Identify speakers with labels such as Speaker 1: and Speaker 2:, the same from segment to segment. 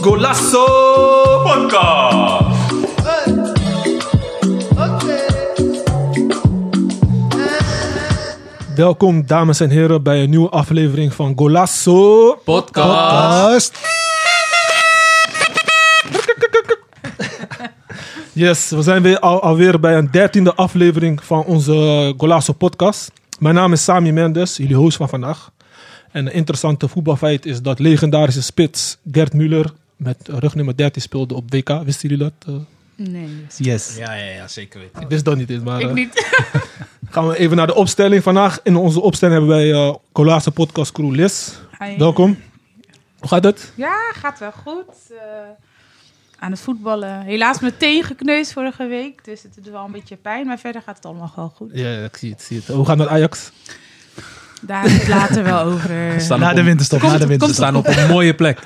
Speaker 1: Golasso Podcast.
Speaker 2: Welkom dames en heren bij een nieuwe aflevering van Golasso Podcast. Yes, we zijn weer al, alweer bij een dertiende aflevering van onze Golasso Podcast. Mijn naam is Sami Mendes, jullie host van vandaag. En een interessante voetbalfeit is dat legendarische spits Gert Muller met rugnummer 13 speelde op WK. Wisten jullie dat? Eh,
Speaker 3: Nee.
Speaker 4: Yes.
Speaker 5: Ja, ja, ja, zeker weten.
Speaker 2: ik wist dat niet eens, maar...
Speaker 3: Ik
Speaker 2: eh,
Speaker 3: niet.
Speaker 2: Gaan we even naar de opstelling. Vandaag in onze opstelling hebben wij eh Colaarse Podcast Crew Liz.
Speaker 3: Hi.
Speaker 2: Welkom. Hoe gaat het?
Speaker 3: Ja, gaat wel goed. Eh, aan het voetballen. Helaas mijn teen gekneusd vorige week. Dus het doet wel een beetje pijn. Maar verder gaat het allemaal gewoon goed.
Speaker 2: Ja, ik zie het. Zie het. Hoe gaat het met Ajax?
Speaker 3: Daar hebben we het later wel over. eh,
Speaker 5: staan
Speaker 4: Na
Speaker 5: op
Speaker 4: de
Speaker 5: een-
Speaker 4: winterstop, na de
Speaker 3: Komt-
Speaker 5: Ze
Speaker 4: winterstop.
Speaker 5: staan op een mooie plek.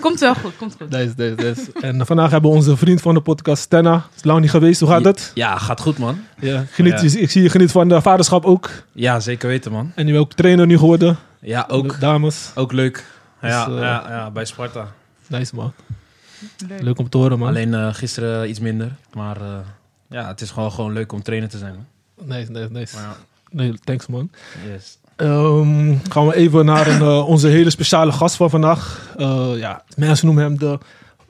Speaker 3: Komt wel goed, komt goed.
Speaker 2: Deze, deze, deze. En vandaag hebben we onze vriend van de podcast, Tenna. Is lang niet geweest. Hoe gaat het?
Speaker 5: Ja, gaat goed, man.
Speaker 2: Ja. Geniet,
Speaker 5: Ja.
Speaker 2: Ik zie je geniet van de vaderschap ook.
Speaker 5: Ja, zeker weten, man.
Speaker 2: En je bent ook trainer nu geworden.
Speaker 5: Ja, ook,
Speaker 2: De dames.
Speaker 5: ook leuk. Ja,
Speaker 2: Dus, eh,
Speaker 5: ja, ja, bij Sparta.
Speaker 2: Nice man.
Speaker 3: Leuk.
Speaker 2: Leuk om te horen man.
Speaker 5: Alleen eh, gisteren iets minder. Maar eh, ja, het is gewoon, gewoon leuk om trainer te zijn. Man.
Speaker 2: Nice, nice, nice.
Speaker 5: Maar
Speaker 2: Nee, thanks man.
Speaker 5: ja, yes.
Speaker 2: Ehm, gaan we even naar een, eh, onze hele speciale gast van vandaag. Eh, ja, mensen noemen hem de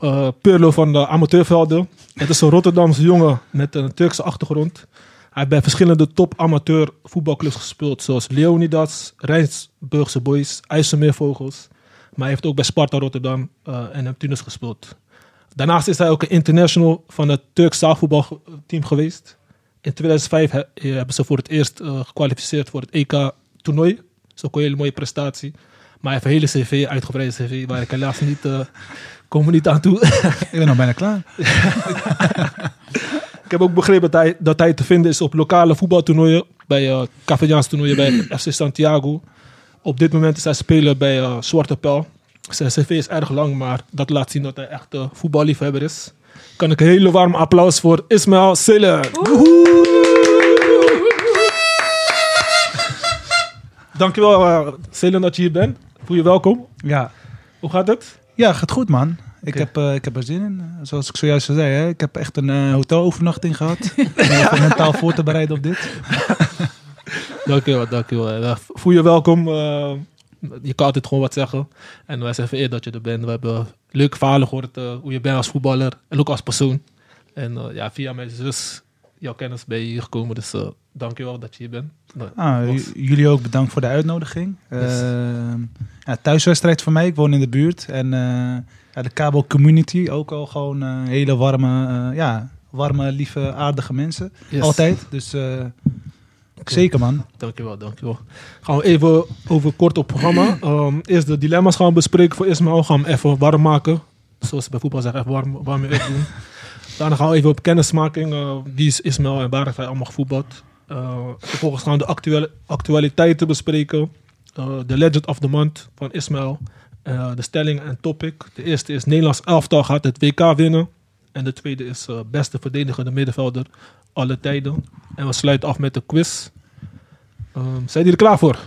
Speaker 2: eh Pirlo van de amateurvelden. Het is een Rotterdamse jongen met een Turkse achtergrond. Hij heeft bij verschillende top amateur voetbalclubs gespeeld. Zoals Leonidas, Rijnsburgse Boys, IJsselmeervogels. Maar hij heeft ook bij Sparta Rotterdam eh, en Neptunus gespeeld. Daarnaast is hij ook een international van het Turks zaalvoetbalteam geweest. In 2005 he- eh, hebben ze voor het eerst eh, gekwalificeerd voor het EK-toernooi. Dat is ook een hele mooie prestatie. Maar hij heeft een hele cv, uitgebreide cv, waar ik helaas niet, eh kom er niet aan toe.
Speaker 4: Ik ben nog bijna klaar.
Speaker 2: ik heb ook begrepen dat hij, dat hij te vinden is op lokale voetbaltoernooien. Bij eh Cavillaans toernooien bij FC Santiago. Op dit moment is hij speler bij eh, Zwarte Pijl. Zijn cv is erg lang, maar dat laat zien dat hij echt eh, voetballiefhebber is. Kan ik een hele warm applaus voor Ismaël Seler. Dankjewel eh Seler dat je hier bent. Voel je welkom.
Speaker 4: Ja.
Speaker 2: Hoe gaat het?
Speaker 4: ja, gaat goed man. Ik,
Speaker 2: Oké.
Speaker 4: heb, eh, ik heb er zin in. Zoals ik zojuist al zei, hè, ik heb echt een eh, hotelovernachting gehad. om even mentaal voor te bereiden op dit.
Speaker 2: Dankjewel, dankjewel. Eh, Voel je welkom. eh, je kan altijd gewoon wat zeggen. En wij zijn vereerd dat je er bent. We hebben leuke verhalen gehoord eh, hoe je bent als voetballer en ook als persoon. En eh, ja, via mijn zus, jouw kennis, ben je hier gekomen. Dus eh dankjewel dat je hier bent. Nou,
Speaker 4: Ah,
Speaker 2: was-
Speaker 4: j- jullie ook bedankt voor de uitnodiging.
Speaker 2: Yes.
Speaker 4: Eh, ja, thuiswedstrijd voor mij. Ik woon in de buurt. En eh, ja, de Cabo Community ook al gewoon eh, hele warme, eh, ja, warme, lieve, aardige mensen.
Speaker 2: yes.
Speaker 4: Altijd. Dus eh, zeker man.
Speaker 2: Dankjewel, dankjewel. Gaan we even over kort op programma. Ehm, eerst de dilemma's gaan we bespreken voor Ismaël. Gaan we hem even warm maken. Zoals ze bij voetbal zeggen, even warm, warm weer doen. Daarna gaan we even op kennismaking. eh, wie is Ismaël en waar heeft hij allemaal gevoetbald? Eh, vervolgens gaan we de actuele, actualiteiten bespreken. Eh, De Legend of the Month van Ismaël. Eh, de stelling en topic. De eerste is Nederlands elftal gaat het WK winnen. En de tweede is eh, beste verdedigende middenvelder alle tijden. En we sluiten af met de quiz. Ehm, zijn jullie er klaar voor?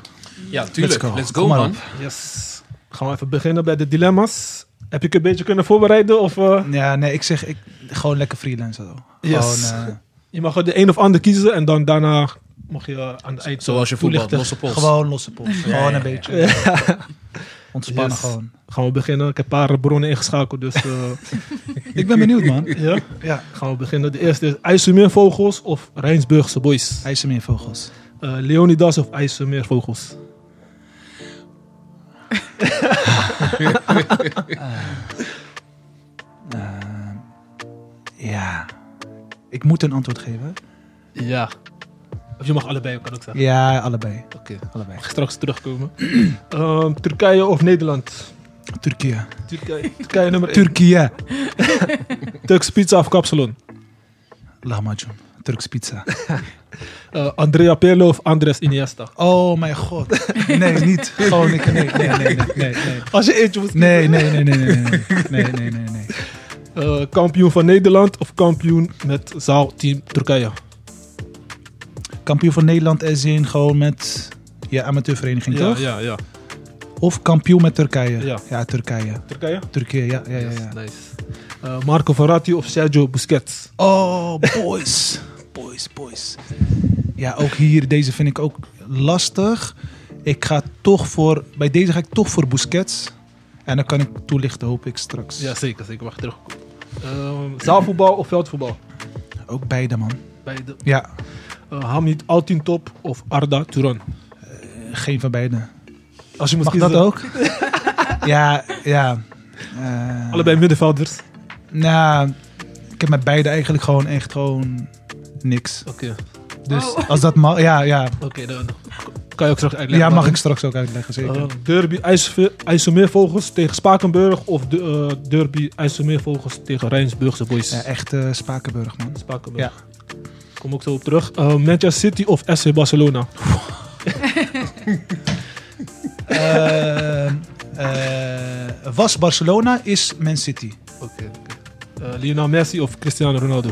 Speaker 5: ja tuurlijk.
Speaker 4: go.
Speaker 5: Let's go,
Speaker 4: Kom maar
Speaker 5: man.
Speaker 4: op.
Speaker 2: Yes. Gaan we even beginnen bij de dilemma's. Heb ik een beetje kunnen voorbereiden? Of, eh,
Speaker 4: Ja, nee, ik zeg ik, gewoon lekker freelancer. Gewoon,
Speaker 2: Yes.
Speaker 4: eh,
Speaker 2: je mag er de een of ander kiezen en dan daarna mag je eh, aan het eind
Speaker 5: Zoals je voetbalt,
Speaker 2: toelichten.
Speaker 5: losse pols.
Speaker 4: Gewoon losse pols.
Speaker 5: Ja,
Speaker 4: gewoon
Speaker 5: ja,
Speaker 4: een
Speaker 5: ja.
Speaker 4: beetje. Ontspannen
Speaker 2: Yes.
Speaker 4: gewoon.
Speaker 2: Gaan we beginnen. Ik heb een paar bronnen ingeschakeld, dus eh,
Speaker 4: Ik ben benieuwd, man.
Speaker 2: ja.
Speaker 4: Ja.
Speaker 2: gaan we beginnen. De eerste is IJsselmeervogels of Rijnsburgse boys?
Speaker 4: IJsselmeervogels.
Speaker 2: Eh, Leonidas of IJsselmeervogels?
Speaker 4: Eh, ja. Ik moet een antwoord geven.
Speaker 2: Ja. Of je mag allebei, kan ook zeggen.
Speaker 4: Ja, allebei.
Speaker 2: Oké.
Speaker 4: allebei.
Speaker 2: Mag straks terugkomen. Ehm, Turkije of Nederland?
Speaker 4: Turkije.
Speaker 2: Turkije, Turkije nummer 1.
Speaker 4: Turkije.
Speaker 2: Turks pizza of kapsalon?
Speaker 4: Lahmacun. Turks pizza.
Speaker 2: Eh, Andrea Pirlo of Andres Iniesta?
Speaker 4: Oh mijn god. Nee, niet. Gewoon ik. Nee, nee, nee, nee, nee. nee.
Speaker 2: Als je eentje moet
Speaker 4: Nee, nee, nee, nee, nee, nee, nee, nee, nee, nee.
Speaker 2: Eh, kampioen van Nederland of kampioen met zaalteam Turkije?
Speaker 4: Kampioen van Nederland as in gewoon met je amateurvereniging,
Speaker 2: Ja,
Speaker 4: toch?
Speaker 2: ja, ja.
Speaker 4: Of kampioen met Turkije.
Speaker 2: Ja.
Speaker 4: Turkije.
Speaker 2: Turkije?
Speaker 4: Turkije, ja, ja, ja.
Speaker 5: Yes,
Speaker 4: ja.
Speaker 5: nice.
Speaker 2: Eh, Marco Verratti of Sergio Busquets?
Speaker 4: Oh, boys. boys, boys. Ja, ook hier, deze vind ik ook lastig. Ik ga toch voor, bij deze ga ik toch voor Busquets. En dan kan ik toelichten, hoop ik straks.
Speaker 2: Ja, zeker, zeker. Wacht, terug. Eh, zaalvoetbal of veldvoetbal?
Speaker 4: Ook beide, man.
Speaker 2: Beide.
Speaker 4: Ja,
Speaker 2: Eh Hamid Altintop of Arda Turan?
Speaker 4: geen van beide.
Speaker 2: Als je moet
Speaker 4: Mag
Speaker 2: kiezen,
Speaker 4: dat ook? ja, ja. Eh,
Speaker 2: Allebei middenvelders.
Speaker 4: Nou, ik heb met beide eigenlijk gewoon echt gewoon niks.
Speaker 2: Oké,
Speaker 4: Dus
Speaker 3: Oh.
Speaker 4: als dat mag, ja, ja.
Speaker 2: oké. dan kan je ook terug uitleggen.
Speaker 4: Ja, mag
Speaker 2: waarom.
Speaker 4: ik straks ook uitleggen, zeker.
Speaker 2: Eh, derby IJsve- IJsselmeervogels tegen Spakenburg of de, eh, derby IJsselmeervogels tegen Rijnsburgse boys?
Speaker 4: Ja, echt eh, Spakenburg, man.
Speaker 2: Spakenburg. Kom ook zo op terug. Eh, Manchester City of SC Barcelona?
Speaker 4: Eh, eh, was Barcelona, is Man City.
Speaker 2: Oké. Eh, Lionel Messi of Cristiano Ronaldo?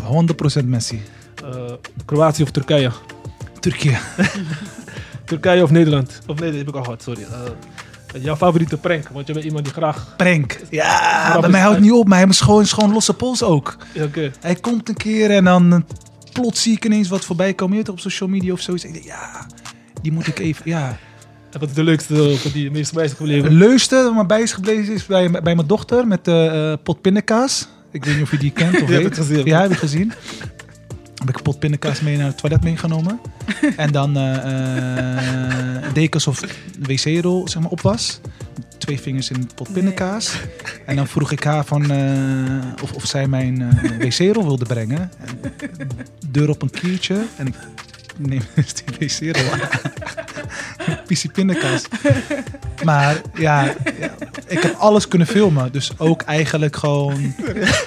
Speaker 4: 100% Messi.
Speaker 2: Eh, Kroatië of Turkije?
Speaker 4: Turkije.
Speaker 2: Turkije of Nederland? Of nee, dat heb ik al gehad, sorry. Eh, jouw favoriete prank, want je bent iemand die graag...
Speaker 4: Prank. Ja,
Speaker 2: Grap
Speaker 4: bij
Speaker 2: is-
Speaker 4: mij houdt niet op, maar hij is gewoon, is gewoon losse pols ook.
Speaker 2: Ja, Oké,
Speaker 4: Hij komt een keer en dan eh, plots zie ik ineens wat voorbij komen je weet toch, op social media of zoiets. Ik denk, ja, die moet ik even, ja.
Speaker 2: en wat is de leukste eh, wat die meest bij is gebleven?
Speaker 4: Het leukste wat me bij is gebleven is bij, bij mijn dochter met eh eh, pot pindakaas. Ik weet niet of je die kent of
Speaker 2: Die heb
Speaker 4: weet.
Speaker 2: ik gezien.
Speaker 4: Ja, heb ik gezien. Heb ik pot pindakaas mee naar het toilet meegenomen. En dan eh eh deed ik alsof de wc-rol zeg maar, op was. Twee vingers in pot pindakaas. En dan vroeg ik haar van, eh, of, of zij mijn eh, wc-rol wilde brengen. En deur op een kiertje. En ik neem dus die wc-rol aan. Pissie pindakaas. Maar ja, ja, ik heb alles kunnen filmen. Dus ook eigenlijk gewoon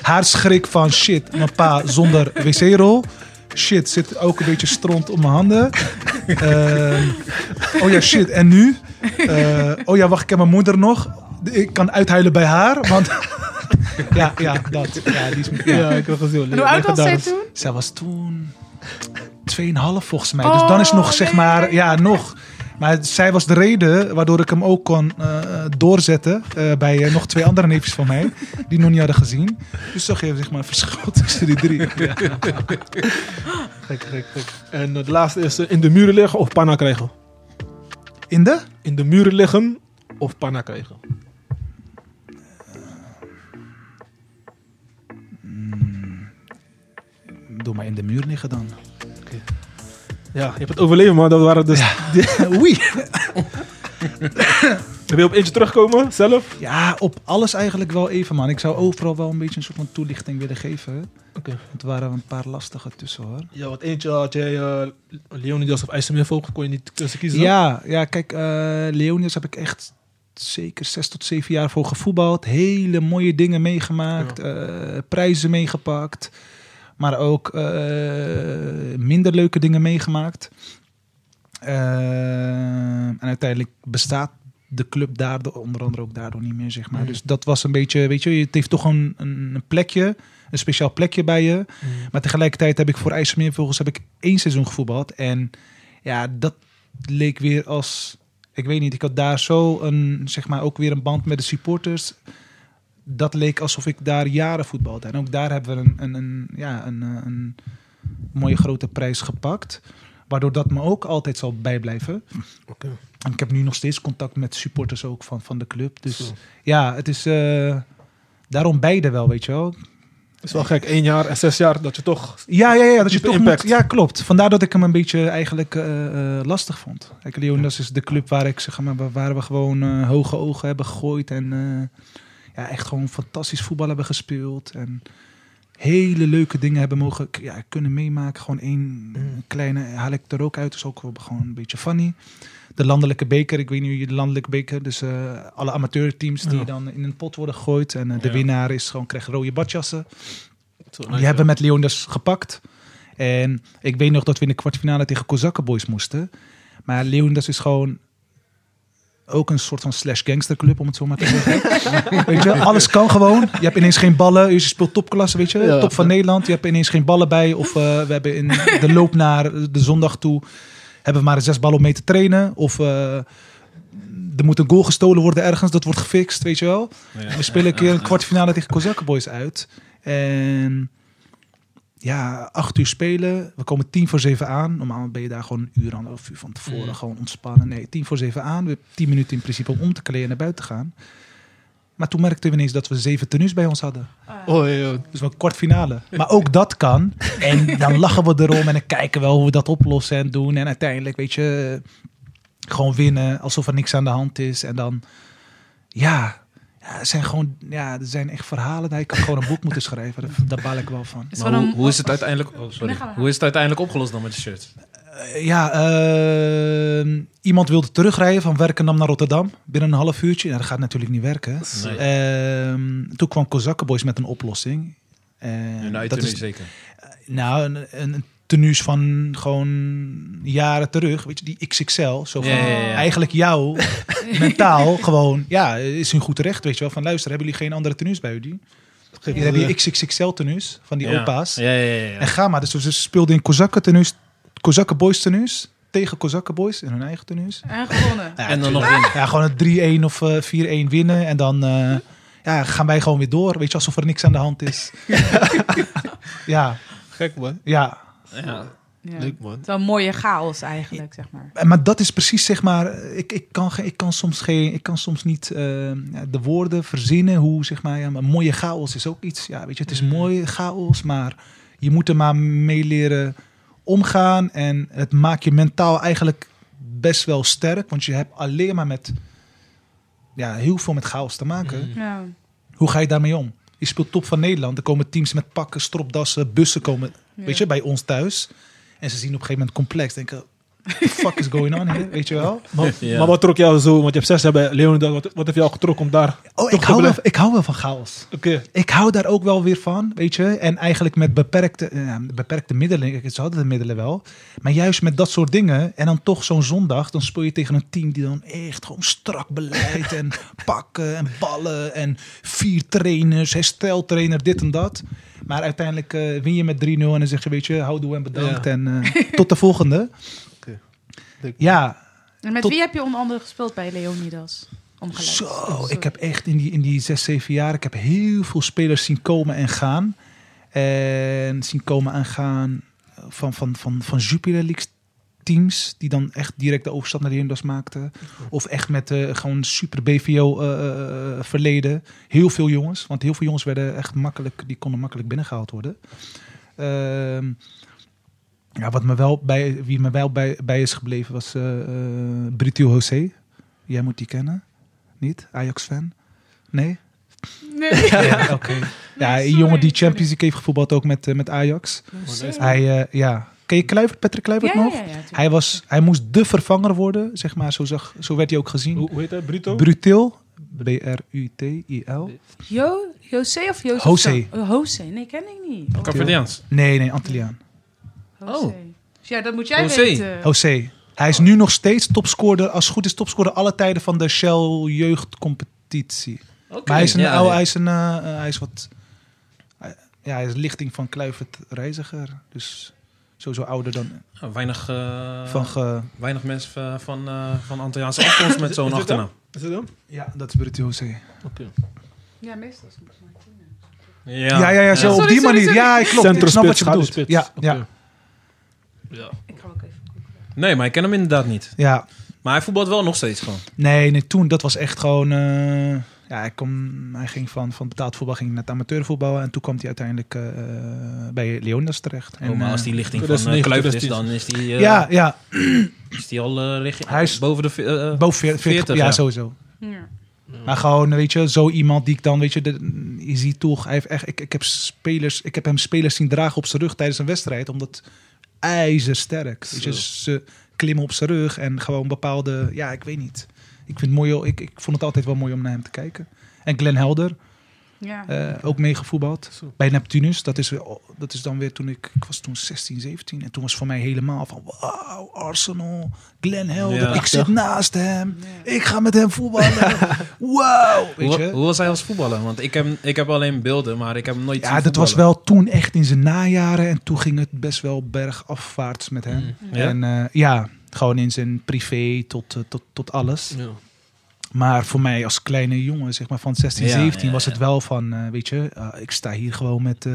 Speaker 4: haar schrik van shit, mijn pa zonder wc-rol. Shit, zit ook een beetje stront op mijn handen. Ehm, oh ja, shit, en nu? Eh, oh ja, wacht, ik heb mijn moeder nog. Ik kan uithuilen bij haar, want... ja, ja, dat. Ja, die is, ja.
Speaker 2: Ja, ik heb het gezien.
Speaker 3: En hoe oud was zij
Speaker 2: Legendarisch.
Speaker 3: toen?
Speaker 4: Zij was toen 2,5 volgens mij. dus dan is
Speaker 3: Oh,
Speaker 4: nog, zeg
Speaker 3: nee.
Speaker 4: maar, ja, nog. Maar zij was de reden waardoor ik hem ook kon eh, doorzetten eh, bij eh, nog twee andere neefjes van mij. Die nog niet hadden gezien. Dus zag je zeg maar een verschil tussen die drie. Ja.
Speaker 2: Gek, gek, gek. En het laatste is eh, in de muren liggen of panna krijgen?
Speaker 4: In de?
Speaker 2: In de muren liggen of panna krijgen?
Speaker 4: Mm. Doe maar in de muur liggen dan.
Speaker 2: Ja, je hebt het overleven, maar dat waren dus...
Speaker 4: Oei!
Speaker 2: Wil je op eentje terugkomen, zelf?
Speaker 4: Ja, op alles eigenlijk wel even, man. Ik zou overal wel een beetje een soort van toelichting willen geven.
Speaker 2: Oké.
Speaker 4: Het waren een paar lastige tussen, hoor.
Speaker 2: Ja, want eentje had jij eh, Leonidas of IJsselmeervogel, kon je niet tussen kiezen.
Speaker 4: Ja, ja kijk, eh Leonidas heb ik echt zeker zes tot zeven jaar voor gevoetbald. Hele mooie dingen meegemaakt, eh, prijzen meegepakt. Maar ook eh, minder leuke dingen meegemaakt. Eh, en uiteindelijk bestaat de club daardoor, onder andere ook daardoor niet meer, zeg maar.
Speaker 2: Mm.
Speaker 4: Dus dat was een beetje, weet je, het heeft toch een, een een plekje, een speciaal plekje bij je.
Speaker 2: Mm.
Speaker 4: Maar tegelijkertijd heb ik voor IJsselmeervogels heb ik één seizoen gevoetbald. En ja, dat leek weer als... Ik weet niet, ik had daar zo een, zeg maar, ook weer een band met de supporters. Dat leek alsof ik daar jaren voetbalde. En ook daar hebben we een, een, een, ja, een, eh, een mooie grote prijs gepakt. Waardoor dat me ook altijd zal bijblijven.
Speaker 2: Oké.
Speaker 4: En ik heb nu nog steeds contact met supporters ook van, van de club. Dus
Speaker 2: Zo.
Speaker 4: ja, het is eh, daarom beide wel, weet je wel.
Speaker 2: Het is wel gek, één jaar en zes jaar dat je toch...
Speaker 4: Ja, ja, ja, dat je
Speaker 2: Diepe
Speaker 4: toch
Speaker 2: impact.
Speaker 4: moet- ja, klopt. Vandaar dat ik hem een beetje eigenlijk eh, eh, lastig vond. Kijk, Leonidas is de club waar, ik, zeg maar, waar we gewoon eh, hoge ogen hebben gegooid. En eh, ja, echt gewoon fantastisch voetbal hebben gespeeld. En hele leuke dingen hebben mogen k- ja, kunnen meemaken. Gewoon één
Speaker 2: Mm.
Speaker 4: kleine haal ik er ook uit. is ook wel gewoon een beetje funny. De landelijke beker, ik weet niet, de landelijke beker. Dus eh, alle amateurteams die
Speaker 2: Ja.
Speaker 4: dan in een pot worden gegooid. En eh, de
Speaker 5: Ja.
Speaker 4: winnaar is gewoon, krijgt rode badjassen.
Speaker 2: Zo,
Speaker 4: Die hebben met Leonidas gepakt. En ik weet nog dat we in de kwartfinale tegen Kozakken Boys moesten. Maar Leonidas is gewoon Ook een soort van slash gangsterclub, om het zo maar te zeggen. weet je, alles kan gewoon. Je hebt ineens geen ballen. Je speelt topklasse, weet je.
Speaker 2: Ja.
Speaker 4: Top van Nederland. Je hebt ineens geen ballen bij. Of eh, we hebben in de loop naar de zondag toe... hebben we maar zes ballen om mee te trainen. Of eh, er moet een goal gestolen worden ergens. Dat wordt gefixt, weet je wel. We spelen een keer een kwartfinale tegen Kozakken Boys uit. En ja, acht uur spelen. We komen tien voor zeven aan. Normaal ben je daar gewoon een uur, anderhalf uur van tevoren.
Speaker 5: Mm.
Speaker 4: Gewoon ontspannen. Nee, tien voor zeven aan. We hebben tien minuten in principe om om te kleden en naar buiten te gaan. Maar toen merkten we ineens dat we zeven tenues bij ons hadden.
Speaker 3: Ah.
Speaker 2: Oh, ja.
Speaker 4: Dus wel kwartfinale. Maar ook dat kan. En dan lachen we erom en dan kijken we wel hoe we dat oplossen en doen. En uiteindelijk, weet je, gewoon winnen alsof er niks aan de hand is. En dan, ja, ja, er zijn gewoon, ja, er zijn echt verhalen. Hij kan gewoon een boek moeten schrijven. Daar, daar baal ik wel van.
Speaker 3: is
Speaker 5: Maar
Speaker 3: gewoon
Speaker 5: hoe,
Speaker 3: een-
Speaker 5: hoe is het uiteindelijk... Oh,
Speaker 3: Nee,
Speaker 5: sorry.
Speaker 3: ga maar.
Speaker 5: Hoe is het uiteindelijk opgelost dan met je shirt?
Speaker 4: Eh, ja, eh, iemand wilde terugrijden van Werkendam naar Rotterdam. Binnen een half uurtje. Ja, dat gaat natuurlijk niet werken.
Speaker 5: Nee.
Speaker 4: Ehm, toen kwam Kozakkenboys met een oplossing. En
Speaker 5: Een
Speaker 4: dat
Speaker 5: uitdaging
Speaker 4: is
Speaker 5: zeker.
Speaker 4: Nou, een, een een tenues van gewoon jaren terug. Weet je, die XXL. Zo van,
Speaker 5: Ja, ja, ja.
Speaker 4: Eigenlijk jou mentaal gewoon... Ja, is hun goed terecht, weet je wel. Van luister, hebben jullie geen andere tenues bij jullie? Hier heb je XXXL tenues van die
Speaker 5: Ja.
Speaker 4: opa's.
Speaker 5: Ja, ja, ja. ja.
Speaker 4: En ga maar. Dus ze speelden in Kozakken tenues, Kozakken boys tenues. Tegen Kozakken boys in hun eigen tenues.
Speaker 3: En gewonnen.
Speaker 4: Ja,
Speaker 5: En dan nog
Speaker 4: tuurlijk. Ja, gewoon een 3-1 of eh, 4-1 winnen. En dan eh, ja, gaan wij gewoon weer door. Weet je, alsof er niks aan de hand is. ja,
Speaker 2: Gek, man.
Speaker 4: ja.
Speaker 5: Ja.
Speaker 3: Ja.
Speaker 2: Leuk, man.
Speaker 3: Het is wel een mooie chaos eigenlijk, zeg maar.
Speaker 4: En- Eh, Maar dat is precies, zeg maar, ik, ik, kan, ge- ik, kan, soms geen, ik kan soms niet eh, de woorden verzinnen hoe, zeg maar, ja, maar mooie chaos is ook iets. Ja, weet je, het is mooi chaos, maar je moet er maar mee leren omgaan. En het maakt je mentaal eigenlijk best wel sterk, want je hebt alleen maar met, ja, heel veel met chaos te maken.
Speaker 5: Mm.
Speaker 3: Ja.
Speaker 4: Hoe ga je daarmee om? Je speelt top van Nederland, er komen teams met pakken, stropdassen, bussen komen
Speaker 3: Ja.
Speaker 4: Weet je, bij ons thuis. En ze zien op een gegeven moment complex. Denken, what the fuck is going on here? Weet je wel?
Speaker 2: Maar,
Speaker 5: Ja.
Speaker 2: maar wat trok jou zo? Want je hebt zes jaar bij Leonardo. Wat, wat heb jou getrokken om daar...
Speaker 4: Oh,
Speaker 2: toch
Speaker 4: ik
Speaker 2: te
Speaker 4: hou, wel,
Speaker 2: blijven?
Speaker 4: ik hou wel van chaos.
Speaker 2: Oké.
Speaker 4: Ik hou daar ook wel weer van, weet je. En eigenlijk met beperkte, eh, beperkte middelen. Kijk, Ze hadden de middelen wel. Maar juist met dat soort dingen. En dan toch zo'n zondag. Dan speel je tegen een team die dan echt gewoon strak beleid. en pakken en ballen. En vier trainers, hersteltrainer, dit en dat. Maar uiteindelijk eh, win je met 3-0. En dan zeg je, weet je, houdoe en bedankt.
Speaker 2: Ja.
Speaker 4: En eh, tot de volgende.
Speaker 2: Oké. Leuk.
Speaker 4: Ja,
Speaker 3: En met
Speaker 4: Tot-
Speaker 3: wie heb je onder andere gespeeld bij Leonidas? Omgeleid.
Speaker 4: Zo,
Speaker 3: Sorry.
Speaker 4: ik heb echt in die, in die zes, zeven jaar, ik heb heel veel spelers zien komen en gaan. En zien komen en gaan van, van, van, van Jupiler League teams, die dan echt direct de overstap naar de Hyundai's maakten. Of echt met eh, gewoon super BVO eh, eh, eh, verleden. Heel veel jongens, want heel veel jongens werden echt makkelijk, die konden makkelijk binnengehaald worden. Ehm, ja, wat me wel bij, wie me wel bij, bij is gebleven was eh eh, Britio José. Jij moet die kennen. Niet? Ajax-fan? Nee?
Speaker 3: Nee.
Speaker 4: Ja, Oké. Ja, een
Speaker 3: sorry.
Speaker 4: jongen die Champions League heeft gevoetbald ook met, eh, met Ajax. Hij, eh, ja. Ken je Kluivert, Patrick Kluivert
Speaker 3: Ja, ja,
Speaker 4: nog?
Speaker 3: ja, ja, tuurlijk.
Speaker 4: Hij, was, hij moest de vervanger worden, zeg maar. Zo, zag, zo werd hij ook gezien.
Speaker 2: Hoe, hoe heet hij? Brito?
Speaker 4: Brutil. B-R-U-T-I-L.
Speaker 3: Jo, José of Jozef?
Speaker 4: José.
Speaker 3: Oh, José, nee, ken ik niet. Oh,
Speaker 5: Caverdiaans.
Speaker 4: Nee, nee, Antilliaan.
Speaker 3: José.
Speaker 5: Oh.
Speaker 3: Dus Ja, dat moet jij
Speaker 5: José.
Speaker 3: weten.
Speaker 4: José. Oh. Hij is nu nog steeds topscorer, als het goed is topscorer alle tijden van de Shell jeugdcompetitie. Maar hij is een oude, hij is een, eh, eh, hij is wat, hij- ja, hij is lichting van Kluivert Reiziger. Dus sowieso ouder dan
Speaker 5: Weinig, eh,
Speaker 4: van ge...
Speaker 5: weinig mensen van- van, eh van Antilliaanse afkomst met
Speaker 2: Is
Speaker 5: zo'n
Speaker 2: dit
Speaker 5: achternaam.
Speaker 2: Is het hem?
Speaker 4: Ja, dat is Brutti José.
Speaker 3: Ja, meestal. is het.
Speaker 4: Ja, ja, ja, zo
Speaker 3: Sorry,
Speaker 4: op die
Speaker 3: sorry,
Speaker 4: manier.
Speaker 3: sorry.
Speaker 4: Ja, ik klopt. ik snap wat
Speaker 2: Centrumspits,
Speaker 4: je bedoelt.
Speaker 2: schaduwspits.
Speaker 4: Ja,
Speaker 2: Oké.
Speaker 4: ja,
Speaker 3: Ik ga ook even.
Speaker 5: Nee, maar ik ken hem inderdaad niet.
Speaker 4: ja.
Speaker 5: Maar hij voetbalt wel nog steeds gewoon.
Speaker 4: Nee, nee, toen, dat was echt gewoon... eh, ja, hij, kwam, hij ging van, van betaald voetbal ging hij naar het amateurvoetbal. En toen kwam hij uiteindelijk eh, bij Leonidas terecht. En,
Speaker 5: Oh, maar
Speaker 4: eh,
Speaker 5: als die lichting van
Speaker 2: 2019,
Speaker 5: eh Kluivert is,
Speaker 2: 2019.
Speaker 5: dan is die, eh,
Speaker 4: Ja, ja,
Speaker 5: is die al eh, richting,
Speaker 4: Hij is-
Speaker 5: boven de... ve- eh, eh,
Speaker 4: boven 40.
Speaker 5: 40,
Speaker 4: ja,
Speaker 5: ja.
Speaker 4: sowieso.
Speaker 3: Ja.
Speaker 4: Mm. Maar gewoon, weet je, zo iemand die ik dan, weet je, de- je ziet toch, hij heeft echt, ik, ik, heb spelers, ik heb hem spelers zien dragen op zijn rug tijdens een wedstrijd, omdat ijzersterk. Weet je,
Speaker 5: Zo.
Speaker 4: ze klimmen op zijn rug en gewoon bepaalde, ja, ik weet niet. Ik vind het mooi, ik, ik vond het altijd wel mooi om naar hem te kijken. En Glenn Helder,
Speaker 3: Ja.
Speaker 4: Eh, ook meegevoetbald.
Speaker 2: Zo.
Speaker 4: Bij Neptunus, dat is, weer- dat is dan weer toen ik, ik was toen 16, 17. En toen was voor mij helemaal van, wauw, Arsenal, Glenn Helder.
Speaker 5: Ja.
Speaker 4: Ik zit naast hem. Ik ga met hem voetballen. wauw, weet
Speaker 5: Hoe,
Speaker 4: je.
Speaker 5: hoe was hij als voetballer? Want ik heb, ik heb alleen beelden, maar ik heb hem nooit
Speaker 4: Ja,
Speaker 5: zien
Speaker 4: dat was
Speaker 5: voetballen.
Speaker 4: wel toen echt in zijn najaren. En toen ging het best wel bergafwaarts met hem.
Speaker 5: Mm. Ja?
Speaker 4: En eh, ja, gewoon in zijn privé tot, eh, tot, tot alles.
Speaker 2: Ja.
Speaker 4: Maar voor mij als kleine jongen, zeg maar van 16,
Speaker 5: Ja,
Speaker 4: 17,
Speaker 5: ja,
Speaker 4: was het
Speaker 5: ja.
Speaker 4: wel van, eh, weet je, eh, ik sta hier gewoon met eh,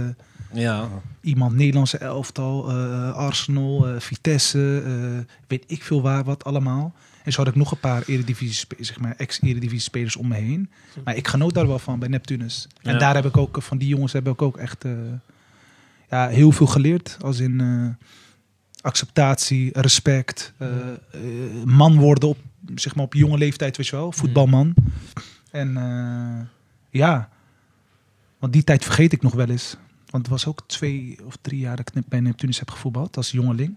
Speaker 5: Ja,
Speaker 4: iemand Nederlandse elftal, eh, Arsenal, eh, Vitesse, eh, weet ik veel waar wat allemaal. En zo had ik nog een paar eredivisie, zeg maar, ex-eredivisie spelers om me heen. Maar ik genoot daar wel van bij Neptunus. En
Speaker 5: Ja.
Speaker 4: daar heb ik ook, eh, van die jongens heb ik ook echt eh, ja, heel veel geleerd. Als in eh, acceptatie, respect, eh, eh, man worden op, zeg maar, op jonge leeftijd, weet je wel. Voetbalman. En eh, ja, want die tijd vergeet ik nog wel eens. Want het was ook twee of drie jaar dat ik bij Neptunus heb gevoetbald als jongeling.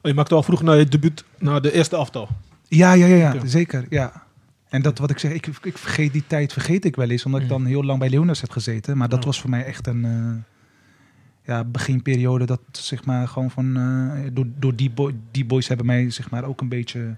Speaker 2: Oh, je maakte al vroeg naar je debuut, naar de eerste aftal.
Speaker 4: Ja, ja, ja, ja
Speaker 2: Ja.
Speaker 4: zeker. Ja. En dat wat ik zeg, ik, ik vergeet die tijd vergeet ik wel eens. Omdat ik dan heel lang bij Leonas heb gezeten. Maar dat
Speaker 2: Ja.
Speaker 4: was voor mij echt een eh, ja, beginperiode. Dat zeg maar gewoon van. eh, door door die, boy, die boys hebben mij zeg maar ook een beetje.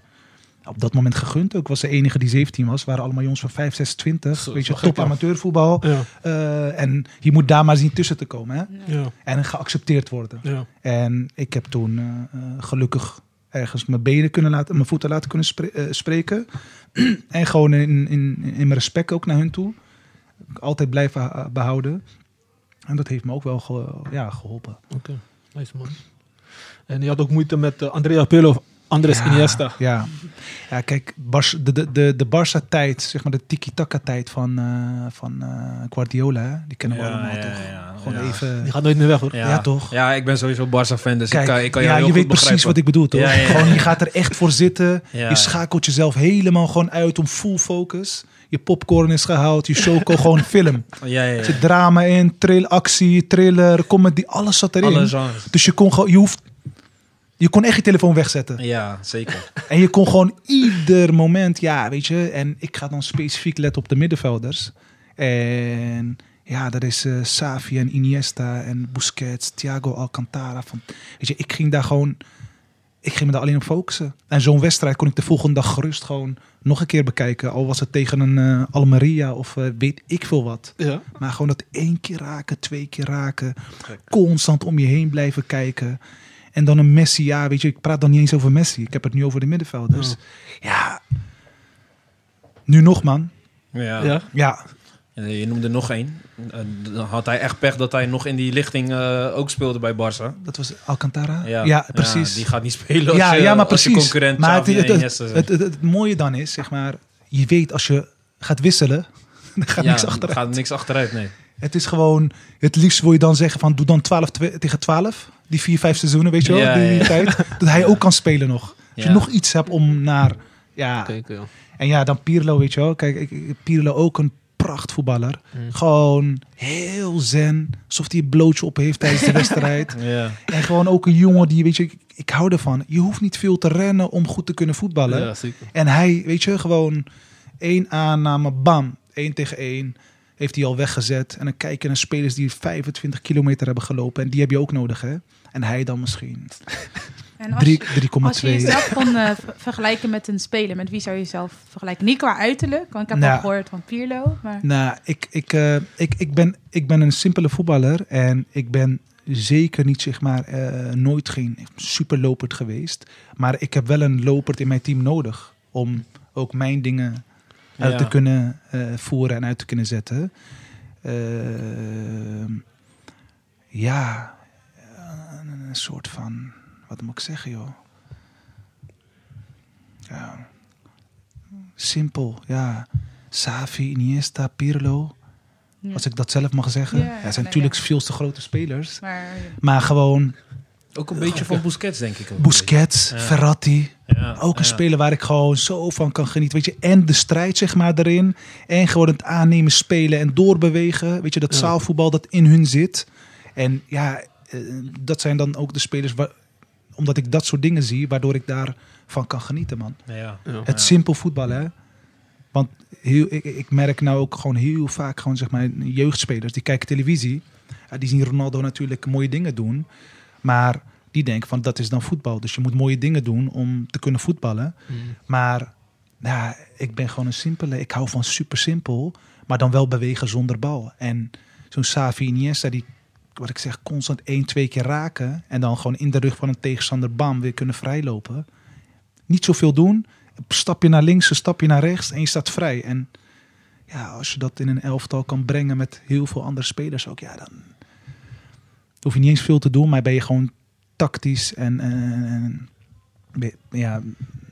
Speaker 4: Op dat moment gegund ook. Ik was de enige die 17 was. waren allemaal jongens van 5, 6, 20.
Speaker 2: Zo,
Speaker 4: Weet je,
Speaker 2: zo gek,
Speaker 4: top
Speaker 2: ja.
Speaker 4: amateurvoetbal.
Speaker 2: Ja,
Speaker 4: Eh, en je moet daar maar zien tussen te komen. Hè?
Speaker 2: ja,
Speaker 4: En geaccepteerd worden.
Speaker 2: ja.
Speaker 4: En ik heb toen eh, eh, gelukkig ergens mijn benen kunnen laten, mijn voeten laten kunnen spre- eh, spreken. en gewoon in, in, in mijn respect ook naar hun toe. Altijd blijven ha- behouden. En dat heeft me ook wel ge- ja, geholpen.
Speaker 2: Nice man. En je had ook moeite met eh, Andrea Pirlo of Andres
Speaker 4: Ja,
Speaker 2: Iniesta.
Speaker 4: Ja, ja kijk, Bars, de, de, de, de Barça-tijd, zeg maar de tiki-taka-tijd van, eh, van eh, Guardiola, hè, die kennen we
Speaker 5: Ja,
Speaker 4: allemaal
Speaker 5: ja,
Speaker 4: toch?
Speaker 5: ja.
Speaker 4: Gewoon
Speaker 5: Ja.
Speaker 4: even...
Speaker 2: Die gaat nooit meer weg hoor.
Speaker 4: Ja, toch?
Speaker 5: Ja, ik ben sowieso Barca-fan, dus ik kan, ik kan jou
Speaker 4: ja,
Speaker 5: heel
Speaker 4: je
Speaker 5: goed
Speaker 4: weet precies
Speaker 5: begrijpen.
Speaker 4: wat ik bedoel, toch?
Speaker 5: Ja, ja, ja.
Speaker 4: Gewoon, je gaat er echt voor zitten.
Speaker 5: Ja.
Speaker 4: Je schakelt jezelf helemaal gewoon uit om full focus. Je popcorn is gehaald, je choco, gewoon film.
Speaker 5: Ja, ja,
Speaker 4: Er
Speaker 5: ja.
Speaker 4: zit drama in, trill, actie, thriller, comedy, alles zat erin.
Speaker 5: Alle genres.
Speaker 4: Dus je kon gewoon, je hoeft... Je kon echt je telefoon wegzetten.
Speaker 5: Ja, zeker.
Speaker 4: En je kon gewoon ieder moment, ja, weet je. En ik ga dan specifiek letten op de middenvelders. En ja, dat is eh Savi en Iniesta en Busquets, Thiago Alcantara. Van, weet je, ik ging daar gewoon, ik ging me daar alleen op focussen. En zo'n wedstrijd kon ik de volgende dag gerust gewoon nog een keer bekijken. Al was het tegen een eh, Almeria of eh, weet ik veel wat.
Speaker 2: Ja.
Speaker 4: Maar gewoon dat één keer raken, twee keer raken. Constant om je heen blijven kijken. En dan een Messi, ja, weet je, ik praat dan niet eens over Messi. Ik heb het nu over de middenvelders.
Speaker 2: Ja.
Speaker 4: Ja. Nu nog, man.
Speaker 5: Ja.
Speaker 2: Ja.
Speaker 4: Ja,
Speaker 5: Eh, Je noemde nog één. Eh, Dan had hij echt pech dat hij nog in die lichting eh, ook speelde bij Barca.
Speaker 4: dat was Alcantara. Ja,
Speaker 5: Ja,
Speaker 4: precies.
Speaker 5: Ja, die gaat niet spelen als,
Speaker 4: ja,
Speaker 5: je,
Speaker 4: ja, maar
Speaker 5: als je
Speaker 4: precies.
Speaker 5: concurrent
Speaker 4: maar het,
Speaker 5: Xavi
Speaker 4: het,
Speaker 5: en
Speaker 4: het,
Speaker 5: Iniesta zijn.
Speaker 4: het- het- het mooie dan is, zeg maar, je weet als je gaat wisselen, dan gaat
Speaker 5: ja,
Speaker 4: niks achteruit.
Speaker 5: gaat niks achteruit, nee.
Speaker 4: Het is gewoon, het liefst wil je dan zeggen van doe dan 12 twe- tegen 12. Die vier, vijf seizoenen, weet je wel,
Speaker 5: Ja,
Speaker 4: die
Speaker 5: ja, ja.
Speaker 4: tijd. Dat hij ook kan spelen nog. Als je
Speaker 5: Ja.
Speaker 4: nog iets hebt om naar, ja.
Speaker 2: Kijk, ja.
Speaker 4: En ja, dan Pirlo, weet je wel. Kijk, ik- ik- Pirlo ook een prachtvoetballer.
Speaker 5: Mm.
Speaker 4: Gewoon heel zen. Alsof hij een blootje op heeft tijdens de wedstrijd.
Speaker 5: Ja,
Speaker 4: En gewoon ook een jongen die, weet je, ik, ik hou ervan. Je hoeft niet veel te rennen om goed te kunnen voetballen.
Speaker 2: Ja, zeker.
Speaker 4: En hij, weet je, gewoon één aanname, bam, één tegen één, heeft hij al weggezet. En dan kijk je naar spelers die 25 kilometer hebben gelopen. En die heb je ook nodig, hè? En hij dan misschien
Speaker 3: En als,
Speaker 4: drie-
Speaker 3: je-
Speaker 4: 3,2.
Speaker 3: als je jezelf kon eh, ver- vergelijken met een speler, met wie zou je jezelf vergelijken? Niet qua uiterlijk, want ik heb
Speaker 4: Nou.
Speaker 3: al gehoord van Pirlo. Maar
Speaker 4: Nou, ik, ik, eh, ik, ik, ben, ik ben een simpele voetballer. En ik ben zeker niet, zeg maar, eh, nooit geen superloperd geweest. Maar ik heb wel een loperd in mijn team nodig. Om ook mijn dingen uit
Speaker 5: Ja.
Speaker 4: te kunnen eh, voeren en uit te kunnen zetten. Eh, ja, een, een soort van, wat moet ik zeggen, joh. Ja. Simpel, ja. Savi, Iniesta, Pirlo.
Speaker 3: Ja.
Speaker 4: Als ik dat zelf mag zeggen.
Speaker 3: Ja,
Speaker 4: Ja, het zijn
Speaker 3: nee,
Speaker 4: natuurlijk
Speaker 3: ja.
Speaker 4: veel te grote spelers.
Speaker 3: maar
Speaker 4: Maar gewoon
Speaker 5: ook een beetje van Busquets, denk ik. ook.
Speaker 4: Busquets,
Speaker 5: Ja.
Speaker 4: Ferrati.
Speaker 5: Ja,
Speaker 4: Ook een
Speaker 5: ja.
Speaker 4: speler waar ik gewoon zo van kan genieten. Weet je, en de strijd zeg maar erin. En gewoon het aannemen, spelen en doorbewegen. Weet je, dat
Speaker 2: Ja.
Speaker 4: zaalvoetbal dat in hun zit. En ja, eh, dat zijn dan ook de spelers... Waar, omdat ik dat soort dingen zie, waardoor ik daarvan kan genieten, man.
Speaker 5: Ja,
Speaker 2: Ja.
Speaker 4: Het simpel voetbal, hè. Want heel, ik, ik merk nou ook gewoon heel vaak gewoon zeg maar jeugdspelers die kijken televisie. Ja, die zien Ronaldo natuurlijk mooie dingen doen. Maar die denken van dat is dan voetbal. Dus je moet mooie dingen doen om te kunnen voetballen. Maar nou, ik ben gewoon een simpele. Ik hou van super simpel. Maar dan wel bewegen zonder bal. En zo'n Savi Iniesta die, wat ik zeg, constant één, twee keer raken. En dan gewoon in de rug van een tegenstander bam weer kunnen vrijlopen. Niet zoveel doen. Een stapje naar links, een stapje naar rechts en je staat vrij. En ja, als je dat in een elftal kan brengen met heel veel andere spelers ook. Ja, dan hoef je niet eens veel te doen. Maar ben je gewoon tactisch en... en, en- en- ben je- ja,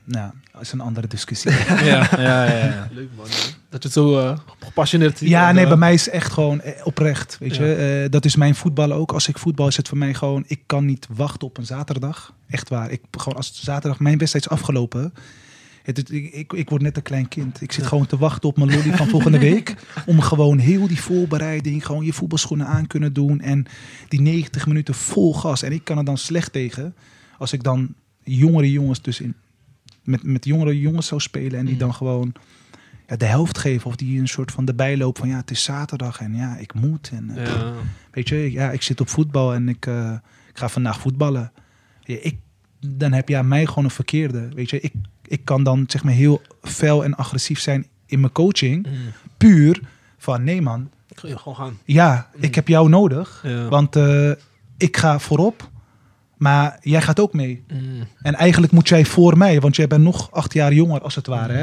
Speaker 4: nou, dat is een andere discussie.
Speaker 5: Ja, ja, ja. ja.
Speaker 2: Leuk man. Dat je het zo eh, gepassioneerd ziet.
Speaker 4: Ja,
Speaker 2: En,
Speaker 4: nee,
Speaker 2: eh,
Speaker 4: bij mij is echt gewoon eh, oprecht. Weet
Speaker 2: Ja.
Speaker 4: je, Eh, dat is mijn voetballen ook. Als ik voetbal is het voor mij gewoon, ik kan niet wachten op een zaterdag. Echt waar. Ik, gewoon als zaterdag mijn wedstrijd is afgelopen. Het, het- ik, ik, ik word net een klein kind. Ik zit gewoon te wachten op mijn lolly van volgende week. Om gewoon heel die voorbereiding, gewoon je voetbalschoenen aan kunnen doen. En die 90 minuten vol gas. En ik kan er dan slecht tegen. Als ik dan jongere jongens dus in, met, met jongere jongens zou spelen. En die
Speaker 2: Mm.
Speaker 4: dan gewoon ja, de helft geven. Of die een soort van de bijloop van ja, het is zaterdag en ja, ik moet. En, eh,
Speaker 2: Ja.
Speaker 4: Weet je, ik- ja, ik zit op voetbal en ik, eh, ik ga vandaag voetballen. Ja, ik, dan heb je aan mij gewoon een verkeerde. Weet je, ik, ik kan dan zeg maar heel fel en agressief zijn in mijn coaching.
Speaker 2: Mm.
Speaker 4: Puur van nee man,
Speaker 2: Ik ga je gewoon gaan.
Speaker 4: ja,
Speaker 2: Mm.
Speaker 4: ik heb jou nodig.
Speaker 2: Ja.
Speaker 4: Want eh, ik ga voorop, maar jij gaat ook mee.
Speaker 2: Mm.
Speaker 4: En eigenlijk moet jij voor mij, want jij bent nog acht jaar jonger als het ware. Hè?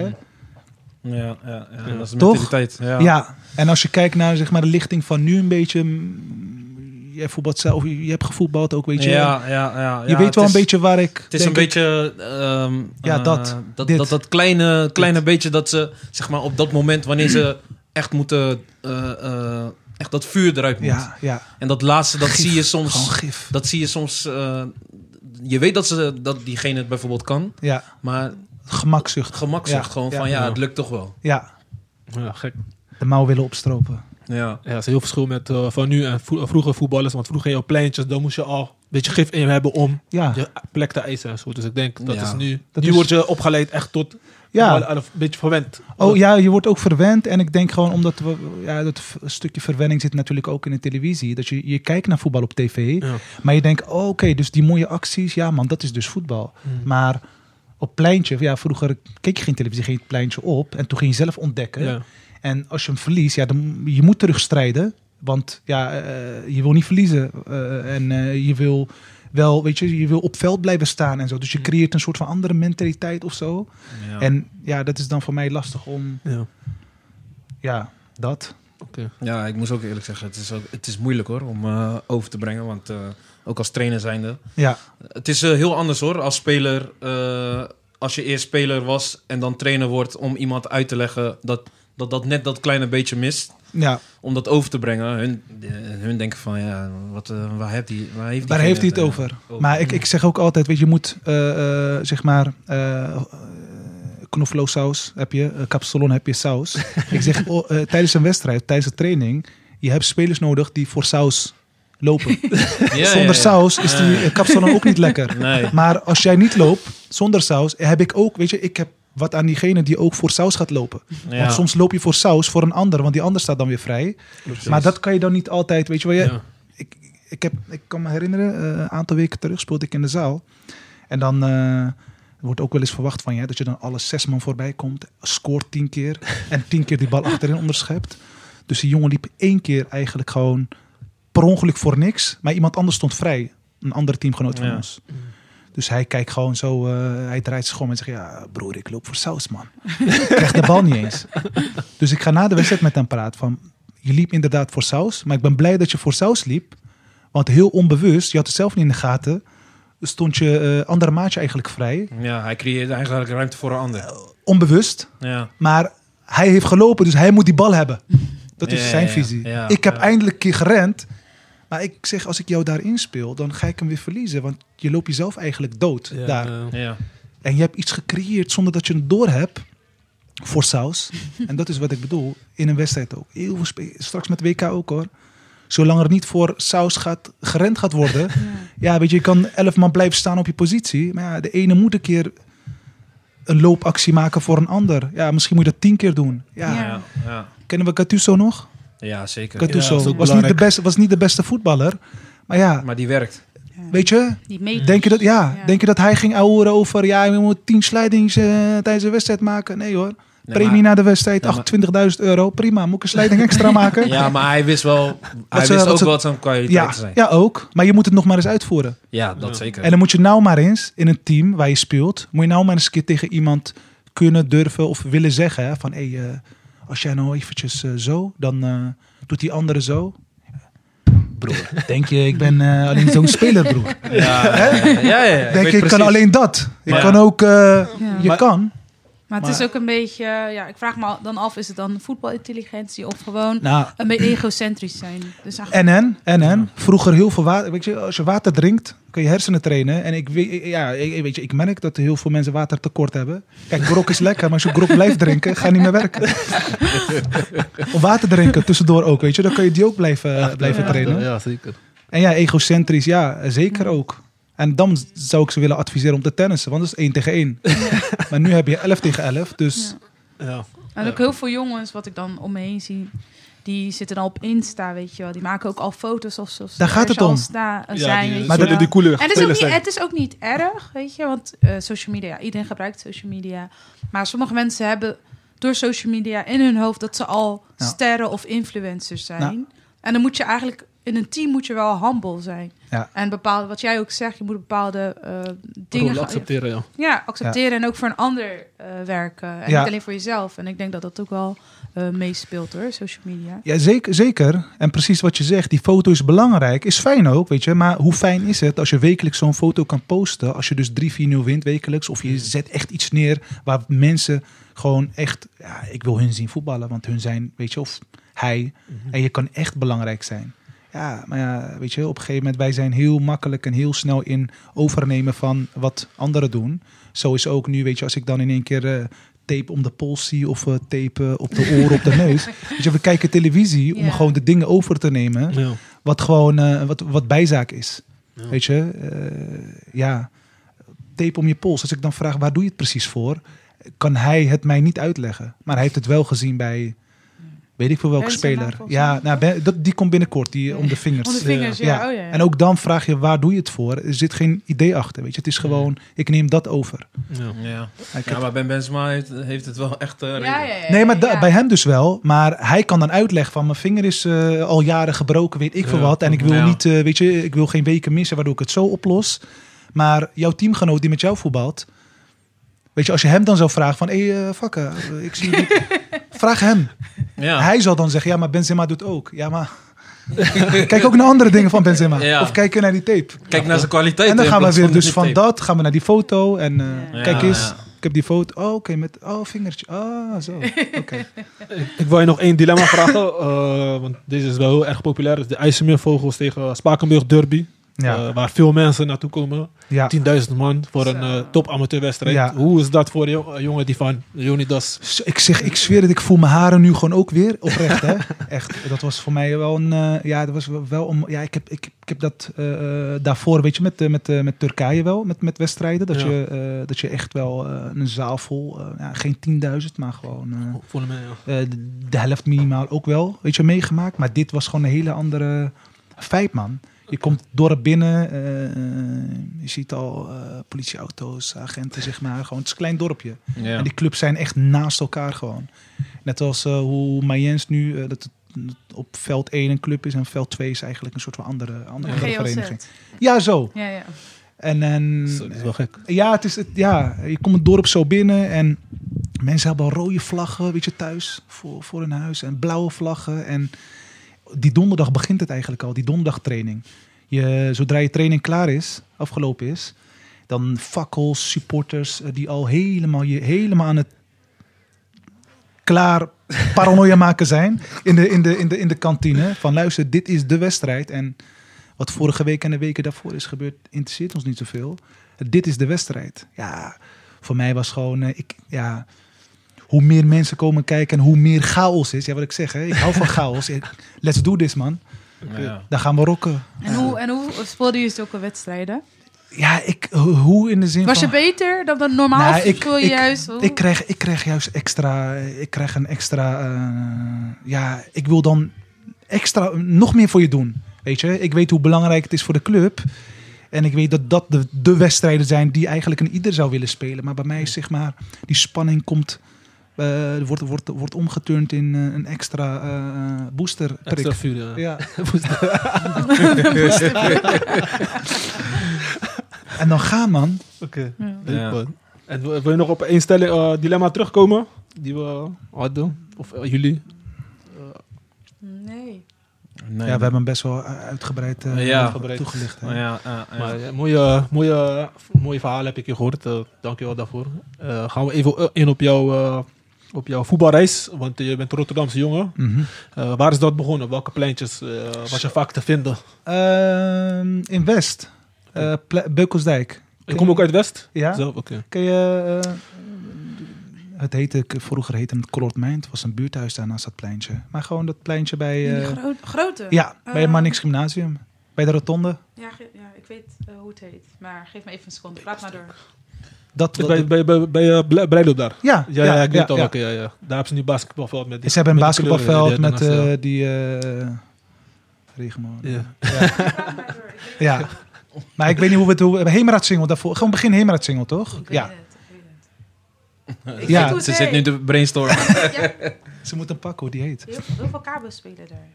Speaker 5: Ja, ja, ja. Dat is de
Speaker 4: Toch?
Speaker 5: mentaliteit. Ja.
Speaker 4: Ja, en als je kijkt naar zeg maar, de lichting van nu een beetje... mm, Jij voetbalt zelf, je hebt gevoetbald ook, weet je.
Speaker 5: ja, ja, ja,
Speaker 4: je
Speaker 5: ja,
Speaker 4: weet
Speaker 5: het
Speaker 4: wel
Speaker 5: is-
Speaker 4: een beetje waar ik...
Speaker 5: Het is een
Speaker 4: denk ik-
Speaker 5: beetje. ehm,
Speaker 4: Ja,
Speaker 5: eh,
Speaker 4: dat.
Speaker 5: dat,
Speaker 4: Dit.
Speaker 5: dat, dat kleine, kleine beetje dat ze, zeg maar, op dat moment wanneer ze echt moeten. eh, eh, echt dat vuur eruit moet.
Speaker 4: Ja, ja.
Speaker 5: En dat laatste, dat
Speaker 4: Gif.
Speaker 5: zie je
Speaker 4: Gewoon
Speaker 5: soms.
Speaker 4: gif.
Speaker 5: Dat zie je soms. eh, je weet dat, ze, dat diegene het bijvoorbeeld kan,
Speaker 4: Ja,
Speaker 5: maar het
Speaker 4: gemakzucht.
Speaker 5: gemak
Speaker 4: Ja,
Speaker 5: zegt gewoon
Speaker 4: ja.
Speaker 5: van ja,
Speaker 2: Ja.
Speaker 5: het lukt toch wel.
Speaker 4: Ja,
Speaker 2: Ja, gek.
Speaker 4: de mouw willen opstropen.
Speaker 5: Ja,
Speaker 2: Ja, dat is heel verschil met eh, van nu en vro- vroeger voetballers. Want vroeger in je pleintjes, dan moest je al een beetje gif in je hebben om
Speaker 4: Ja,
Speaker 2: je plek te eisen en zo. Dus ik denk dat
Speaker 5: Ja.
Speaker 2: is nu.
Speaker 4: Dat
Speaker 2: nu
Speaker 4: is-
Speaker 2: word je opgeleid echt tot.
Speaker 4: ja.
Speaker 2: voetballen, Een beetje verwend.
Speaker 4: Oh ja, je wordt ook verwend. En ik denk gewoon omdat we, ja, dat v- stukje verwenning zit natuurlijk ook in de televisie. Dat je, je kijkt naar voetbal op tv.
Speaker 2: Ja.
Speaker 4: Maar je denkt, oh, oké, dus die mooie acties. Ja man, dat is dus voetbal. Maar op pleintje, ja, vroeger keek je geen televisie, ging je het pleintje op. En toen ging je zelf ontdekken.
Speaker 2: Ja.
Speaker 4: En als je hem verliest, ja, dan, je moet terugstrijden. Want ja, eh, je wil niet verliezen. Eh, en eh, je wil wel, weet je, je wil op veld blijven staan en zo. Dus je creëert een soort van andere mentaliteit of zo.
Speaker 5: ja.
Speaker 4: En ja, dat is dan voor mij lastig om,
Speaker 2: Ja.
Speaker 4: ja, dat.
Speaker 2: Oké.
Speaker 5: Ja, ik moest ook eerlijk zeggen, het is, ook, het is moeilijk hoor om eh, over te brengen. Want eh, ook als trainer zijnde.
Speaker 4: Ja,
Speaker 5: Het is eh, heel anders hoor, als speler. eh, als je eerst speler was en dan trainer wordt om iemand uit te leggen dat dat, dat net dat kleine beetje mist.
Speaker 4: ja.
Speaker 5: Om dat over te brengen. Hun, eh, hun denken van ja, wat, eh, waar, heeft die, eh, waar heeft
Speaker 4: Waar
Speaker 5: diegene
Speaker 4: heeft hij het over?
Speaker 5: over?
Speaker 4: Maar ik, ik zeg ook altijd, weet je, je moet, eh, eh, zeg maar, eh knofloossaus heb je, eh, kapsalon heb je saus. ik zeg, oh, eh, tijdens een wedstrijd, tijdens een training, je hebt spelers nodig die voor saus lopen.
Speaker 5: Ja, ja,
Speaker 4: Zonder
Speaker 5: ja.
Speaker 4: saus is die
Speaker 5: Ja.
Speaker 4: eh, kapsalon ook niet lekker.
Speaker 5: Nee.
Speaker 4: Maar als jij niet loopt zonder saus, heb ik ook, weet je, ik heb wat aan diegene die ook voor saus gaat lopen.
Speaker 5: Ja.
Speaker 4: Want soms loop je voor saus voor een ander, want die ander staat dan weer vrij. Maar dat kan je dan niet altijd, weet je wel. Je,
Speaker 2: Ja.
Speaker 4: ik, ik, heb, ik kan me herinneren, eh, een aantal weken terug speelde ik in de zaal. En dan eh, wordt ook wel eens verwacht van je dat je dan alle zes man voorbij komt, scoort tien keer en tien keer die bal achterin onderschept. Dus die jongen liep één keer eigenlijk gewoon per ongeluk voor niks, maar iemand anders stond vrij. Een andere teamgenoot van
Speaker 5: Ja.
Speaker 4: ons. Dus hij kijkt gewoon zo, eh, hij draait zich om en zegt: Ja, broer, ik loop voor saus, man. Ik krijg de bal niet eens. Dus ik ga na de wedstrijd met hem praten. Van, je liep inderdaad voor saus, maar ik ben blij dat je voor saus liep. Want heel onbewust, je had het zelf niet in de gaten, stond je eh, andere maatje eigenlijk vrij.
Speaker 5: ja, hij creëert eigenlijk ruimte voor een ander.
Speaker 4: Onbewust,
Speaker 5: Ja.
Speaker 4: maar hij heeft gelopen, dus hij moet die bal hebben. Dat is
Speaker 5: Ja,
Speaker 4: zijn
Speaker 5: ja,
Speaker 4: visie.
Speaker 5: ja,
Speaker 4: ik heb
Speaker 5: ja.
Speaker 4: eindelijk een keer gerend. Maar ik zeg, als ik jou daarin speel, dan ga ik hem weer verliezen. Want je loopt jezelf eigenlijk dood
Speaker 2: Ja,
Speaker 4: daar.
Speaker 2: eh,
Speaker 5: Ja.
Speaker 4: En je hebt iets gecreëerd zonder dat je het door hebt. Voor saus. En dat is wat ik bedoel. In een wedstrijd ook. Heel veel spe- Straks met WK ook hoor. Zolang er niet voor saus gaat, gerend gaat worden. Ja, weet je, je kan elf man blijven staan op je positie. Maar ja, de ene moet een keer een loopactie maken voor een ander. Ja, misschien moet je dat tien keer doen. Ja.
Speaker 3: Ja.
Speaker 5: Ja, ja.
Speaker 4: Kennen we Gattuso nog?
Speaker 5: ja, zeker.
Speaker 4: Gattuso
Speaker 2: dat is ook
Speaker 4: was, niet de
Speaker 2: belangrijk.
Speaker 4: beste, was niet de beste voetballer. Maar ja,
Speaker 5: Maar die werkt.
Speaker 4: weet je,
Speaker 3: Die meters.
Speaker 4: Denk je dat, ja,
Speaker 3: Ja.
Speaker 4: Denk je dat hij ging ouwen over, ja, je moet 10 slijdings eh, tijdens de wedstrijd maken? Nee hoor.
Speaker 5: Nee,
Speaker 4: Premie
Speaker 5: maar-
Speaker 4: na de wedstrijd,
Speaker 5: Ja, maar-
Speaker 4: 28.000 euro. Prima, moet ik een slijding extra maken?
Speaker 5: Ja, maar hij wist wel. Hij
Speaker 4: ze-
Speaker 5: wist
Speaker 4: wat
Speaker 5: ook
Speaker 4: ze-
Speaker 5: wel wat zijn kwaliteiten
Speaker 4: ja,
Speaker 5: zijn. Ja,
Speaker 4: ja, ook. Maar je moet het nog maar eens uitvoeren.
Speaker 5: dat zeker.
Speaker 4: En dan moet je nou maar eens in een team waar je speelt, moet je nou maar eens een keer tegen iemand kunnen, durven of willen zeggen hè, van, hé, hey, eh, als jij nou eventjes eh, zo, dan eh, doet die andere zo. Broer, denk je, ik ben eh, alleen zo'n speler, broer.
Speaker 5: ja, ja, ja, ja, ja. weet
Speaker 4: Denk je, ik kan
Speaker 5: precies.
Speaker 4: alleen dat. Ik
Speaker 5: Maar-
Speaker 4: kan ook, eh,
Speaker 3: Ja.
Speaker 4: je
Speaker 5: Maar-
Speaker 4: kan.
Speaker 3: Maar het is
Speaker 4: Maar-
Speaker 3: ook een beetje, eh, ja, ik vraag me dan af, is het dan voetbalintelligentie of gewoon
Speaker 4: Nou,
Speaker 3: een beetje egocentrisch zijn? Dus eigenlijk-
Speaker 4: en en, en en. Vroeger heel veel water. Weet je, als je water drinkt, kun je hersenen trainen. En ik, weet- ja, ik- weet je, ik merk dat heel veel mensen watertekort hebben. Kijk, grok is lekker, maar als je grok blijft drinken, ga je niet meer werken. Om water drinken tussendoor ook, weet je. Dan kun je die ook blijven,
Speaker 2: eh,
Speaker 4: blijven trainen.
Speaker 6: Ja, zeker.
Speaker 4: En ja, egocentrisch, ja, zeker ook. En dan zou ik ze willen adviseren om te tennissen, want dat is één tegen één. Maar nu heb je 11 tegen 11, dus
Speaker 6: Ja.
Speaker 3: En ook heel veel jongens, wat ik dan om me heen zie, die zitten dan op Insta, weet je wel. Die maken ook al foto's of zo.
Speaker 4: Daar gaat het om.
Speaker 3: Sta,
Speaker 6: Ja,
Speaker 3: zijn,
Speaker 6: die-
Speaker 3: weet
Speaker 2: Maar
Speaker 3: je
Speaker 2: dat
Speaker 3: wel.
Speaker 2: die coole
Speaker 3: En het is, ook
Speaker 2: spelers
Speaker 3: niet,
Speaker 2: zijn.
Speaker 3: het is ook niet erg, weet je, want eh, social media, ja, iedereen gebruikt social media. Maar sommige mensen hebben door social media in hun hoofd dat ze al
Speaker 4: Ja.
Speaker 3: sterren of influencers zijn.
Speaker 4: Nou.
Speaker 3: En dan moet je eigenlijk, in een team moet je wel humble zijn.
Speaker 4: Ja.
Speaker 3: En bepaalde, wat jij ook zegt, je moet bepaalde eh, dingen
Speaker 6: Dingen
Speaker 3: gaan-
Speaker 6: accepteren, ja.
Speaker 3: ja, accepteren en ook voor een ander eh, werken. En
Speaker 4: Ja.
Speaker 3: niet alleen voor jezelf. En ik denk dat dat ook wel eh, meespeelt hoor, social media.
Speaker 4: Ja, zeker, zeker. En precies wat je zegt, die foto is belangrijk. Is fijn ook, weet je. Maar hoe fijn is het als je wekelijks zo'n foto kan posten? Als je dus 3-4-0 wint wekelijks. Of je zet echt iets neer waar mensen gewoon echt... Ja, ik wil hun zien voetballen, want hun zijn, weet je, of hij.
Speaker 2: Mhm.
Speaker 4: En je kan echt belangrijk zijn. Ja, maar ja, weet je, op een gegeven moment... Wij zijn heel makkelijk en heel snel in overnemen van wat anderen doen. Zo is ook nu, weet je, als ik dan in één keer... eh, tape om de pols zie of eh, tape eh, op de oren, op de neus. Weet je, we kijken televisie om
Speaker 3: Ja.
Speaker 4: gewoon de dingen over te nemen.
Speaker 6: ja.
Speaker 4: Wat gewoon eh, wat, wat bijzaak is.
Speaker 6: Ja.
Speaker 4: Weet je, eh, ja. Tape om je pols. Als ik dan vraag waar doe je het precies voor, kan hij het mij niet uitleggen. Maar hij heeft het wel gezien bij. Weet ik veel welke
Speaker 3: Benson
Speaker 4: speler.
Speaker 3: Napels,
Speaker 4: Ja,
Speaker 3: hè?
Speaker 4: nou, ben- dat, die komt binnenkort, die om de vingers.
Speaker 3: Om de vingers, ja.
Speaker 4: eh, Ja.
Speaker 3: Oh, ja.
Speaker 4: En ook dan vraag je waar doe je het voor. Er zit geen idee achter. Weet je, het is gewoon, ik neem dat over.
Speaker 6: ja.
Speaker 5: Ja.
Speaker 4: Hij kan-
Speaker 5: ja, maar Ben Benzema heeft, heeft het wel echt. eh,
Speaker 3: Ja,
Speaker 5: redelijk.
Speaker 3: ja, ja,
Speaker 4: Nee, maar da-
Speaker 3: ja.
Speaker 4: bij hem dus wel. Maar hij kan dan uitleggen van mijn vinger is eh, al jaren gebroken, weet ik veel
Speaker 6: Ja.
Speaker 4: wat. En ik wil
Speaker 5: Ja.
Speaker 4: niet, eh, weet je, ik wil geen weken missen waardoor ik het zo oplos. Maar jouw teamgenoot die met jou voetbalt, weet je, als je hem dan zou vragen van, hé, hey, eh, fucker, eh, ik zie je niet. Vraag hem.
Speaker 5: Ja.
Speaker 4: Hij zal dan zeggen, ja, maar Benzema doet ook. Ja, maar kijk ook naar andere dingen van Benzema.
Speaker 5: Ja.
Speaker 4: Of kijk naar die tape.
Speaker 5: Kijk naar zijn kwaliteit.
Speaker 4: En dan
Speaker 5: in
Speaker 4: gaan we
Speaker 5: plaats
Speaker 4: weer dus
Speaker 5: die
Speaker 4: van
Speaker 5: tape.
Speaker 4: dat gaan we naar die foto en eh,
Speaker 5: Ja.
Speaker 4: kijk
Speaker 5: Ja,
Speaker 4: eens.
Speaker 5: ja.
Speaker 4: Ik heb die foto. Oh, oké, met oh vingertje. Ah, zo. Oké.
Speaker 2: Ik wil je nog één dilemma vragen, eh, want deze is wel heel erg populair. Het is De IJsselmeervogels tegen Spakenburg Derby,
Speaker 4: Ja.
Speaker 2: eh, waar veel mensen naartoe komen.
Speaker 4: ja.
Speaker 2: 10.000 man voor een eh, top amateurwedstrijd.
Speaker 4: Ja.
Speaker 2: Hoe is dat voor een jongen die van Leonidas...
Speaker 4: Zo, Ik zeg, ik zweer het, ik voel mijn haren nu gewoon ook weer oprecht. Hè? Echt, dat was voor mij wel een. eh, ja, dat was wel om. Ja, ik heb, ik, ik heb dat eh, eh, daarvoor, weet je, met, eh, met, eh, met Turkije wel, met, met wedstrijden. Dat,
Speaker 2: Ja.
Speaker 4: je, eh, dat je echt wel eh, een zaal vol, eh, ja, geen 10.000, maar gewoon eh,
Speaker 2: Volgens mij, ja.
Speaker 4: eh, de, de helft minimaal ook wel, weet je, meegemaakt. Maar dit was gewoon een hele andere feit, man. Je komt het dorp binnen, eh, eh, je ziet al eh, politieauto's, agenten, zeg maar. Gewoon, het is een klein dorpje.
Speaker 5: Ja.
Speaker 4: En die clubs zijn echt naast elkaar gewoon. Net als eh, hoe Mayens nu, eh, dat het op veld 1 een club is en veld 2 is eigenlijk een soort van andere, andere
Speaker 3: GLZ.
Speaker 4: vereniging. Ja, zo.
Speaker 3: Ja, ja.
Speaker 4: En, en
Speaker 2: Zo, Dat is wel gek.
Speaker 4: ja, het is, het, ja, je komt het dorp zo binnen en mensen hebben al rode vlaggen, weet je, thuis voor, voor hun huis. En blauwe vlaggen. En die donderdag begint het eigenlijk al, die donderdagtraining. Je, zodra je training klaar is, afgelopen is, dan fakkels, supporters eh, die al helemaal, je, helemaal aan het klaar paranoia maken zijn in de, in, de, in, de, in de kantine. Van luister, dit is de wedstrijd. En wat vorige week en de weken daarvoor is gebeurd, interesseert ons niet zoveel. Dit is de wedstrijd. Ja, voor mij was gewoon, eh, ik, ja, hoe meer mensen komen kijken en hoe meer chaos is. Ja, wat ik zeg, hè, ik hou van chaos. Ik- Let's do this, man.
Speaker 5: Ja.
Speaker 4: Daar gaan we rocken.
Speaker 3: En hoe, en hoe speelden jullie zulke wedstrijden?
Speaker 4: Ja, ik, ho- hoe in de zin
Speaker 3: Was
Speaker 4: van...
Speaker 3: je beter dan de normaal?
Speaker 4: Nou,
Speaker 3: of voel je juist... oeh,
Speaker 4: Ik krijg, ik krijg juist extra. Ik krijg een extra. eh, ja, ik wil dan extra nog meer voor je doen. Weet je, ik weet hoe belangrijk het is voor de club. En ik weet dat dat de, de wedstrijden zijn die eigenlijk een ieder zou willen spelen. Maar bij mij is zeg maar die spanning komt. eh, wordt, wordt, wordt omgeturnd in eh, een extra eh booster
Speaker 2: Extra
Speaker 4: prik.
Speaker 2: vuur, ja.
Speaker 4: Ja. en dan ga man.
Speaker 2: Oké.
Speaker 3: Ja.
Speaker 2: Leuk,
Speaker 5: Ja.
Speaker 2: man. En wil wil je nog op één stelling, eh, dilemma terugkomen? Die we hadden? Of eh, jullie?
Speaker 3: Nee.
Speaker 5: Nee.
Speaker 4: Ja, we hebben hem best wel eh, uitgebreid eh,
Speaker 5: Ja.
Speaker 4: toegelicht. hè.
Speaker 5: Oh, ja, ja, ja.
Speaker 2: Maar, ja, mooie, mooie, mooie verhalen heb ik je gehoord. eh, dankjewel daarvoor. Eh, gaan we even eh, in op, jou, eh, op jouw voetbalreis. Want eh, je bent een Rotterdamse jongen.
Speaker 4: Mhm.
Speaker 2: Eh, waar is dat begonnen? Welke pleintjes eh, was je vaak te vinden?
Speaker 4: Ehm, in West. Eh Ple- Beukelsdijk.
Speaker 2: Ik kom ook uit West.
Speaker 4: Ja?
Speaker 2: Zelf, oké.
Speaker 4: Ken je... eh, het heette, vroeger heette het Colord Mijn. Het was een buurthuis daar naast dat pleintje. Maar gewoon dat pleintje bij...
Speaker 3: Die
Speaker 4: eh,
Speaker 3: gro- grote?
Speaker 4: ja, bij het
Speaker 3: Eh.
Speaker 4: Mannix Gymnasium. Bij de rotonde.
Speaker 3: Ja, ge- ja, ik weet eh, hoe het heet. Maar geef me even een seconde. Praat maar door.
Speaker 4: Dat,
Speaker 2: Dus Bij, bij, bij, bij eh, Ble- Blijloop daar.
Speaker 4: ja,
Speaker 2: Ja, ja, ik weet het al.
Speaker 4: ja.
Speaker 2: Oké, ja, ja. Daar hebben ze nu basketbalveld met die-
Speaker 4: Ze hebben een
Speaker 2: met die
Speaker 4: basketbalveld
Speaker 2: kleuren, die-
Speaker 4: met
Speaker 2: die-
Speaker 4: eh, die... eh regenmolen.
Speaker 2: ja.
Speaker 3: Praat maar door. Ik weet-
Speaker 4: Ja. Maar ik weet niet hoe we het... Hoe, Hemeraad Single daarvoor. Gewoon begin Hemeraad Single, toch?
Speaker 3: Ik weet
Speaker 4: Ja.
Speaker 3: het. ik weet het.
Speaker 5: Ze
Speaker 4: Ja.
Speaker 5: zit-
Speaker 3: hoe het
Speaker 5: Ze zit nu
Speaker 3: heet.
Speaker 5: te brainstormen.
Speaker 3: Ja,
Speaker 4: Ze moeten pakken hoe die heet.
Speaker 3: heel, heel veel kabels spelen daar.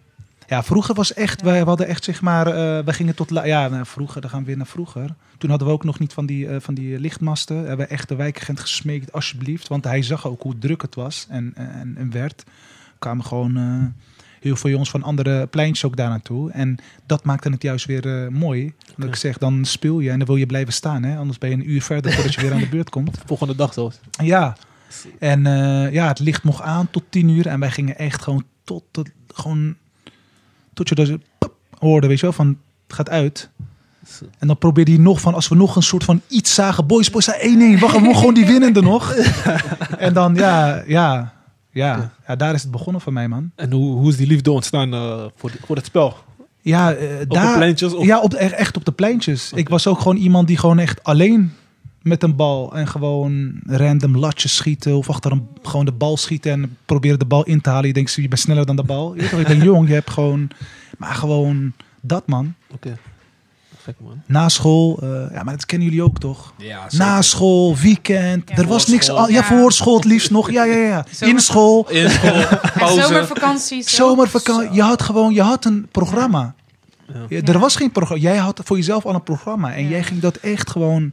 Speaker 4: Ja, vroeger was echt, wij hadden echt zeg maar, eh, we gingen tot, la- ja, nou, vroeger, dan gaan we weer naar vroeger. Toen hadden we ook nog niet van die, eh, van die eh, lichtmasten. Hebben we echt de wijkagent gesmeekt, alsjeblieft. Want hij zag ook hoe druk het was en, en, en werd. Er kwamen gewoon eh, heel veel jongens van andere pleintjes ook daar naartoe. En dat maakte het juist weer eh, mooi. Omdat ik zeg, dan speel je en dan wil je blijven staan. Hè? Anders ben je een uur verder voordat je weer aan de beurt komt.
Speaker 2: Volgende dag zelfs.
Speaker 4: Ja. En eh, ja, het licht mocht aan tot tien uur. En wij gingen echt gewoon tot, tot, gewoon, tot je dat zo pop hoorde, weet je wel, van het gaat uit. En dan probeerde hij nog van, als we nog een soort van iets zagen. Boys, boys, 1-1, we gaan we gewoon die winnende nog. en dan, ja, ja, ja, ja, daar is het begonnen voor mij, man.
Speaker 2: En hoe, hoe is die liefde ontstaan eh, voor, die- voor het spel?
Speaker 4: Ja, eh,
Speaker 2: Op de
Speaker 4: daar,
Speaker 2: pleintjes? Of,
Speaker 4: ja, op, e- echt op de pleintjes. Ik was ook gewoon iemand die gewoon echt alleen met een bal en gewoon random latjes schieten of achter een, gewoon de bal schieten en proberen de bal in te halen. Je denkt, je bent sneller dan de bal. Je, weet toch, je bent jong, je hebt gewoon, maar gewoon dat man.
Speaker 2: Oké. Gek man.
Speaker 4: Na school, eh, ja, maar dat kennen jullie ook toch?
Speaker 5: Ja, zeker.
Speaker 4: Na school, weekend,
Speaker 3: Ja,
Speaker 4: er was
Speaker 5: voor
Speaker 4: niks.
Speaker 5: school.
Speaker 4: Al, ja,
Speaker 3: Ja.
Speaker 4: voor school het liefst nog. Ja, ja, ja. In
Speaker 3: Zomer-
Speaker 4: school,
Speaker 5: In school,
Speaker 3: En
Speaker 5: pauze.
Speaker 3: zomervakantie. zo.
Speaker 4: Zomervakantie.
Speaker 3: Zo.
Speaker 4: Je had gewoon, je had een programma.
Speaker 2: Ja.
Speaker 4: Ja, Er was geen programma. Jij had voor jezelf al een programma. En
Speaker 3: Ja.
Speaker 4: jij ging dat echt gewoon,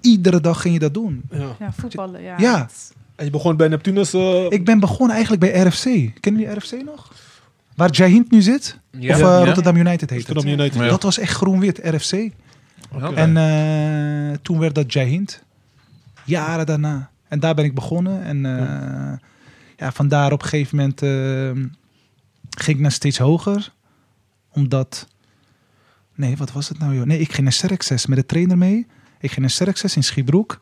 Speaker 4: iedere dag ging je dat doen.
Speaker 2: Ja.
Speaker 3: Ja, voetballen. Ja.
Speaker 4: Ja.
Speaker 3: Dat-
Speaker 2: En je begon bij Neptunus. eh,
Speaker 4: Ik ben begonnen eigenlijk bij RFC. Kennen jullie RFC nog? Waar Jahint nu zit?
Speaker 5: Ja.
Speaker 4: Of eh,
Speaker 5: Ja.
Speaker 4: Rotterdam United heet het.
Speaker 2: Amsterdam United.
Speaker 5: Ja.
Speaker 4: Dat was echt groen-wit, RFC.
Speaker 5: Oké.
Speaker 4: En eh, toen werd dat Jahint. Jaren daarna. En daar ben ik begonnen. En eh, ja, vandaar op een gegeven moment eh, ging ik naar steeds hoger. Omdat... Nee, wat was het nou joh? Nee, ik ging naar Serexes met de trainer mee. Ik ging naar Serexes in Schiebroek.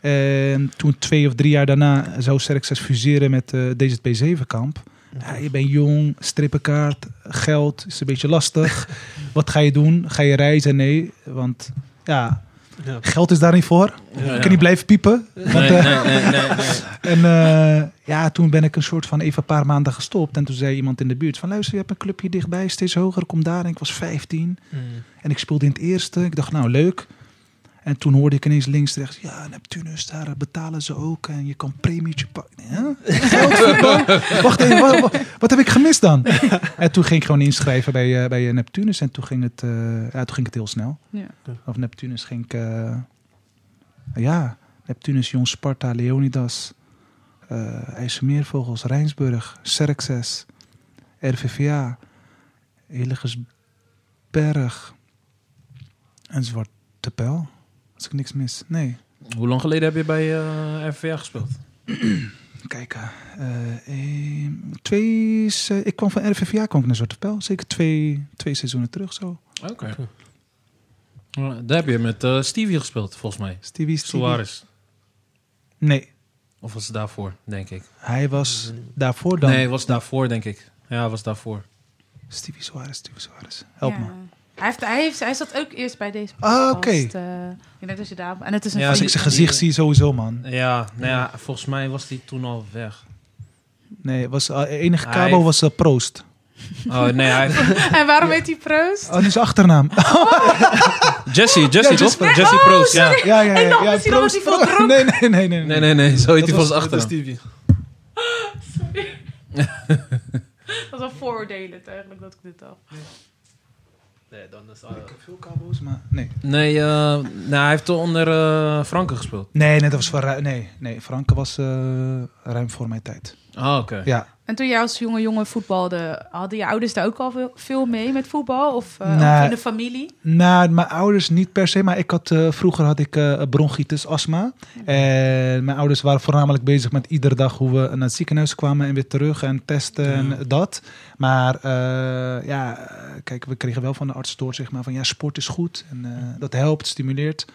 Speaker 4: En toen twee of drie jaar daarna zou Serexes fuseren met eh DZP7-kamp. Ja, je bent jong, strippenkaart, geld is een beetje lastig. Wat ga je doen? Ga je reizen? Nee, want ja,
Speaker 2: Ja.
Speaker 4: geld is daar niet voor.
Speaker 5: Ja,
Speaker 4: Ik
Speaker 5: ja.
Speaker 4: kan niet blijven piepen. Want,
Speaker 5: Nee, nee,
Speaker 4: eh,
Speaker 5: nee, nee, nee.
Speaker 4: en eh, ja, toen ben ik een soort van even een paar maanden gestopt. En toen zei iemand in de buurt van luister, je hebt een clubje dichtbij, steeds hoger, kom daar. En ik was 15
Speaker 2: Mm.
Speaker 4: en ik speelde in het eerste. Ik dacht nou leuk. En toen hoorde ik ineens links rechts, ja, Neptunus, daar betalen ze ook. En je kan premietje pakken. Huh? Geld voetbal? Wacht even, wa- wa- wat, heb ik gemist dan? En toen ging ik gewoon inschrijven bij, eh, bij eh, Neptunus. En toen ging, het, eh, ja, toen ging het heel snel.
Speaker 3: Ja.
Speaker 4: Of Neptunus ging ik... eh, ja, Neptunus, Jong Sparta, Leonidas, eh IJsselmeervogels, Rijnsburg, Serxes, RVVA, Hillegersberg en Zwarte Pijl. Als ik niks mis. Nee,
Speaker 5: Hoe lang geleden heb je bij eh RVA gespeeld?
Speaker 4: kijken. Eh, één- twee, se- ik kwam van RVVA kwam ik naar Zwarte Pijl. Zeker twee, twee seizoenen terug zo.
Speaker 5: Oké. Ja, Daar heb je met eh, Stevie gespeeld, volgens mij.
Speaker 4: Stevie, Stevie.
Speaker 5: Suarez.
Speaker 4: Nee,
Speaker 5: Of was het daarvoor, denk ik?
Speaker 4: hij was daarvoor dan.
Speaker 5: Nee, was daarvoor, denk ik. Ja, was daarvoor.
Speaker 4: Stevie Suarez, Stevie Suarez. Help
Speaker 3: ja.
Speaker 4: me.
Speaker 3: Hij, heeft, hij, heeft, hij zat ook eerst bij deze
Speaker 4: Ah,
Speaker 3: podcast.
Speaker 4: oké.
Speaker 3: eh, ik denk dat je daar... En het is een
Speaker 5: Ja,
Speaker 4: Als ik zijn gezicht zie, sowieso, man.
Speaker 5: Ja, nou ja, volgens mij was die toen al weg.
Speaker 4: Nee, was, eh, enige
Speaker 5: Hij
Speaker 4: Cabo
Speaker 5: heeft-
Speaker 4: was eh, Proost.
Speaker 5: Oh nee, hij...
Speaker 3: En waarom heet hij Proost?
Speaker 4: Oh, nu is zijn achternaam.
Speaker 5: Jesse, Jesse
Speaker 4: Jesse- Oh,
Speaker 5: toch? Jesse Proost. Ja.
Speaker 4: Ja,
Speaker 3: oh,
Speaker 4: ja, ja.
Speaker 3: Ik dacht
Speaker 4: ja,
Speaker 3: misschien omdat
Speaker 4: Proost,
Speaker 3: hij veel
Speaker 4: Proost.
Speaker 3: dronk.
Speaker 4: Nee, nee, nee. nee,
Speaker 5: Nee, nee, nee, zo heet hij van zijn
Speaker 2: Dat is
Speaker 5: achteren.
Speaker 2: Stevie.
Speaker 3: Dat was een vooroordelend eigenlijk dat ik dit dacht.
Speaker 5: Nee, dan is
Speaker 4: Ik heb veel Cabo's, maar... Nee,
Speaker 5: Nee, eh, nou, hij heeft onder eh Franken gespeeld.
Speaker 4: nee, nee dat was voor... ru- Nee, nee, Franke was eh, ruim voor mijn tijd.
Speaker 5: Ah, oké.
Speaker 4: Ja.
Speaker 3: En toen jij als jonge jongen voetbalde, hadden je ouders daar ook al veel- veel mee met voetbal? Of, eh,
Speaker 4: Nee.
Speaker 3: of in de familie?
Speaker 4: Nou, mijn ouders niet per se, maar ik had, eh, vroeger had ik eh, bronchitis, astma. En mijn ouders waren voornamelijk bezig met iedere dag hoe we naar het ziekenhuis kwamen en weer terug en testen en dat. Maar eh, ja, kijk, we kregen wel van de arts door, zeg maar, van ja, sport is goed en eh, dat helpt, stimuleert.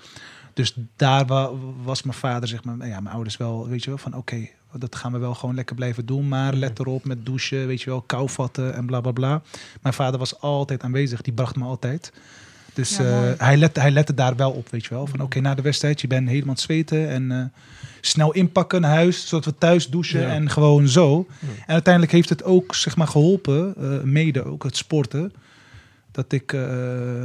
Speaker 4: Dus daar wa- was mijn vader, zeg maar, nou ja, mijn ouders wel, weet je wel, van oké, dat gaan we wel gewoon lekker blijven doen. Maar let erop met douchen, weet je wel, kou vatten en bla bla bla. Mijn vader was altijd aanwezig, die bracht me altijd. Dus
Speaker 3: Ja,
Speaker 4: eh,
Speaker 3: mooi.
Speaker 4: hij, lette, hij lette daar wel op, weet je wel. Van oké, na de wedstrijd, je bent helemaal aan het zweten en eh, snel inpakken naar huis, zodat we thuis douchen
Speaker 2: Ja.
Speaker 4: en gewoon zo.
Speaker 2: Ja.
Speaker 4: En uiteindelijk heeft het ook, zeg maar, geholpen, eh, mede ook, het sporten. Dat ik eh,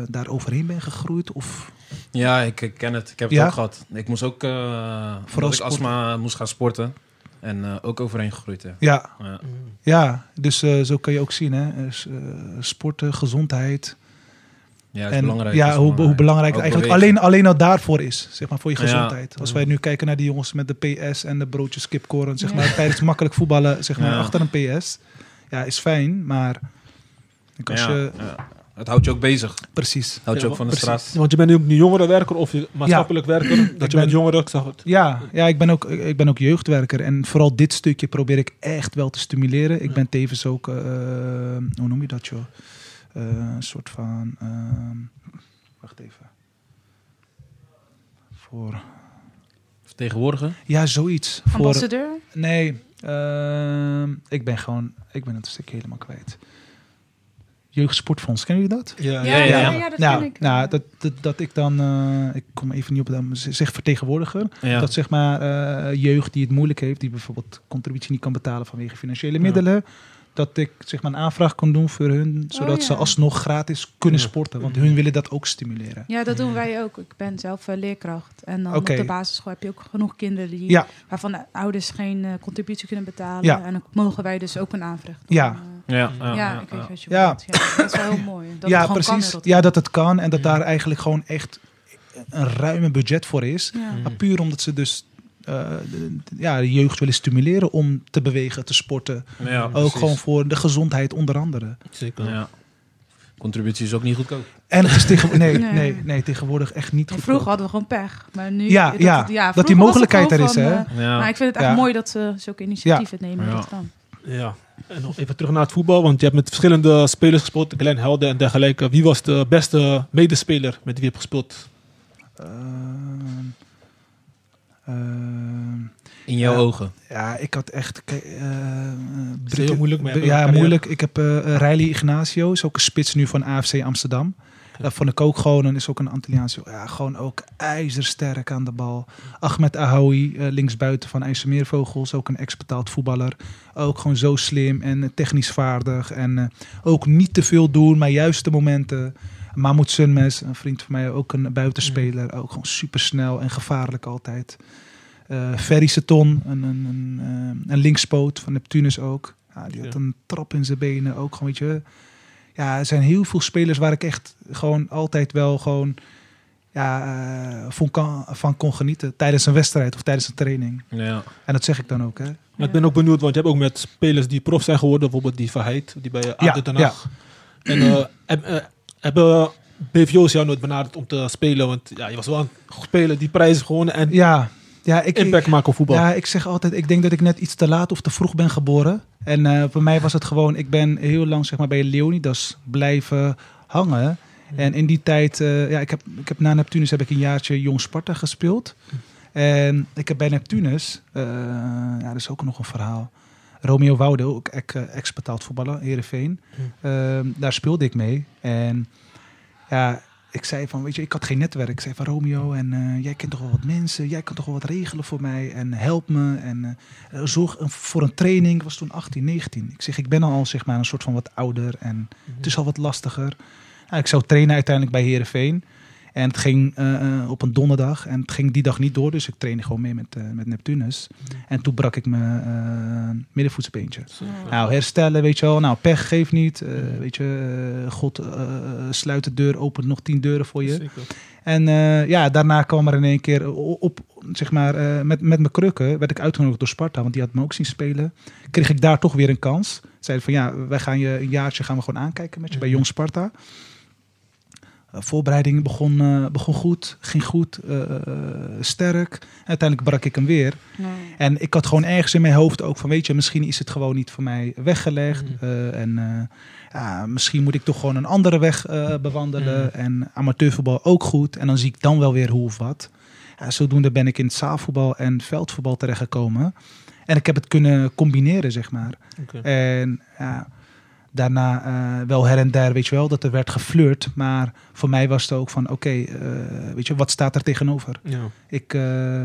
Speaker 4: daar overheen ben gegroeid of...
Speaker 5: Ja, ik, ik ken het. Ik heb het
Speaker 4: Ja?
Speaker 5: ook gehad. Ik moest ook, eh
Speaker 4: Vooral
Speaker 5: vooral ik
Speaker 4: sporten.
Speaker 5: astma moest gaan sporten. En eh, ook overheen gegroeid. hè.
Speaker 4: Ja,
Speaker 5: Ja.
Speaker 2: Mm.
Speaker 4: Ja, dus eh, zo kan je ook zien, hè? Eh, s- eh, sporten, gezondheid.
Speaker 5: Ja, is belangrijk.
Speaker 4: ja,
Speaker 5: is
Speaker 4: hoe, hoe belangrijk het
Speaker 5: Ook
Speaker 4: eigenlijk alleen,
Speaker 5: bewegen.
Speaker 4: alleen al daarvoor is, zeg maar, voor je
Speaker 5: Ja.
Speaker 4: gezondheid. Als wij nu kijken naar die jongens met de PS en de broodjes kipkoren, zeg
Speaker 3: Ja.
Speaker 4: maar, tijdens makkelijk voetballen, zeg maar,
Speaker 5: Ja.
Speaker 4: achter een PS. Ja, is fijn, maar ik als
Speaker 5: Ja,
Speaker 4: je...
Speaker 5: ja. Het houdt je ook bezig. Het
Speaker 4: Precies.
Speaker 5: houdt je
Speaker 2: Ja,
Speaker 5: ook van de
Speaker 4: precies.
Speaker 5: straat.
Speaker 2: Want je bent nu ook nu jongerenwerker of je maatschappelijk werker. Dat je
Speaker 4: ben-
Speaker 2: met jongeren, ik zag het.
Speaker 4: Ja, ja ik, ben ook, ik ben ook jeugdwerker. En vooral dit stukje probeer ik echt wel te stimuleren. Ik
Speaker 2: Ja.
Speaker 4: ben tevens ook, eh, hoe noem je dat joh? Eh, een soort van. ehm, wacht even. Voor.
Speaker 5: Vertegenwoordigen.
Speaker 4: Ja, zoiets. Voor,
Speaker 3: Ambassadeur?
Speaker 4: nee, ehm, ik ben gewoon. Ik ben het stuk helemaal kwijt. Jeugdsportfonds, kennen jullie dat?
Speaker 2: Ja,
Speaker 5: ja, ja.
Speaker 3: dat
Speaker 4: nou,
Speaker 3: ken ik.
Speaker 4: nou dat, dat, dat ik dan, eh, ik kom even niet op de zeg vertegenwoordiger.
Speaker 5: Ja.
Speaker 4: Dat zeg maar eh, jeugd die het moeilijk heeft, die bijvoorbeeld contributie niet kan betalen vanwege financiële middelen. Dat ik zeg maar een aanvraag kan doen voor hun, zodat
Speaker 3: Oh, ja.
Speaker 4: ze alsnog gratis kunnen
Speaker 2: Ja.
Speaker 4: sporten. Want hun willen dat ook stimuleren.
Speaker 3: Ja, dat doen wij ook. Ik ben zelf eh, leerkracht. En dan
Speaker 4: Oké.
Speaker 3: op de basisschool heb je ook genoeg kinderen die,
Speaker 4: Ja.
Speaker 3: waarvan de ouders geen eh, contributie kunnen betalen.
Speaker 4: Ja.
Speaker 3: En dan mogen wij dus ook een aanvraag doen.
Speaker 4: Ja.
Speaker 3: Eh,
Speaker 5: Ja,
Speaker 3: ja,
Speaker 5: ja, ja,
Speaker 3: ik weet
Speaker 5: ja.
Speaker 3: wat je
Speaker 4: Ja.
Speaker 3: bedoelt. Ja, dat is wel heel mooi. Dat
Speaker 4: ja,
Speaker 3: het gewoon
Speaker 4: precies.
Speaker 3: Kan in
Speaker 4: ja, dat het kan en dat
Speaker 2: Ja.
Speaker 4: daar eigenlijk gewoon echt een ruime budget voor is.
Speaker 3: Rotterdam.
Speaker 2: Mm.
Speaker 4: Maar puur omdat ze dus eh, de- de- ja, de jeugd willen stimuleren om te bewegen, te sporten.
Speaker 5: Ja,
Speaker 4: Ook
Speaker 5: precies.
Speaker 4: gewoon voor de gezondheid onder andere.
Speaker 2: Zeker.
Speaker 5: Ja. Contributie is ook niet goedkoop.
Speaker 4: En het is tegenwoordig, nee,
Speaker 3: Nee.
Speaker 4: nee. Nee, tegenwoordig echt niet
Speaker 3: Ja.
Speaker 4: goed.
Speaker 3: Vroeger hadden we gewoon pech. Maar nu,
Speaker 4: Ja, ja. Dat die
Speaker 3: vroeger was het
Speaker 4: mogelijkheid
Speaker 3: gewoon
Speaker 4: er is,
Speaker 3: van,
Speaker 4: hè?
Speaker 3: eh,
Speaker 5: Ja.
Speaker 3: Maar ik vind het echt
Speaker 4: Ja.
Speaker 3: mooi dat ze zulke initiatieven nemen.
Speaker 5: Ja.
Speaker 3: Dat kan.
Speaker 2: Ja. En nog even terug naar het voetbal, want je hebt met verschillende spelers gespeeld, Glenn Helden en dergelijke. Wie was de beste medespeler met wie je hebt gespeeld?
Speaker 4: Ehm, ehm,
Speaker 5: In jouw
Speaker 4: Ja.
Speaker 5: ogen.
Speaker 4: ja, ik had echt. kijk, eh, eh,
Speaker 2: is heel moeilijk, maar je hebt
Speaker 4: ja,
Speaker 2: ook een
Speaker 4: moeilijk. Ik heb eh eh, Riley Ignacio, is ook een spits nu van AFC Amsterdam. Eh, Dat vond ik ook gewoon, en is ook een Antilliaanse. Ja, gewoon ook ijzersterk aan de bal. Ahmed Ahoui, eh, linksbuiten van IJsselmeervogels, ook een ex-betaald voetballer. Ook gewoon zo slim en eh, technisch vaardig. En eh, ook niet te veel doen, maar juiste momenten. Mahmoud Sunmes, een vriend van mij, ook een buitenspeler. Ook gewoon supersnel en gevaarlijk altijd. Eh Ferry Seton, een, een, een, eh, een linkspoot van Neptunus ook. Ja, die had
Speaker 2: Ja.
Speaker 4: een trap in zijn benen. Ook gewoon, weet je. Ja, er zijn heel veel spelers waar ik echt gewoon altijd wel gewoon ja, eh, van, kan, van kon genieten. Tijdens een wedstrijd of tijdens een training.
Speaker 5: Ja.
Speaker 4: En dat zeg ik dan ook, hè.
Speaker 2: Maar ik ben ook benieuwd, want je hebt ook met spelers die prof zijn geworden, bijvoorbeeld die Verheid, die bij
Speaker 4: Ja,
Speaker 2: ADO Den Haag. En eh, heb- eh, hebben BVO's jou nooit benaderd om te spelen? Want ja, je was wel een goed speler die prijzen gewonnen en
Speaker 4: Ja, ja ik, ik-
Speaker 2: impact maken op voetbal.
Speaker 4: Ja, ik zeg altijd, ik denk dat ik net iets te laat of te vroeg ben geboren. En eh, voor mij was het gewoon, ik ben heel lang zeg maar, bij Leonidas blijven hangen.
Speaker 2: Mhm.
Speaker 4: En in die tijd, eh, ja, ik heb, ik heb na Neptunus heb ik een jaartje Jong Sparta gespeeld. En ik heb bij Neptunus, eh, ja, dat is ook nog een verhaal. Romeo Woude, ook ek- eh, ex-betaald voetballer, Heerenveen. Ehm, daar speelde ik mee. En Ja, ik zei van, weet je, ik had geen netwerk. Ik zei van, Romeo, en eh, jij kent toch wel wat mensen. Jij kan toch wel wat regelen voor mij. En help me. En eh, zorg een- voor een training. Ik was toen 18, 19. Ik zeg, ik ben al zeg maar een soort van wat ouder. En het is al wat lastiger. Ja, ik zou trainen uiteindelijk bij Herenveen. En het ging eh, eh, op een donderdag. En het ging die dag niet door. Dus ik trainde gewoon mee met, eh, met Neptunus. En toen brak ik mijn eh, middenvoetsbeentje. Nou, herstellen, weet je wel. Nou, pech geeft niet. Eh, weet je, eh, God eh, sluit de deur, opent nog tien deuren voor je.
Speaker 2: Zeker.
Speaker 4: En eh, ja, daarna kwam er in één keer o- op, zeg maar, eh, met, met mijn krukken werd ik uitgenodigd door Sparta, want die had me ook zien spelen. Kreeg ik daar toch weer een kans. Zeiden van ja, wij gaan je een jaartje gaan we gewoon aankijken met je bij Jong Sparta. Eh, voorbereiding begon, eh, begon goed, ging goed, eh, eh, sterk. Uiteindelijk brak ik hem weer.
Speaker 3: Nee.
Speaker 4: En ik had gewoon ergens in mijn hoofd ook van, weet je, misschien is het gewoon niet voor mij weggelegd.
Speaker 2: Mhm.
Speaker 4: eh, en eh, ja, misschien moet ik toch gewoon een andere weg eh, bewandelen.
Speaker 2: Mhm.
Speaker 4: En amateurvoetbal ook goed. En dan zie ik dan wel weer hoe of wat. Ja, zodoende ben ik in het zaalvoetbal en veldvoetbal terechtgekomen. En ik heb het kunnen combineren, zeg maar.
Speaker 2: Oké.
Speaker 4: En ja, daarna eh, wel her en der, weet je wel, dat er werd geflirt. Maar voor mij was het ook van, oké, eh, weet je, wat staat er tegenover?
Speaker 2: Ja.
Speaker 4: Ik, eh,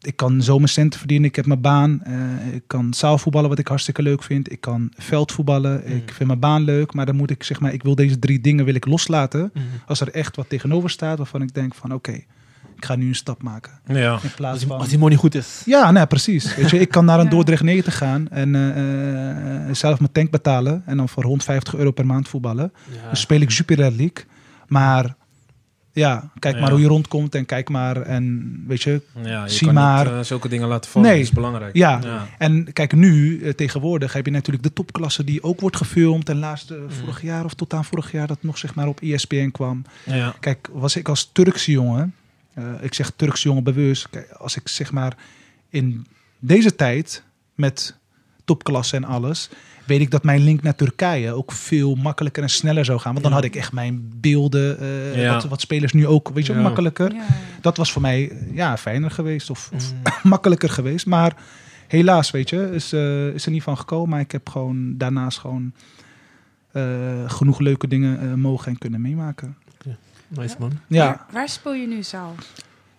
Speaker 4: ik kan zo mijn centen verdienen. Ik heb mijn baan. Eh, ik kan zaalvoetballen, wat ik hartstikke leuk vind. Ik kan veldvoetballen.
Speaker 2: Mm.
Speaker 4: Ik vind mijn baan leuk. Maar dan moet ik zeg maar, ik wil deze drie dingen wil ik loslaten.
Speaker 2: Mhm.
Speaker 4: Als er echt wat tegenover staat waarvan ik denk van oké, ik ga nu een stap maken.
Speaker 5: Ja.
Speaker 4: In
Speaker 2: Als
Speaker 4: plaats
Speaker 2: die,
Speaker 4: van...
Speaker 2: als die money goed is.
Speaker 4: Ja, nee, precies. Weet je, ik kan naar een
Speaker 3: Ja.
Speaker 4: Dordrecht 90 gaan en eh, eh, zelf mijn tank betalen. En dan voor 150 euro per maand voetballen.
Speaker 2: Ja.
Speaker 4: Dan Dus speel ik Jupiler League. Maar ja, kijk
Speaker 5: Ja.
Speaker 4: maar hoe je rondkomt en kijk maar. En weet je.
Speaker 5: ja, je
Speaker 4: Zie
Speaker 5: kan
Speaker 4: maar-
Speaker 5: niet eh, zulke dingen laten vallen.
Speaker 4: Nee.
Speaker 5: Dat is belangrijk.
Speaker 4: Ja. En kijk, nu eh, tegenwoordig heb je natuurlijk de topklasse die ook wordt gefilmd. En laatst eh,
Speaker 5: Mm.
Speaker 4: vorig jaar of tot aan vorig jaar dat nog zeg maar op E ESPN kwam.
Speaker 5: Ja.
Speaker 4: Kijk, was ik als Turkse jongen, eh, ik zeg Turkse jongen bewust, kijk, als ik zeg maar in deze tijd met topklasse en alles, weet ik dat mijn link naar Turkije ook veel makkelijker en sneller zou gaan. Want dan
Speaker 2: Ja.
Speaker 4: had ik echt mijn beelden, eh,
Speaker 5: Ja.
Speaker 4: wat, wat spelers nu ook, weet je,
Speaker 5: Ja.
Speaker 4: makkelijker.
Speaker 3: Ja.
Speaker 4: Dat was voor mij eh, ja, fijner geweest of, of
Speaker 2: Mm.
Speaker 4: makkelijker geweest. Maar helaas, weet je, is, eh, is er niet van gekomen. Maar ik heb gewoon daarnaast gewoon eh, genoeg leuke dingen eh, mogen en kunnen meemaken.
Speaker 2: Nice man.
Speaker 4: Ja.
Speaker 3: Waar, waar speel je nu zaal?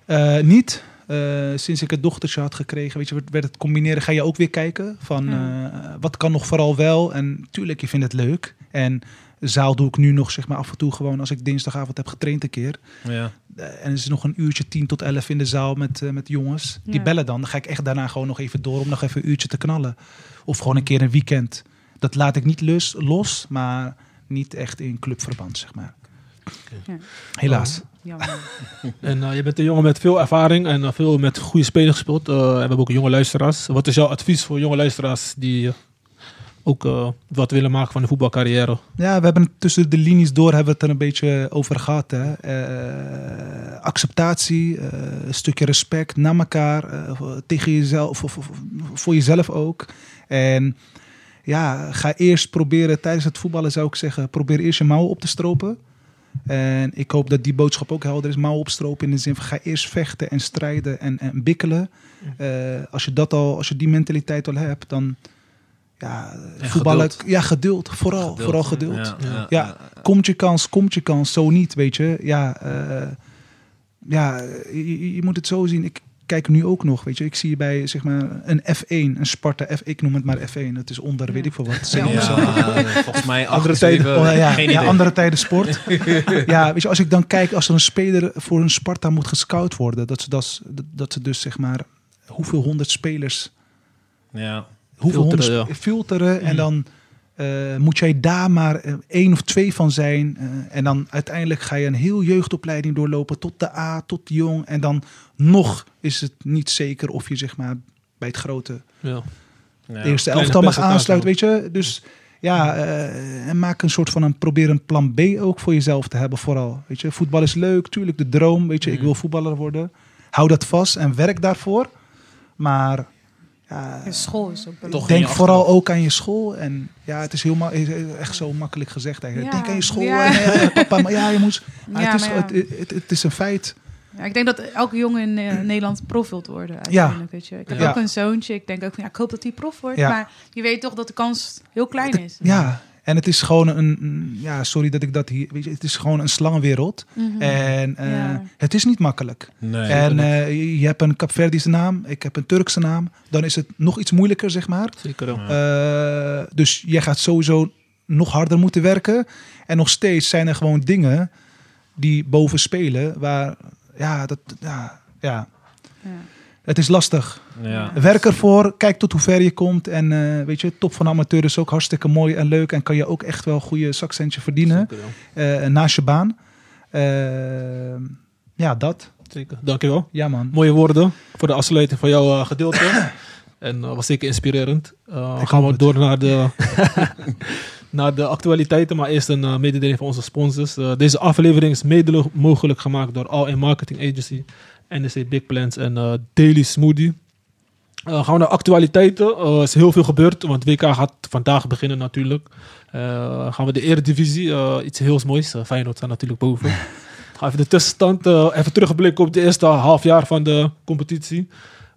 Speaker 4: Eh, niet. Eh, sinds ik het dochtertje had gekregen, weet je, werd- werd het combineren. Ga je ook weer kijken van
Speaker 3: Ja.
Speaker 4: eh, wat kan nog vooral wel. En tuurlijk, je vindt het leuk. En zaal doe ik nu nog zeg maar af en toe gewoon als ik dinsdagavond heb getraind een keer.
Speaker 5: Ja.
Speaker 4: Eh, en er is nog een uurtje 10 tot 11 in de zaal met, eh, met jongens. Die
Speaker 3: Ja.
Speaker 4: bellen dan. Dan ga ik echt daarna gewoon nog even door om nog even een uurtje te knallen. Of gewoon een keer een weekend. Dat laat ik niet lus, los, maar niet echt in clubverband, zeg maar.
Speaker 3: Ja.
Speaker 4: Helaas.
Speaker 3: Jammer.
Speaker 2: En eh, je bent een jongen met veel ervaring en eh, veel met goede spelers gespeeld. Eh, we hebben ook jonge luisteraars. Wat is jouw advies voor jonge luisteraars die eh, ook eh, wat willen maken van de voetbalcarrière?
Speaker 4: Ja, we hebben het tussen de linies door hebben we het er een beetje over gehad. Hè? Eh, acceptatie, eh, een stukje respect naar elkaar, eh, voor- tegen jezelf, of, of- of- voor jezelf ook. En ja, ga eerst proberen tijdens het voetballen, zou ik zeggen, probeer eerst je mouwen op te stropen. En ik hoop dat die boodschap ook helder is. Mouwen opstropen in de zin van ga eerst vechten en strijden en, en bikkelen. Eh, als, je dat al, als je die mentaliteit al hebt, dan ja,
Speaker 5: En
Speaker 4: voetballen.
Speaker 5: geduld.
Speaker 4: Ja, geduld. Vooral,
Speaker 5: Geduld.
Speaker 4: vooral geduld.
Speaker 5: Ja.
Speaker 4: Ja. Komt je kans, komt je kans. Zo niet, weet je. Ja, eh, ja je- je, je moet het zo zien. Ik kijk nu ook nog, weet je. Ik zie bij zeg maar, een F1, een Sparta F. Ik noem het maar F1. Het is onder, weet ik veel wat.
Speaker 5: Ja, eh,
Speaker 4: Zeven, zo.
Speaker 5: volgens mij acht,
Speaker 4: Andere tijden,
Speaker 5: zeven,
Speaker 4: oh, ja,
Speaker 5: geen
Speaker 4: ja,
Speaker 5: idee.
Speaker 4: andere tijden sport. ja, weet je, als ik dan kijk, als er een speler voor een Sparta moet gescout worden, dat ze, dat, dat ze dus zeg maar hoeveel honderd spelers,
Speaker 5: Ja.
Speaker 4: hoeveel
Speaker 2: Filteren, Mm.
Speaker 4: honderd sp- filteren en dan eh, moet jij daar maar eh, één of twee van zijn. eh, en dan uiteindelijk ga je een heel jeugdopleiding doorlopen tot de A, tot de jong. En dan nog is het niet zeker of je zeg maar bij het grote
Speaker 2: Ja.
Speaker 5: Ja.
Speaker 4: de eerste
Speaker 2: Kleine
Speaker 4: elftal mag
Speaker 2: percentage
Speaker 4: aansluiten, weet je. Dus ja, eh, en maak een soort van een, probeer een plan B ook voor jezelf te hebben vooral. Weet je, voetbal is leuk, tuurlijk de droom, weet je, ik
Speaker 2: Mm.
Speaker 4: wil voetballer worden. Hou dat vast en werk daarvoor. Maar ja,
Speaker 3: En school is ook belangrijk.
Speaker 5: Toch in
Speaker 4: denk
Speaker 5: je
Speaker 4: vooral
Speaker 5: achterhoofd.
Speaker 4: ook aan je school. En ja, het is heel ma- is eh, echt zo makkelijk gezegd eigenlijk.
Speaker 3: Ja.
Speaker 4: Denk aan je school.
Speaker 3: Ja.
Speaker 4: En, eh, papa, maar ja, je moet. Maar
Speaker 3: Ja,
Speaker 4: het, is,
Speaker 3: maar ja.
Speaker 4: Het, het, het is een feit.
Speaker 3: Ja, ik denk dat elke jongen in eh, Nederland prof wilt worden. Uiteindelijk, weet je. Ik heb
Speaker 4: Ja.
Speaker 3: ook een zoontje. Ik denk ook, van, ja, ik hoop dat hij prof wordt.
Speaker 4: Ja.
Speaker 3: Maar je weet toch dat de kans heel klein is.
Speaker 4: Ja, En het is gewoon een, een- ja, sorry dat ik dat hier, weet je, het is gewoon een slangenwereld.
Speaker 3: Mhm.
Speaker 4: En eh,
Speaker 3: Ja.
Speaker 4: het is niet makkelijk.
Speaker 5: Nee.
Speaker 4: en eh, je- je hebt een Capverdische naam, ik heb een Turkse naam. Dan is het nog iets moeilijker, zeg maar.
Speaker 2: Zeker wel.
Speaker 4: Eh, dus jij gaat sowieso nog harder moeten werken. En nog steeds zijn er gewoon dingen die boven spelen. Waar, ja, dat, ja, ja.
Speaker 3: Ja.
Speaker 4: het is lastig.
Speaker 5: ja.
Speaker 4: Werk ervoor, kijk tot hoe ver je komt. En eh, weet je, top van amateur is ook hartstikke mooi en leuk. En kan je ook echt wel een goede zakcentje verdienen
Speaker 2: Zeker wel.
Speaker 4: eh, naast je baan. Eh, ja, dat.
Speaker 2: Zeker. Dankjewel.
Speaker 4: Ja, man.
Speaker 2: Mooie woorden voor de afsluiting van jouw eh, gedeelte. en eh, was zeker inspirerend. Eh, dan gaan
Speaker 4: hoop
Speaker 2: we
Speaker 4: het.
Speaker 2: door naar de, naar de actualiteiten. Maar eerst een eh, mededeling van onze sponsors. Eh, deze aflevering is mede lo- mogelijk gemaakt door All in Marketing Agency, NEC Big Plans en eh, Daily Smoothie. Eh, gaan we naar actualiteiten. Eh, Er is heel veel gebeurd, want WK gaat vandaag beginnen natuurlijk. Eh, gaan we de Eredivisie, eh, iets heel moois. Eh, Feyenoord staat natuurlijk boven. Ga even de tussenstand, eh, even terugblikken op de eerste halfjaar van de competitie.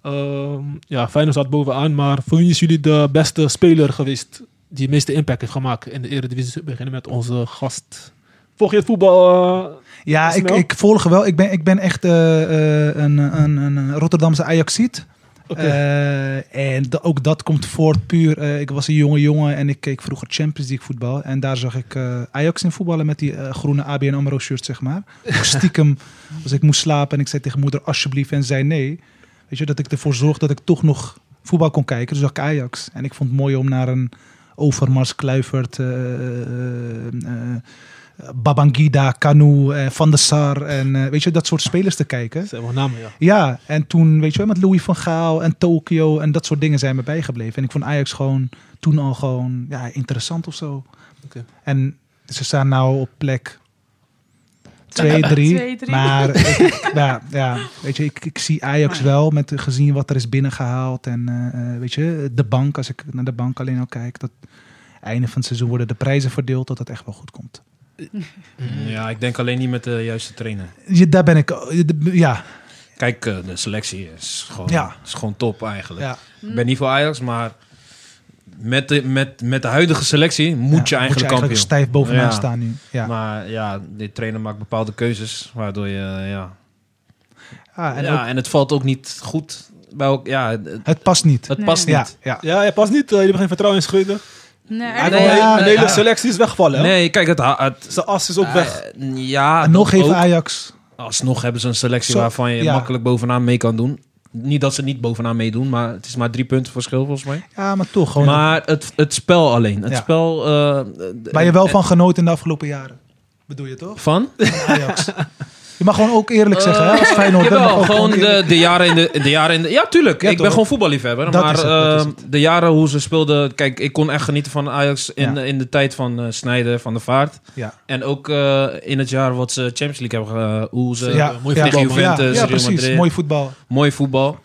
Speaker 2: Ehm, ja, Feyenoord staat bovenaan, maar voor wie is jullie de beste speler geweest die de meeste impact heeft gemaakt in de Eredivisie? We beginnen met onze gast. Volg je het voetbal? eh,
Speaker 4: Ja, ik,
Speaker 2: Snel.
Speaker 4: ik volg wel. Ik ben, ik ben echt eh, eh, een, een, een Rotterdamse Ajaxiet.
Speaker 2: Oké.
Speaker 4: Eh, en da- ook dat komt voort puur. eh, ik was een jonge jongen en ik keek vroeger Champions League voetbal. En daar zag ik eh, Ajax in voetballen met die eh, groene ABN AMRO shirt, zeg maar. Ook Stiekem, als ik moest slapen en ik zei tegen moeder alsjeblieft en zei nee. Weet je, dat ik ervoor zorg dat ik toch nog voetbal kon kijken. Dus zag ik Ajax. En ik vond het mooi om naar een Overmars, Kluivert, eh, eh, eh, Babangida, Kanu, eh, Van der Sar. En eh, weet je, dat soort spelers te kijken.
Speaker 2: Dat zijn wel namen, ja.
Speaker 4: Ja, en toen, weet je wel, met Louis van Gaal en Tokio en dat soort dingen zijn me bijgebleven. En ik vond Ajax gewoon toen al gewoon ja, interessant of zo.
Speaker 2: Oké.
Speaker 4: En ze staan nou op plek 2,
Speaker 3: Twee,
Speaker 4: 3.
Speaker 3: drie.
Speaker 4: Maar ik- ja, ja, weet je, ik, ik zie Ajax wel met gezien wat er is binnengehaald. En eh, eh, weet je, de bank, als ik naar de bank alleen al kijk, dat einde van het seizoen worden de prijzen verdeeld, dat dat echt wel goed komt.
Speaker 5: ja, ik denk alleen niet met de juiste trainer.
Speaker 4: Je, daar ben ik, ja,
Speaker 5: Kijk, eh, de selectie is gewoon,
Speaker 4: Ja.
Speaker 5: is gewoon top eigenlijk.
Speaker 4: ja.
Speaker 5: Ik ben niet voor Ajax, maar met de, met, met de huidige selectie moet je
Speaker 4: Ja,
Speaker 5: eigenlijk kampioen.
Speaker 4: stijf bovenaan
Speaker 5: Ja.
Speaker 4: staan nu. Ja.
Speaker 5: Maar ja, de trainer maakt bepaalde keuzes, waardoor je... Ja,
Speaker 4: Ah,
Speaker 5: ja,
Speaker 4: en
Speaker 5: en,
Speaker 4: ook-
Speaker 5: het valt ook niet goed bij elkaar. Ja, het,
Speaker 4: Het past niet.
Speaker 5: het
Speaker 3: Nee.
Speaker 5: past
Speaker 4: Ja,
Speaker 5: niet.
Speaker 4: ja.
Speaker 2: Ja, ja, pas niet. eh, jullie hebben geen vertrouwen in Schreuder.
Speaker 3: Nee,
Speaker 2: Hij
Speaker 3: echt?
Speaker 2: wil-
Speaker 5: nee,
Speaker 2: de hele
Speaker 5: ja.
Speaker 2: selectie is weggevallen. hè?
Speaker 5: Nee, kijk, het... ha- het
Speaker 2: Zijn as is ook weg.
Speaker 5: eh, ja,
Speaker 4: En nog
Speaker 5: dat
Speaker 4: even
Speaker 5: ook.
Speaker 4: Ajax.
Speaker 5: Alsnog hebben ze een selectie
Speaker 4: Zo,
Speaker 5: waarvan je
Speaker 4: ja.
Speaker 5: makkelijk bovenaan mee kan doen. Niet dat ze niet bovenaan meedoen, maar het is maar drie punten verschil volgens mij.
Speaker 4: Ja, maar toch. Gewoon
Speaker 5: maar het, het spel alleen. Het
Speaker 4: Ja.
Speaker 5: spel... eh, de-
Speaker 4: waar je wel van genoten in de afgelopen jaren. Bedoel je toch?
Speaker 5: Van?
Speaker 4: Van Ajax. je mag gewoon ook eerlijk zeggen. hè, als
Speaker 5: Eh,
Speaker 4: Feyenoord
Speaker 5: jawel,
Speaker 4: dan mag ook
Speaker 5: gewoon de,
Speaker 4: eerlijk-
Speaker 5: de jaren in de, de jaren in de, ja tuurlijk.
Speaker 4: Ja,
Speaker 5: ik ben
Speaker 4: toch?
Speaker 5: gewoon voetballiefhebber,
Speaker 4: Dat
Speaker 5: maar
Speaker 4: is het, dat is
Speaker 5: eh, de jaren hoe ze speelden, kijk, ik kon echt genieten van Ajax in,
Speaker 4: Ja.
Speaker 5: in de tijd van eh Snijder, van de Vaart
Speaker 4: Ja.
Speaker 5: en ook eh, in het jaar wat ze Champions League hebben, ge- eh, hoe ze
Speaker 4: Ja,
Speaker 2: mooi
Speaker 4: ja,
Speaker 5: tegen
Speaker 4: ja,
Speaker 5: Juventus,
Speaker 4: ja,
Speaker 5: Real
Speaker 4: precies.
Speaker 5: Madrid.
Speaker 4: Mooi voetbal.
Speaker 5: mooi voetbal.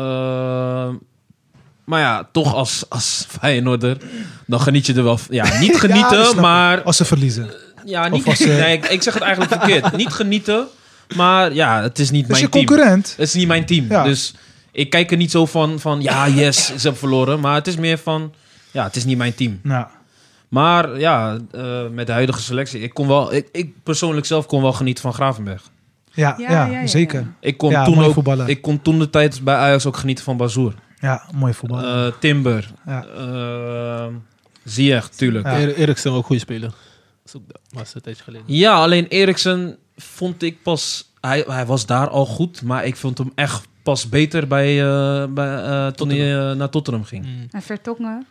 Speaker 5: Eh, maar ja, toch als als Feyenoorder, dan geniet je er wel. v- Ja, niet genieten,
Speaker 4: snap ik.
Speaker 5: maar
Speaker 4: Als ze verliezen.
Speaker 5: ja, niet.
Speaker 4: Of als, eh,
Speaker 5: nee, ik, ik zeg het eigenlijk verkeerd. niet genieten, maar ja, het is niet
Speaker 4: Dus
Speaker 5: mijn
Speaker 4: je
Speaker 5: team.
Speaker 4: concurrent.
Speaker 5: Het is niet mijn team.
Speaker 4: Ja.
Speaker 5: Dus ik kijk er niet zo van, van ja, yes, ze hebben verloren. Maar het is meer van, ja, het is niet mijn team.
Speaker 4: Nou,
Speaker 5: Maar ja, eh, met de huidige selectie, ik, kon wel, ik, ik persoonlijk zelf kon wel genieten van Gravenberg.
Speaker 4: ja,
Speaker 3: Ja,
Speaker 4: ja,
Speaker 3: ja, ja, ja.
Speaker 4: zeker.
Speaker 5: Ik kon,
Speaker 4: Ja,
Speaker 5: toen
Speaker 4: mooi
Speaker 5: ook,
Speaker 4: voetballer.
Speaker 5: ik kon toen de tijd dus bij Ajax ook genieten van Bazoer.
Speaker 4: Ja, mooi voetbal.
Speaker 5: Eh, Timber.
Speaker 4: Ja.
Speaker 5: Eh, Ziyech, tuurlijk.
Speaker 4: Ja.
Speaker 2: Er- Eriksen ook goede speler. Dat is ook- dat was een tijdje geleden.
Speaker 5: Ja, alleen Eriksen vond ik pas... Hij, hij was daar al goed, maar ik vond hem echt pas beter bij, eh, bij, eh, toen hij eh, naar Tottenham ging.
Speaker 2: Mm.
Speaker 3: En Vertongen.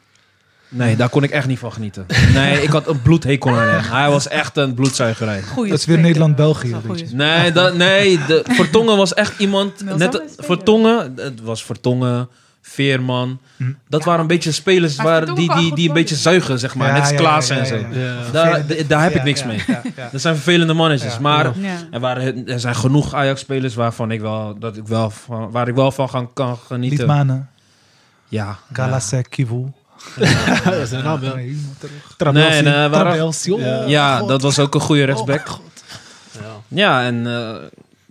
Speaker 5: Nee, daar kon ik echt niet van genieten. Nee, ik had een bloedhekel aan hem. Hij was echt een bloedzuigerij.
Speaker 3: Goeie
Speaker 4: Dat is weer
Speaker 3: speler.
Speaker 4: Nederland-België,
Speaker 3: Dat is een
Speaker 4: weet je.
Speaker 3: goeie
Speaker 5: Nee, dat, nee de, Vertongen was echt iemand...
Speaker 3: Dat was
Speaker 5: Net,
Speaker 3: wel een speler.
Speaker 5: Vertongen, het was Vertongen, Veerman.
Speaker 4: Hm.
Speaker 5: Dat waren een beetje spelers
Speaker 3: Maar
Speaker 5: waar,
Speaker 3: Vertongen
Speaker 5: die,
Speaker 3: kan
Speaker 5: die,
Speaker 3: goed
Speaker 5: die een beetje zuigen, zeg maar.
Speaker 4: Ja,
Speaker 5: Net als
Speaker 4: ja,
Speaker 5: Klaas
Speaker 4: ja, ja,
Speaker 5: en zo.
Speaker 4: ja, ja.
Speaker 2: Ja.
Speaker 5: Daar, d- daar heb ik
Speaker 4: Ja,
Speaker 5: niks
Speaker 4: ja,
Speaker 5: mee.
Speaker 4: ja, ja.
Speaker 5: Dat zijn vervelende mannetjes.
Speaker 4: Ja.
Speaker 5: maar
Speaker 3: speler. Ja.
Speaker 5: er, waren, er zijn genoeg Ajax-spelers waarvan ik wel, dat ik wel van, waar ik wel van gaan, kan genieten.
Speaker 4: Liedmanen,
Speaker 5: eh, Ja.
Speaker 4: Galasek, Kivu.
Speaker 2: Dat zijn namen, ja.
Speaker 5: Nee, nee, waar-
Speaker 4: Trabelsi.
Speaker 5: Ja, ja dat was ook een goede rechtsback.
Speaker 2: Ja.
Speaker 5: Ja, en eh,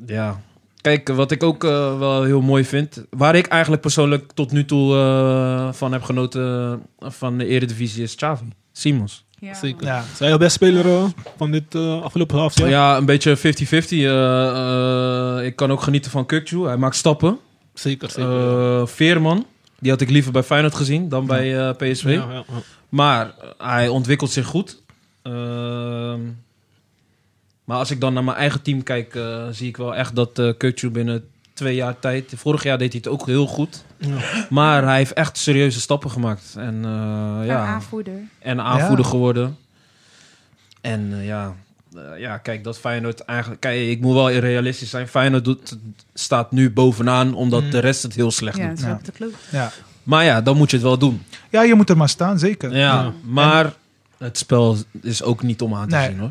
Speaker 5: ja. Kijk, wat ik ook eh, wel heel mooi vind. Waar ik eigenlijk persoonlijk tot nu toe eh, van heb genoten eh, van de Eredivisie is Xavi. Simons.
Speaker 3: Ja.
Speaker 2: Zeker.
Speaker 4: Ja.
Speaker 2: Zijn jouw beste speler eh, van dit eh, afgelopen halfjaar?
Speaker 5: Ja, een beetje 50-50. eh, eh, ik kan ook genieten van Kukju. Hij maakt stappen.
Speaker 2: Zeker, zeker.
Speaker 5: Eh, Veerman, die had ik liever bij Feyenoord gezien dan bij eh, PSV.
Speaker 2: ja, ja, ja.
Speaker 5: Maar eh, hij ontwikkelt zich goed. Ehm, maar als ik dan naar mijn eigen team kijk, eh, zie ik wel echt dat eh Kukçu binnen twee jaar tijd... Vorig jaar deed hij het ook heel goed.
Speaker 2: Ja.
Speaker 5: Maar hij heeft echt serieuze stappen gemaakt. En, eh,
Speaker 3: Een
Speaker 5: ja,
Speaker 3: aanvoerder.
Speaker 5: en aanvoerder
Speaker 4: Ja.
Speaker 5: geworden. En eh, ja, eh, ja, kijk, dat Feyenoord eigenlijk... Kijk, ik moet wel realistisch zijn. Feyenoord doet, staat nu bovenaan, omdat
Speaker 4: Mm.
Speaker 5: de rest het heel slecht
Speaker 3: Ja,
Speaker 5: doet.
Speaker 3: dat is
Speaker 4: Ja.
Speaker 3: ook de club.
Speaker 4: Ja.
Speaker 5: Maar ja, dan moet je het wel doen.
Speaker 4: ja, je moet er maar staan, zeker.
Speaker 5: Ja, maar het spel is ook niet om aan te
Speaker 4: Nee.
Speaker 5: zien hoor.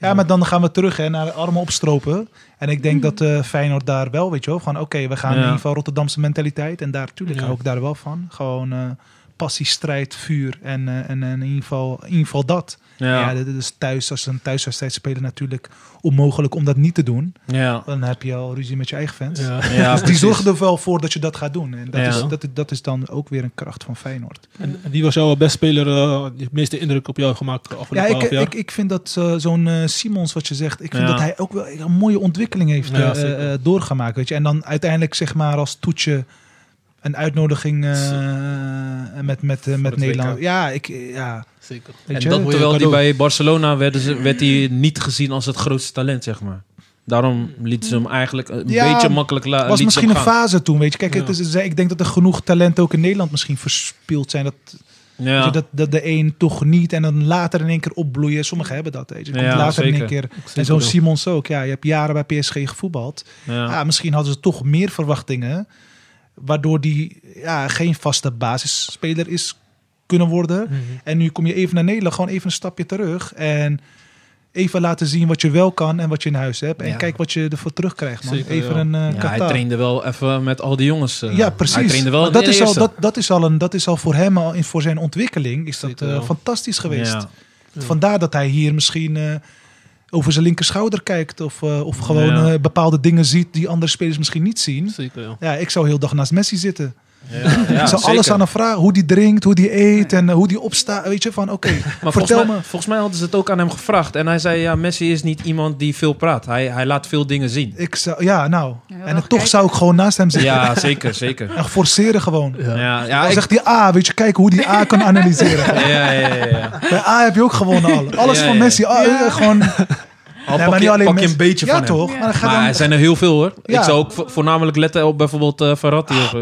Speaker 4: Ja, maar dan gaan we terug hè, naar de armen opstropen. En ik denk dat eh, Feyenoord daar wel, weet je wel, van oké, we gaan
Speaker 5: Ja.
Speaker 4: in ieder geval Rotterdamse mentaliteit. En daar, tuurlijk,
Speaker 2: Ja.
Speaker 4: hou ik daar wel van. Gewoon eh, passie, strijd, vuur en, eh, en, en in, ieder geval, in ieder geval dat. Ja,
Speaker 5: Ja, ja.
Speaker 4: dat is thuis, als ze een thuiswedstrijd spelen natuurlijk onmogelijk om dat niet te doen.
Speaker 5: ja.
Speaker 4: Dan heb je al ruzie met je eigen fans.
Speaker 2: Ja.
Speaker 4: dus die
Speaker 5: precies.
Speaker 4: zorgen er wel voor dat je dat gaat doen. En dat,
Speaker 5: Ja.
Speaker 4: is, dat, is- dat is dan ook weer een kracht van Feyenoord.
Speaker 2: En wie was jouw beste speler eh, die het meeste indruk op jou heeft gemaakt
Speaker 4: Ja,
Speaker 2: afgelopen
Speaker 4: ik,
Speaker 2: halfjaar?
Speaker 4: ik, ik vind dat eh, zo'n eh, Simons, wat je zegt, ik vind
Speaker 5: Ja.
Speaker 4: dat hij ook wel een mooie ontwikkeling heeft
Speaker 2: Ja,
Speaker 4: eh,
Speaker 2: zeker.
Speaker 4: eh, doorgemaakt. Weet je? En dan uiteindelijk, zeg maar, als toetje een uitnodiging eh, met, met, eh, met
Speaker 5: het
Speaker 4: Nederland.
Speaker 5: WK.
Speaker 4: Ja, ik, eh, ja,
Speaker 2: Zeker.
Speaker 4: weet
Speaker 5: en
Speaker 4: je?
Speaker 5: dat
Speaker 2: Mooie
Speaker 5: terwijl die
Speaker 2: cadeau.
Speaker 5: bij Barcelona werden ze, werd hij niet gezien als het grootste talent, zeg maar. Daarom lieten ze hem eigenlijk een
Speaker 4: Ja,
Speaker 5: beetje makkelijk laten.
Speaker 4: was misschien een fase toen, weet je. Kijk, het
Speaker 2: Ja.
Speaker 4: is, ik denk dat er genoeg talent ook in Nederland misschien verspild zijn. Dat, weet
Speaker 5: Ja,
Speaker 4: je, dat, dat de een toch niet en dan later in één keer opbloeien. Sommigen hebben dat, weet je. Komt
Speaker 5: Ja,
Speaker 4: later in één
Speaker 5: zeker.
Speaker 4: keer.
Speaker 2: zie
Speaker 4: En
Speaker 2: het
Speaker 4: zo'n
Speaker 2: wel.
Speaker 4: Simons ook. Ja, je hebt jaren bij PSG gevoetbald.
Speaker 5: ja.
Speaker 4: Ja, misschien hadden ze toch meer verwachtingen. Waardoor die ja, geen vaste basisspeler is kunnen worden. En nu kom je even naar Nederland, gewoon even een stapje terug. En even laten zien wat je wel kan en wat je in huis hebt. En
Speaker 5: Ja.
Speaker 4: kijk wat je ervoor terugkrijgt, man.
Speaker 2: Zeker,
Speaker 4: even
Speaker 2: ja.
Speaker 4: een eh
Speaker 5: Ja, hij
Speaker 4: Qatar.
Speaker 5: trainde wel even met al die jongens. eh.
Speaker 4: ja,
Speaker 5: Hij
Speaker 4: precies.
Speaker 5: trainde wel
Speaker 4: Maar
Speaker 5: in
Speaker 4: dat,
Speaker 5: de
Speaker 4: is al,
Speaker 5: eerste.
Speaker 4: dat, dat, is al een, dat is al voor hem, al in, voor zijn ontwikkeling, is dat
Speaker 2: Zeker
Speaker 4: eh,
Speaker 2: wel.
Speaker 4: fantastisch geweest.
Speaker 5: Ja.
Speaker 2: Ja.
Speaker 4: Vandaar dat hij hier misschien eh, over zijn linkerschouder kijkt. Of, eh, of gewoon
Speaker 5: Ja.
Speaker 4: eh, bepaalde dingen ziet die andere spelers misschien niet zien.
Speaker 2: Zeker, ja.
Speaker 4: Ja, ik zou heel dag naast Messi zitten.
Speaker 5: Ja, ja,
Speaker 4: ik zou
Speaker 5: zeker.
Speaker 4: alles aan hem vragen. Hoe die drinkt, hoe die eet en eh, hoe die opstaat. Weet je, van oké,
Speaker 5: Maar
Speaker 4: vertel
Speaker 5: volgens mij,
Speaker 4: me.
Speaker 5: volgens mij hadden ze het ook aan hem gevraagd. En hij zei, ja, Messi is niet iemand die veel praat. Hij, hij laat veel dingen zien.
Speaker 4: Ik zou, ja, nou.
Speaker 3: heel
Speaker 4: en
Speaker 3: dag
Speaker 4: toch
Speaker 3: kijken.
Speaker 4: zou ik gewoon naast hem zitten.
Speaker 5: Ja, zeker, zeker.
Speaker 4: En forceren gewoon.
Speaker 5: Ja, ja,
Speaker 4: Dan
Speaker 5: ik-
Speaker 4: zegt die A, weet je, kijk hoe die A kan analyseren.
Speaker 5: ja, ja, ja, ja.
Speaker 4: Bij A heb je ook gewoon al. Alles
Speaker 5: Ja,
Speaker 4: van
Speaker 5: ja.
Speaker 4: Messi. Ah, eh, gewoon,
Speaker 5: Al
Speaker 4: Nee,
Speaker 5: pak,
Speaker 4: maar
Speaker 5: je,
Speaker 4: niet alleen
Speaker 5: pak je
Speaker 4: Messi.
Speaker 5: een beetje
Speaker 4: ja,
Speaker 5: van hem.
Speaker 4: toch?
Speaker 3: Ja.
Speaker 4: Maar dan ga
Speaker 5: Maar
Speaker 4: dan
Speaker 5: er zijn er heel veel hoor.
Speaker 4: Ja. Ah,
Speaker 5: Ik zou ook vo- voornamelijk letten op bijvoorbeeld eh, Verratti. of,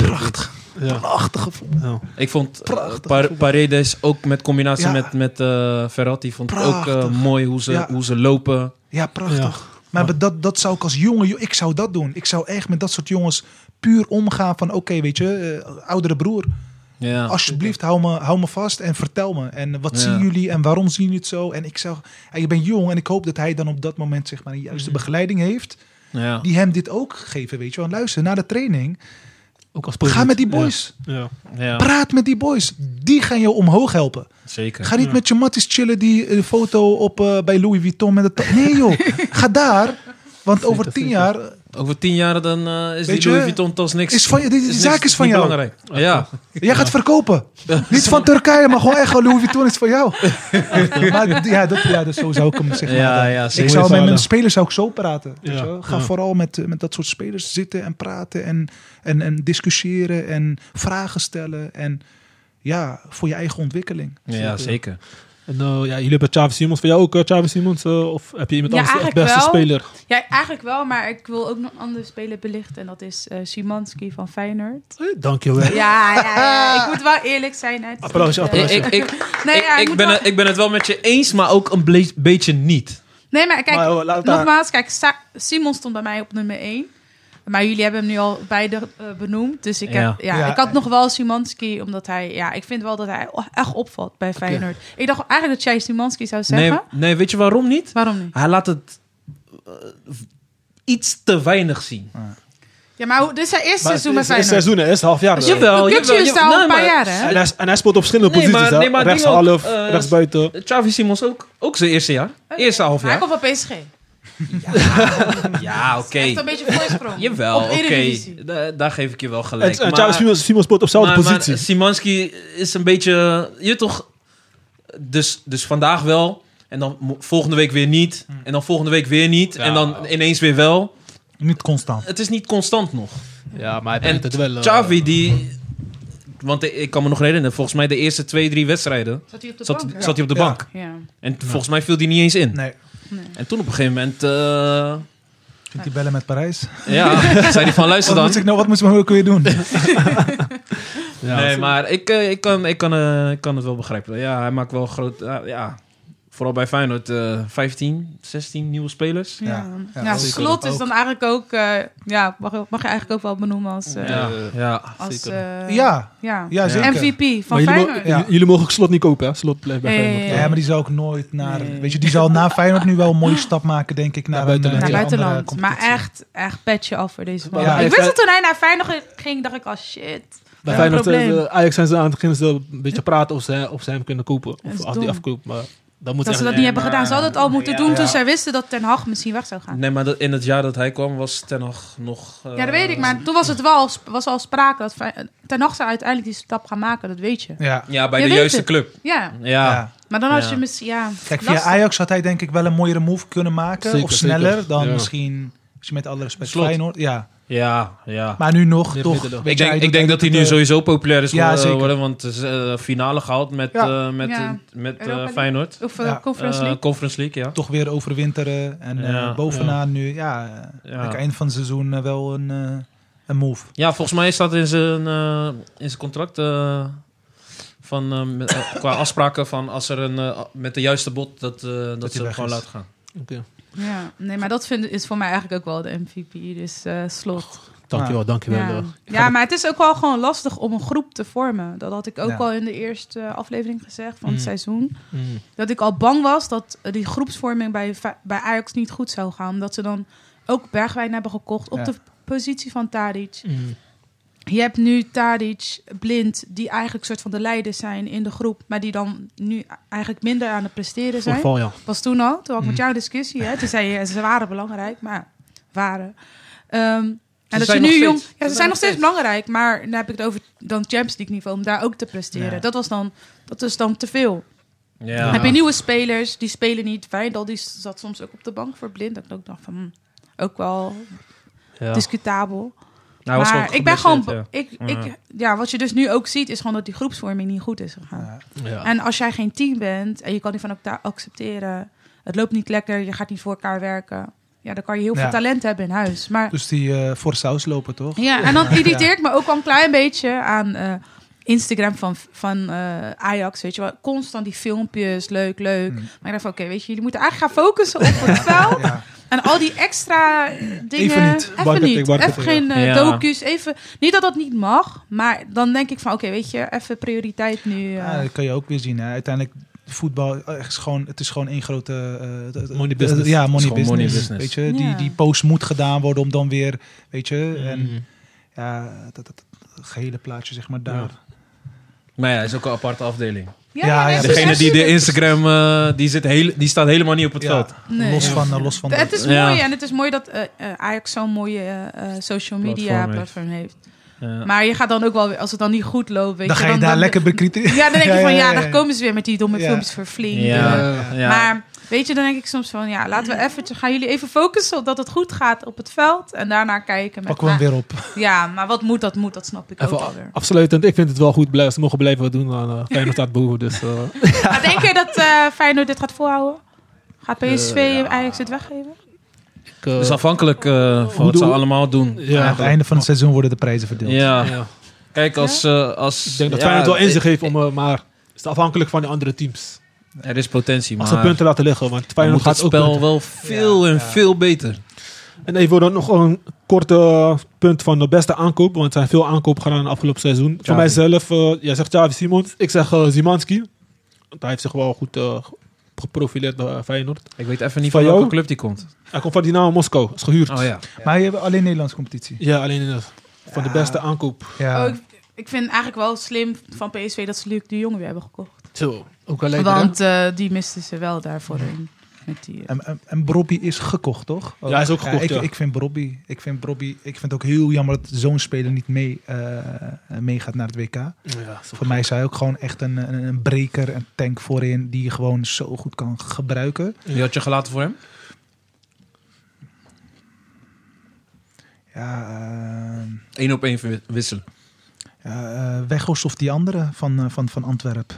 Speaker 2: Ja.
Speaker 4: prachtige voetbal.
Speaker 2: Ja.
Speaker 5: Ik vond eh,
Speaker 4: Prachtig
Speaker 5: Par- Paredes ook met combinatie
Speaker 4: Ja.
Speaker 5: met, met eh, Verratti vond ik ook eh,
Speaker 4: Prachtig.
Speaker 5: mooi hoe ze,
Speaker 4: Ja.
Speaker 5: hoe ze lopen.
Speaker 4: Ja, prachtig.
Speaker 2: Ja.
Speaker 4: Maar be- dat, dat zou ik als jongen, jo- ik zou dat doen. Ik zou echt met dat soort jongens puur omgaan van oké, weet je, eh, oudere broer.
Speaker 5: Ja.
Speaker 4: Alsjeblieft, hou me, hou me vast en vertel me. En wat
Speaker 5: Ja.
Speaker 4: zien jullie en waarom zien jullie het zo? En ik zou, en je bent jong en ik hoop dat hij dan op dat moment zeg maar een juiste begeleiding heeft.
Speaker 5: Ja.
Speaker 4: Die hem dit ook geven, weet je wel. Luister, na de training,
Speaker 2: Ook als
Speaker 4: ga
Speaker 2: president.
Speaker 4: met die boys.
Speaker 2: Ja. Ja.
Speaker 5: Ja.
Speaker 4: Praat met die boys. Die gaan je omhoog helpen.
Speaker 5: Zeker.
Speaker 4: Ga niet met je matties chillen die eh, foto op eh, bij Louis Vuitton met het... ta- Nee joh, ga daar. Want over tien jaar eh,
Speaker 5: Over tien jaar dan eh, is
Speaker 4: Weet
Speaker 5: die
Speaker 4: je,
Speaker 5: Louis Vuitton-tas niks.
Speaker 4: is van je- die- die
Speaker 5: niks-
Speaker 4: zaak is van
Speaker 5: niet
Speaker 4: jou.
Speaker 5: belangrijk. Ja.
Speaker 4: Jij gaat verkopen. Niet van Turkije, maar gewoon echt gewoon Louis Vuitton is voor jou. maar ja, dat, ja dat, zo zou ik hem zeggen.
Speaker 5: Ja,
Speaker 4: Maar, eh,
Speaker 5: ja,
Speaker 4: ik
Speaker 5: zeker.
Speaker 4: zou met mijn
Speaker 2: Vader.
Speaker 4: spelers zou ik zo praten. weet
Speaker 2: Ja,
Speaker 4: je wel. Ga
Speaker 2: ja.
Speaker 4: vooral met, eh, met dat soort spelers zitten en praten en, en, en discussiëren en vragen stellen. En ja, voor je eigen ontwikkeling.
Speaker 5: ja, zeker.
Speaker 2: En eh, ja, jullie hebben Xavi Simons. Voor jou ook eh, Xavi Simons? eh, of heb je iemand
Speaker 3: Ja,
Speaker 2: anders als
Speaker 3: eigenlijk
Speaker 2: beste
Speaker 3: wel.
Speaker 2: speler?
Speaker 3: Ja, eigenlijk wel, maar ik wil ook nog een andere speler belichten. En dat is eh Simanski van Feyenoord.
Speaker 2: Eh, Dankjewel.
Speaker 3: Ja, ja, ja, ik moet wel eerlijk zijn. hè. Het is
Speaker 2: Applausje,
Speaker 3: niet, eh,
Speaker 5: Ik,
Speaker 2: applausje.
Speaker 5: ik, ik,
Speaker 3: Nee, ja,
Speaker 5: ik-
Speaker 3: ik
Speaker 5: ik
Speaker 3: moet
Speaker 5: ben
Speaker 3: wel-
Speaker 5: het, ik ben het wel met je eens, maar ook een ble- beetje niet.
Speaker 3: Nee, maar kijk,
Speaker 2: Maar, oh, laat het daar.
Speaker 3: nogmaals, kijk, Sa- Simon stond bij mij op nummer 1. Maar jullie hebben hem nu al beide eh, benoemd. Dus ik,
Speaker 5: Ja.
Speaker 3: heb, ja,
Speaker 4: Ja.
Speaker 3: ik had nog wel Simanski, omdat hij... Ja, ik vind wel dat hij o- echt opvalt bij Feyenoord. Ik dacht eigenlijk dat jij Simanski zou zeggen.
Speaker 5: Nee, nee, weet je waarom niet?
Speaker 3: Waarom niet?
Speaker 5: Hij laat het eh, iets te weinig zien.
Speaker 3: Ja, maar hoe- dit is zijn eerste
Speaker 2: Maar het
Speaker 3: seizoen bij
Speaker 2: is het
Speaker 3: Feyenoord.
Speaker 2: seizoen, hè, is het half jaar.
Speaker 3: Dus
Speaker 2: hè.
Speaker 5: Jawel,
Speaker 3: Kukçu
Speaker 5: jawel,
Speaker 3: is daar
Speaker 5: jawel.
Speaker 3: al een paar
Speaker 5: Nee, maar-
Speaker 3: jaar, hè?
Speaker 2: En hij, en hij speelt op verschillende
Speaker 5: Nee, maar-
Speaker 2: posities. hè.
Speaker 5: nee, maar die
Speaker 2: rechts
Speaker 5: ook,
Speaker 2: half,
Speaker 5: eh,
Speaker 2: rechts buiten.
Speaker 3: Ah.
Speaker 5: Xavi Simons ook, ook zijn eerste jaar. Eerste half
Speaker 3: Hij
Speaker 5: jaar.
Speaker 3: komt van PSG.
Speaker 5: Ja, oké.
Speaker 3: Echt een beetje voorsprong.
Speaker 5: Jawel,
Speaker 3: Op
Speaker 5: oké.
Speaker 3: Eredivisie.
Speaker 5: Da- daar geef ik je wel
Speaker 2: En,
Speaker 5: gelijk.
Speaker 2: en Xavi Simons, Simons speelt op dezelfde
Speaker 5: maar- maar
Speaker 2: positie.
Speaker 5: Szymanski is een beetje... Je weet toch... eh, dus, dus vandaag wel. En dan mo- volgende week weer
Speaker 3: Hm.
Speaker 5: niet. En dan volgende week weer niet.
Speaker 6: Ja.
Speaker 5: En dan ineens weer wel.
Speaker 4: Niet constant.
Speaker 5: Het is niet constant nog.
Speaker 6: Ja, maar hij
Speaker 5: En
Speaker 6: brengt het wel... eh,
Speaker 5: Xavi, die... Want ik kan me nog herinneren, volgens mij de eerste twee, drie wedstrijden
Speaker 3: Zat hij op de
Speaker 5: zat,
Speaker 3: bank?
Speaker 5: zat hij op de
Speaker 4: Ja.
Speaker 5: bank.
Speaker 3: Ja.
Speaker 5: En volgens mij viel die niet eens in.
Speaker 4: Nou. Nee.
Speaker 5: En toen op een gegeven moment, eh,
Speaker 4: Ging die bellen met Parijs?
Speaker 5: ja, zei hij van luister
Speaker 4: Wat
Speaker 5: dan.
Speaker 4: moest ik nou, wat moest ik nou ook weer doen?
Speaker 6: ja.
Speaker 5: nee, maar ik, eh, ik, kan, ik, kan, eh, ik kan het wel begrijpen. Ja, hij maakt wel groot. ja, ja, vooral bij Feyenoord eh 15, 16 nieuwe spelers.
Speaker 3: Ja.
Speaker 4: Ja. Ja,
Speaker 3: Ja,
Speaker 4: dat is
Speaker 3: slot
Speaker 6: ook.
Speaker 3: is dan eigenlijk ook, eh, ja, mag, mag je eigenlijk ook wel benoemen als, eh,
Speaker 5: Ja, ja.
Speaker 3: als
Speaker 6: zeker.
Speaker 3: eh,
Speaker 4: ja,
Speaker 3: ja.
Speaker 4: ja, zeker.
Speaker 3: MVP
Speaker 2: Maar jullie,
Speaker 3: van Feyenoord.
Speaker 2: mo- jullie- jullie mogen slot niet kopen, hè? Slot blijft bij
Speaker 3: Nee,
Speaker 2: Feyenoord.
Speaker 4: Ja, maar die zou ik nooit naar...
Speaker 3: Nee.
Speaker 4: Weet je, die zal na Feyenoord nu wel een mooie stap maken, denk ik. Naar,
Speaker 2: Naar
Speaker 4: een, eh,
Speaker 2: buitenland.
Speaker 3: naar
Speaker 4: hele andere
Speaker 3: buitenland. Maar
Speaker 4: competitie.
Speaker 3: echt, echt petje af voor deze man.
Speaker 4: Ja.
Speaker 3: Ik wist dat toen hij naar Feyenoord ging, dacht ik al shit.
Speaker 2: Bij
Speaker 3: Ja.
Speaker 2: Feyenoord, eh,
Speaker 3: Probleem.
Speaker 2: de Ajax zijn ze aan het begin ze een beetje praten of ze, of ze hem kunnen kopen.
Speaker 3: Dat is
Speaker 2: Of af
Speaker 3: dom.
Speaker 2: die afkoop. Maar dan moet
Speaker 3: Dat ze
Speaker 2: echt-
Speaker 3: dat niet hebben gedaan. Ze hadden het al moeten
Speaker 6: ja.
Speaker 3: doen toen
Speaker 4: Ja.
Speaker 3: zij wisten dat Ten Hag misschien weg zou gaan.
Speaker 5: Nee, maar dat- in het jaar dat hij kwam was Ten Hag nog... eh,
Speaker 3: Ja, dat weet ik. Maar toen was het wel, was al sprake dat Fey- Ten Hag zou uiteindelijk die stap gaan maken. Dat weet je.
Speaker 4: Ja.
Speaker 5: Ja, bij
Speaker 3: Je
Speaker 5: de
Speaker 3: weet
Speaker 5: juiste
Speaker 3: het.
Speaker 5: club.
Speaker 3: Ja,
Speaker 5: Ja.
Speaker 4: ja.
Speaker 3: maar dan had
Speaker 5: Ja.
Speaker 3: je misschien... Ja,
Speaker 4: Kijk, via
Speaker 3: lastig.
Speaker 4: Ajax had hij denk ik wel een mooiere move kunnen maken.
Speaker 2: Zeker,
Speaker 4: of sneller
Speaker 2: zeker.
Speaker 4: dan
Speaker 2: Ja.
Speaker 4: misschien... Als je met alle respect
Speaker 5: Slot.
Speaker 4: Feyenoord... Ja,
Speaker 5: Ja, ja.
Speaker 4: maar nu nog
Speaker 2: Meer
Speaker 4: toch...
Speaker 2: middelen.
Speaker 4: weet
Speaker 5: Ik
Speaker 4: je,
Speaker 5: denk, ik
Speaker 4: doet
Speaker 5: denk dat hij nu
Speaker 4: het, eh,
Speaker 5: sowieso populair is
Speaker 4: Ja,
Speaker 5: geworden,
Speaker 4: zeker.
Speaker 5: worden, want het is eh, finale gehaald met,
Speaker 4: Ja.
Speaker 5: eh, met,
Speaker 3: Ja.
Speaker 5: eh, met eh,
Speaker 3: Europa
Speaker 5: Feyenoord.
Speaker 3: Of eh,
Speaker 4: Ja.
Speaker 3: Conference
Speaker 5: Eh,
Speaker 3: League.
Speaker 5: Conference League, ja.
Speaker 4: toch weer overwinteren. En eh,
Speaker 5: Ja,
Speaker 4: bovenaan nu, ja, eh,
Speaker 5: Ja.
Speaker 4: aan het eind van het seizoen eh, wel een, eh, een move.
Speaker 5: Ja, volgens mij staat in zijn, eh, in zijn contract eh, van, eh, met- eh, qua afspraken van als er een, eh, met de juiste bot dat, eh, dat,
Speaker 4: hij
Speaker 5: ze hem
Speaker 4: weg
Speaker 5: gewoon
Speaker 4: is.
Speaker 5: laten gaan.
Speaker 2: Oké.
Speaker 3: Ja, nee, maar dat vind, is voor mij eigenlijk ook wel de MVP. Dus eh, slot.
Speaker 2: Dankjewel, dankjewel.
Speaker 3: Ja.
Speaker 2: eh. Ik ga
Speaker 3: ja,
Speaker 2: de-
Speaker 3: maar het is ook wel gewoon lastig om een groep te vormen. Dat had ik ook
Speaker 4: Ja.
Speaker 3: al in de eerste aflevering gezegd van het
Speaker 5: Mm.
Speaker 3: seizoen.
Speaker 2: Mm.
Speaker 3: Dat ik al bang was dat eh, die groepsvorming bij, Va- bij Ajax niet goed zou gaan. Omdat ze dan ook Bergwijn hebben gekocht op
Speaker 4: Ja.
Speaker 3: de positie van Tadic.
Speaker 2: Mm.
Speaker 3: Je hebt nu Tadic, Blind, die eigenlijk soort van de leiders zijn in de groep. Maar die dan nu eigenlijk minder aan het presteren zijn.
Speaker 2: Voorval, ja.
Speaker 3: was toen al, toen had
Speaker 5: Mhm.
Speaker 3: ik met jou discussie. Hè? Toen zei je, ze waren belangrijk, maar waren. Ehm, en dat
Speaker 5: zijn
Speaker 3: je
Speaker 5: nog
Speaker 3: nu jong.
Speaker 5: steeds.
Speaker 3: Ja, ze zijn nog steeds belangrijk, maar dan heb ik het over dan Champions League niveau om daar ook te presteren.
Speaker 4: Ja.
Speaker 3: Dat was dan, dat is dan te veel.
Speaker 5: Ja.
Speaker 3: Heb je nieuwe spelers die spelen niet? Wijndal die zat soms ook op de bank voor blind. Dat ik ook dacht van, hm, ook wel
Speaker 5: Ja. Nou,
Speaker 3: discutabel.
Speaker 5: Hij was
Speaker 3: dus- maar
Speaker 5: ook
Speaker 3: ik ben gewoon,
Speaker 5: geblesseerd,
Speaker 3: ik,
Speaker 5: Ja.
Speaker 3: ik, ja, wat je dus nu ook ziet is gewoon dat die groepsvorming niet goed is gegaan.
Speaker 4: Ja.
Speaker 2: Ja.
Speaker 3: En als jij geen team bent en je kan die van elkaar accepteren, het loopt niet lekker, je gaat niet voor elkaar werken. Ja, dan kan je heel
Speaker 4: Ja.
Speaker 3: veel talent hebben in huis. Maar
Speaker 4: Dus die eh, voor saus lopen, toch?
Speaker 3: ja, en dan irriteert me ook wel een klein beetje aan eh, Instagram van, van eh, Ajax. Weet je wel, constant die filmpjes, leuk, leuk.
Speaker 4: Hmm.
Speaker 3: Maar ik dacht, van, oké, weet je, jullie moeten eigenlijk gaan focussen op het spel.
Speaker 4: Ja.
Speaker 3: En al die extra eh, dingen.
Speaker 4: Even niet.
Speaker 3: Even,
Speaker 2: Marketing,
Speaker 3: niet.
Speaker 2: marketing,
Speaker 3: even geen eh,
Speaker 5: ja.
Speaker 3: docu's. Even, niet dat dat niet mag. Maar dan denk ik van, oké, weet je, even prioriteit nu. eh,
Speaker 4: Ja, dat kan je ook weer zien. Hè. Uiteindelijk voetbal eh, is gewoon, het is gewoon één grote eh, d- d-
Speaker 2: Money
Speaker 4: d-
Speaker 2: business.
Speaker 4: Ja,
Speaker 5: Het is
Speaker 4: money
Speaker 5: gewoon
Speaker 4: business,
Speaker 5: money business.
Speaker 4: Weet je, die
Speaker 3: Ja.
Speaker 4: die post moet gedaan worden om dan weer, weet je, en
Speaker 2: Mm.
Speaker 4: ja, dat, dat, dat gehele plaatje zeg maar daar.
Speaker 5: Maar ja, hij is ook een aparte afdeling.
Speaker 4: Ja, ja,
Speaker 3: nee, het is
Speaker 5: Degene die de
Speaker 3: absoluut.
Speaker 5: Instagram, eh, die, zit heel, die staat helemaal niet op het
Speaker 4: Ja,
Speaker 5: veld.
Speaker 3: Nee.
Speaker 4: Los
Speaker 3: Ja.
Speaker 4: van, eh, los van.
Speaker 3: Het is
Speaker 5: Ja.
Speaker 3: mooi en het is mooi dat eh, eh, Ajax zo'n mooie eh, eh, social media
Speaker 5: Platform
Speaker 3: platform,
Speaker 5: heeft.
Speaker 3: heeft.
Speaker 5: Ja.
Speaker 3: Maar je gaat dan ook wel weer, als het dan niet goed loopt, weet
Speaker 4: dan
Speaker 3: je,
Speaker 4: ga je daar lekker bekritiseren.
Speaker 3: Ja, dan denk
Speaker 4: Ja,
Speaker 3: je van
Speaker 4: ja,
Speaker 3: ja,
Speaker 4: ja,
Speaker 3: dan
Speaker 4: ja.
Speaker 3: komen ze weer met die domme
Speaker 4: Ja.
Speaker 3: filmpjes voor flink.
Speaker 5: Ja. Ja.
Speaker 3: Maar weet je, dan denk ik soms van ja, laten we even, gaan jullie even focussen op dat het goed gaat op het veld en daarna kijken. Met,
Speaker 4: Pakken we hem
Speaker 3: maar-
Speaker 4: weer op.
Speaker 3: Ja, maar wat moet dat moet, dat snap ik ook
Speaker 2: Even
Speaker 3: alweer.
Speaker 2: afsluitend, ik vind het wel goed. Blijf, ze mogen blijven wat doen. Dan uh, Feyenoord staat boven. Dus, eh,
Speaker 3: Maar denk je dat eh Feyenoord dit gaat volhouden? Gaat
Speaker 5: Eh,
Speaker 3: PSV Ajax het weggeven?
Speaker 2: ik, eh,
Speaker 5: Dus afhankelijk eh, van wat ze
Speaker 2: doen we-
Speaker 5: allemaal doen.
Speaker 4: Aan het einde van het seizoen worden de prijzen verdeeld.
Speaker 5: Ja.
Speaker 2: ja.
Speaker 5: Kijk, als... eh, als
Speaker 2: Ik denk dat
Speaker 5: ja,
Speaker 2: Feyenoord wel in zich heeft, om, eh, maar het is afhankelijk van de andere teams.
Speaker 5: Er is potentie, maar...
Speaker 2: Als ze punten laten liggen, want
Speaker 5: dan
Speaker 2: Feyenoord
Speaker 5: moet het
Speaker 2: gaat ook punten.
Speaker 5: spel wel veel
Speaker 4: Ja,
Speaker 5: en
Speaker 4: ja.
Speaker 5: veel beter.
Speaker 2: En even dan nog een korte punt van de beste aankoop. Want er zijn veel aankopen gedaan in het afgelopen seizoen. Voor mijzelf, eh, jij zegt Xavi Simons. Ik zeg eh, Zimanski. Want hij heeft zich wel goed eh, geprofileerd bij Feyenoord.
Speaker 5: Ik weet even niet
Speaker 2: Van
Speaker 5: van welke
Speaker 2: jou?
Speaker 5: club die komt.
Speaker 2: Hij komt van Dynamo Moskou. Is gehuurd.
Speaker 5: Oh ja.
Speaker 4: Maar je hebt alleen Nederlandse competitie.
Speaker 2: Ja, alleen eh, van de
Speaker 4: Ja.
Speaker 2: beste aankoop.
Speaker 4: Ja.
Speaker 3: Oh, ik, ik vind eigenlijk wel slim van PSV dat ze Luc de Jong weer hebben gekocht.
Speaker 2: Zo, ook wel
Speaker 3: Want eh, die misten ze wel daarvoor in. Met die, eh,
Speaker 4: En, en, en Brobby is gekocht, toch?
Speaker 2: Ja, hij is ook gekocht,
Speaker 4: ik,
Speaker 2: ja.
Speaker 4: ik vind Brobby, ik vind Brobby, ik vind het ook heel jammer dat zo'n speler niet mee, eh, meegaat naar het WK.
Speaker 2: Ja,
Speaker 4: Voor mij is hij ook gewoon echt een, een, een breker, een tank voorin die je gewoon zo goed kan gebruiken.
Speaker 5: Die had je gelaten voor hem?
Speaker 4: Ja, eh,
Speaker 5: Eén op één verwi- wisselen.
Speaker 4: ja, eh, Weghorst of die andere van, eh, van, van Antwerpen.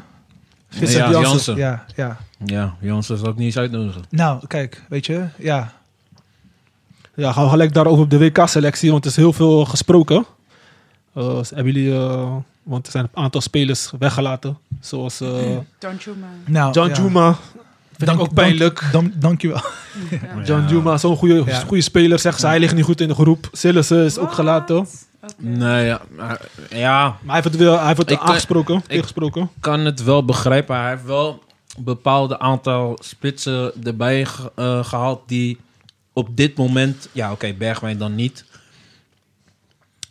Speaker 2: Vincent
Speaker 5: ja,
Speaker 2: Janssen.
Speaker 5: Jansen.
Speaker 4: Ja, ja.
Speaker 5: Ja, Jansen zou ik niet eens uitnodigen.
Speaker 4: Nou, kijk, weet je, ja.
Speaker 2: Ja, gaan we gelijk daarover op de WK-selectie, want er is heel veel gesproken. Eh, dus hebben jullie, eh, want er zijn een aantal spelers weggelaten, zoals eh
Speaker 3: Danjuma.
Speaker 4: Nou,
Speaker 2: John
Speaker 4: ja.
Speaker 2: Juma. Vind
Speaker 4: Dank-
Speaker 2: ik ook pijnlijk.
Speaker 4: Dan, dankjewel.
Speaker 3: Ja.
Speaker 2: John Juma, zo'n goede,
Speaker 4: Ja.
Speaker 2: goede speler, zeggen ze. Hij ligt niet goed in de groep. Sillissen is ook
Speaker 3: Wat?
Speaker 2: gelaten.
Speaker 3: Oké.
Speaker 5: Nee, ja, maar- ja,
Speaker 2: Maar hij heeft het, wel, hij heeft het
Speaker 5: Ik kan-
Speaker 2: aangesproken, tegengesproken.
Speaker 5: kan het wel begrijpen. Hij heeft wel een bepaald aantal spitsen erbij ge- eh, gehaald die op dit moment... Ja, oké, Bergwijn dan niet.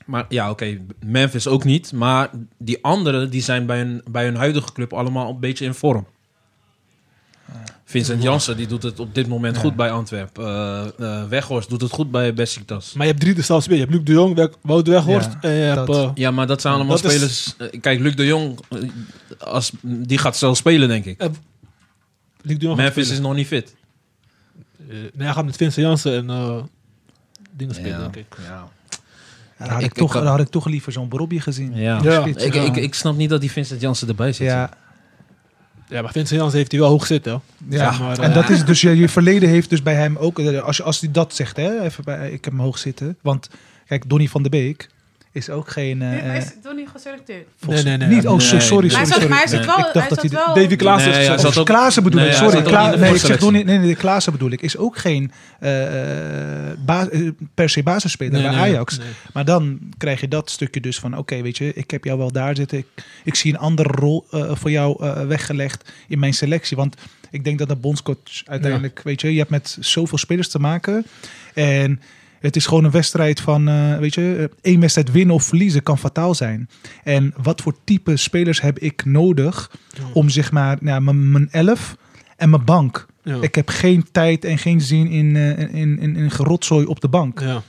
Speaker 5: Maar ja, oké, Memphis ook niet. Maar die anderen die zijn bij hun, bij hun huidige club allemaal een beetje in vorm. Vincent Jansen die doet het op dit moment goed bij Antwerp. Eh eh, Weghorst doet het goed bij Besiktas.
Speaker 2: Maar je hebt drie dezelfde spelers. Je hebt Luc de Jong, Weg- Wout Weghorst.
Speaker 4: Ja,
Speaker 2: en je hebt,
Speaker 4: dat.
Speaker 2: eh,
Speaker 5: Ja, maar dat zijn allemaal
Speaker 2: Dat is-
Speaker 5: spelers. eh, Kijk, Luc de Jong, eh, als, die gaat zelf spelen, denk ik.
Speaker 2: Luc de Jong gaat
Speaker 5: Memphis is
Speaker 2: spelen.
Speaker 5: nog niet fit.
Speaker 2: Eh, nee, hij gaat met Vincent Jansen en eh, dingen spelen,
Speaker 5: Ja.
Speaker 2: denk ik.
Speaker 5: Ja.
Speaker 4: Dan had
Speaker 5: Ik-
Speaker 4: ik,
Speaker 5: ik
Speaker 4: toch,
Speaker 5: kan-
Speaker 4: dan had ik toch liever zo'n Brobby gezien.
Speaker 5: Ja.
Speaker 2: Ja.
Speaker 4: Spits,
Speaker 5: Ik,
Speaker 4: ja.
Speaker 5: ik, ik snap niet dat die Vincent Jansen erbij zit.
Speaker 4: ja,
Speaker 2: Ja, maar Vincent Jansen heeft hij wel hoog zitten.
Speaker 4: ja.
Speaker 2: Zeg maar, eh,
Speaker 4: en dat is dus, je, je verleden heeft dus bij hem ook, eh, als, je- als hij dat zegt, hè, even bij, ik heb hem hoog zitten. Want kijk, Donny van de Beek is ook geen... eh,
Speaker 3: Nee, maar is Donnie geselecteerd?
Speaker 4: volgens-
Speaker 2: Nee, nee, nee.
Speaker 4: Niet, oh,
Speaker 5: Nee,
Speaker 4: sorry, sorry,
Speaker 5: nee.
Speaker 3: Maar hij
Speaker 4: sorry.
Speaker 3: zat, maar hij zat
Speaker 5: Nee,
Speaker 3: wel...
Speaker 4: ik dacht
Speaker 3: hij
Speaker 4: dat
Speaker 3: zat
Speaker 4: hij-
Speaker 3: wel
Speaker 2: David Klaassen
Speaker 5: Nee,
Speaker 2: is
Speaker 5: ja,
Speaker 2: gezet.
Speaker 5: hij
Speaker 4: Of
Speaker 5: zat ook-
Speaker 4: Klaassen bedoel
Speaker 5: Nee,
Speaker 4: ik,
Speaker 5: hij
Speaker 4: sorry.
Speaker 5: zat ook
Speaker 4: Kla-
Speaker 5: niet in de
Speaker 4: nee, ik zeg
Speaker 5: voorselectie.
Speaker 4: Donny, nee, nee, de Klaassen bedoel ik. Is ook geen eh, eh, ba- eh, per se basisspeler
Speaker 2: Nee,
Speaker 4: bij
Speaker 2: nee,
Speaker 4: Ajax.
Speaker 2: nee.
Speaker 4: Maar dan krijg je dat stukje dus van: oké, weet je, ik heb jou wel daar zitten. Ik, ik zie een andere rol eh, voor jou eh, weggelegd in mijn selectie. Want ik denk dat een bondscoach uiteindelijk, weet je, je hebt met zoveel spelers te maken. En het is gewoon een wedstrijd van, eh, weet je, eh, één wedstrijd winnen of verliezen kan fataal zijn. En wat voor type spelers heb ik nodig om zeg maar, nou, mijn- mijn elf en mijn bank.
Speaker 2: Ja.
Speaker 4: Ik heb geen tijd en geen zin in, eh, in, in, in gerotzooi op de bank.
Speaker 2: Ja.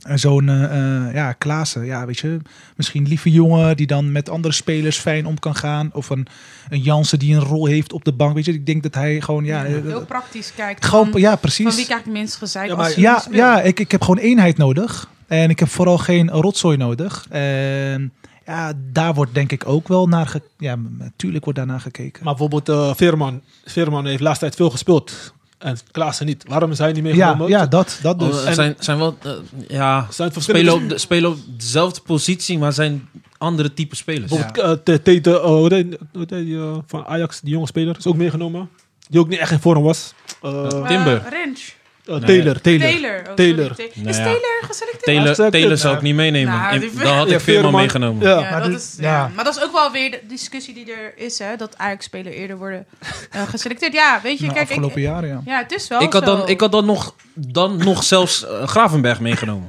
Speaker 4: En zo'n eh, eh, ja, Klaassen, ja, weet je, misschien lieve jongen die dan met andere spelers fijn om kan gaan. Of een, een Jansen die een rol heeft op de bank. Weet je, ik denk dat hij gewoon, ja, eh,
Speaker 3: Heel praktisch kijkt.
Speaker 4: gewoon,
Speaker 3: van,
Speaker 4: ja,
Speaker 3: van wie
Speaker 4: precies.
Speaker 3: krijg ik het minst gezeik
Speaker 2: Ja,
Speaker 3: als
Speaker 2: maar-
Speaker 3: hij
Speaker 4: Ja,
Speaker 3: speelt?
Speaker 4: ja ik, ik heb gewoon eenheid nodig. En ik heb vooral geen rotzooi nodig. En ja, daar wordt denk ik ook wel naar gekeken. Ja, natuurlijk wordt daar naar gekeken.
Speaker 2: Maar bijvoorbeeld eh Veerman. Veerman heeft laatst tijd veel gespeeld. En Klaassen niet. Waarom is hij niet
Speaker 4: ja,
Speaker 2: meegenomen?
Speaker 4: ja, dat, dat dus.
Speaker 5: Oh, het zijn, zijn wel, eh, ja,
Speaker 2: Zijn het
Speaker 5: spelen
Speaker 2: verschillende...
Speaker 5: op, de, spelen op dezelfde positie, maar zijn andere type spelers.
Speaker 2: Bijvoorbeeld eh, Te- Tete, eh, hoe heet- hoe heet die, eh, van Ajax, die jonge speler, is ook meegenomen. Die ook niet echt in vorm was. Eh,
Speaker 5: Ja.
Speaker 2: eh,
Speaker 5: Timber.
Speaker 3: Eh, Rensch.
Speaker 2: Taylor, Taylor.
Speaker 3: Taylor. Oh, sorry,
Speaker 2: Taylor.
Speaker 3: Taylor.
Speaker 5: Nou
Speaker 3: Is
Speaker 5: ja.
Speaker 3: Taylor geselecteerd?
Speaker 5: Taylor,
Speaker 2: Hartstikke-
Speaker 5: Taylor zou ik niet meenemen.
Speaker 3: Nou,
Speaker 5: En
Speaker 3: die-
Speaker 5: dan had ik
Speaker 2: Ja,
Speaker 5: Veerman
Speaker 2: Veerman.
Speaker 5: meegenomen.
Speaker 2: Ja.
Speaker 3: Ja,
Speaker 4: maar
Speaker 3: dat
Speaker 4: dus-
Speaker 3: is,
Speaker 4: ja.
Speaker 3: ja. maar dat is ook wel weer de discussie die er is, hè? Dat Ajax-spelers eerder worden eh, geselecteerd. Ja, weet je,
Speaker 4: Nou,
Speaker 3: kijk, ik-
Speaker 4: afgelopen jaren, ja.
Speaker 3: ja, het is wel
Speaker 5: Ik had,
Speaker 3: zo.
Speaker 5: dan, ik had dan nog, dan nog zelfs eh, Gravenberg meegenomen.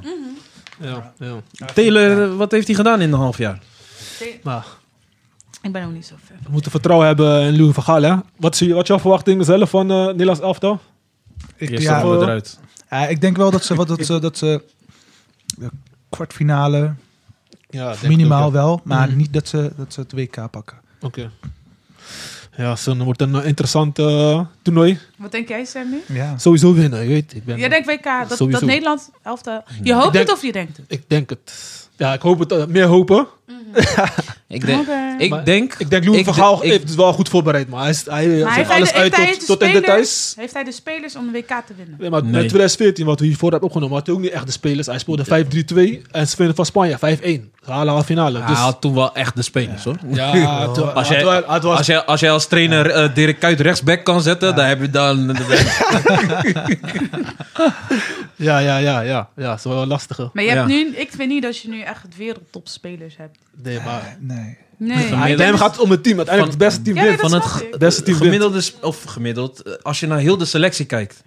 Speaker 2: Ja, ja.
Speaker 5: Taylor, eh, wat heeft hij gedaan in een half jaar?
Speaker 2: Maar
Speaker 3: Ik ben ook niet zo fan.
Speaker 2: we moeten vertrouwen hebben in Louis van Gaal. Hè? Wat, is je, wat is jouw verwachting zelf van eh Nederlands elftal?
Speaker 4: Ik,
Speaker 5: Eerst ja,
Speaker 4: ja,
Speaker 2: eh,
Speaker 5: eruit.
Speaker 4: Ja, ik denk wel dat ze, wat, dat ze, dat ze de kwartfinale
Speaker 2: Ja,
Speaker 4: minimaal wel, maar
Speaker 2: Mhm.
Speaker 4: niet dat ze, dat ze het WK pakken.
Speaker 2: Oké. Ja, zo, dan wordt een eh, interessant eh, toernooi.
Speaker 3: Wat denk jij, Sammy?
Speaker 4: Ja.
Speaker 2: Sowieso winnen, je weet. Ik, ben,
Speaker 3: Jij denkt WK, dat, dat
Speaker 2: Sowieso.
Speaker 3: Nederland elftal... Je hoopt
Speaker 2: Ik denk-
Speaker 3: het of je denkt het?
Speaker 2: ik denk het. Ja, ik hoop het. eh, meer hopen.
Speaker 5: Ik denk,
Speaker 3: Oké.
Speaker 5: ik
Speaker 2: Maar
Speaker 5: denk,
Speaker 2: Ik denk Louis
Speaker 5: Ik
Speaker 2: van
Speaker 5: de-
Speaker 2: Gaal
Speaker 5: ik-
Speaker 2: heeft het wel goed voorbereid, maar hij, is, hij eh, zet
Speaker 3: Maar heeft hij, de,
Speaker 2: alles
Speaker 3: heeft,
Speaker 2: uit
Speaker 3: hij
Speaker 2: tot,
Speaker 3: de
Speaker 2: tot in
Speaker 3: spelers,
Speaker 2: details.
Speaker 3: heeft hij de spelers om de WK te winnen?
Speaker 2: Nee, maar
Speaker 5: Nee.
Speaker 2: met 2014, wat we hiervoor hebben opgenomen, had hij ook niet echt de spelers. Hij speelde 5-3-2 en ze winnen van Spanje 5-1. Ze halen halve finale.
Speaker 5: hij
Speaker 2: dus,
Speaker 5: had toen wel echt de spelers, hoor.
Speaker 2: ja, het wa-
Speaker 5: Als
Speaker 2: het
Speaker 5: jij-
Speaker 2: wa- het was-
Speaker 5: Als jij als, jij als trainer eh, Dirk Kuyt rechtsback kan zetten, dan heb je dan... eh,
Speaker 2: ja, ja, ja, ja, ja, het is wel een lastige.
Speaker 3: Maar je hebt
Speaker 5: Ja.
Speaker 3: nu, ik vind niet dat je nu echt het wereldtopspelers hebt.
Speaker 2: Nee, maar
Speaker 4: Nee.
Speaker 3: Nee.
Speaker 5: Ja,
Speaker 2: bij hem gaat het om het team. Uiteindelijk het beste team
Speaker 3: Ja, nee,
Speaker 2: wint.
Speaker 3: dat
Speaker 5: van het
Speaker 3: snap
Speaker 5: ge-
Speaker 3: ik.
Speaker 2: Het beste team wint.
Speaker 5: gemiddelde, sp- of gemiddeld, eh, als je naar heel de selectie kijkt.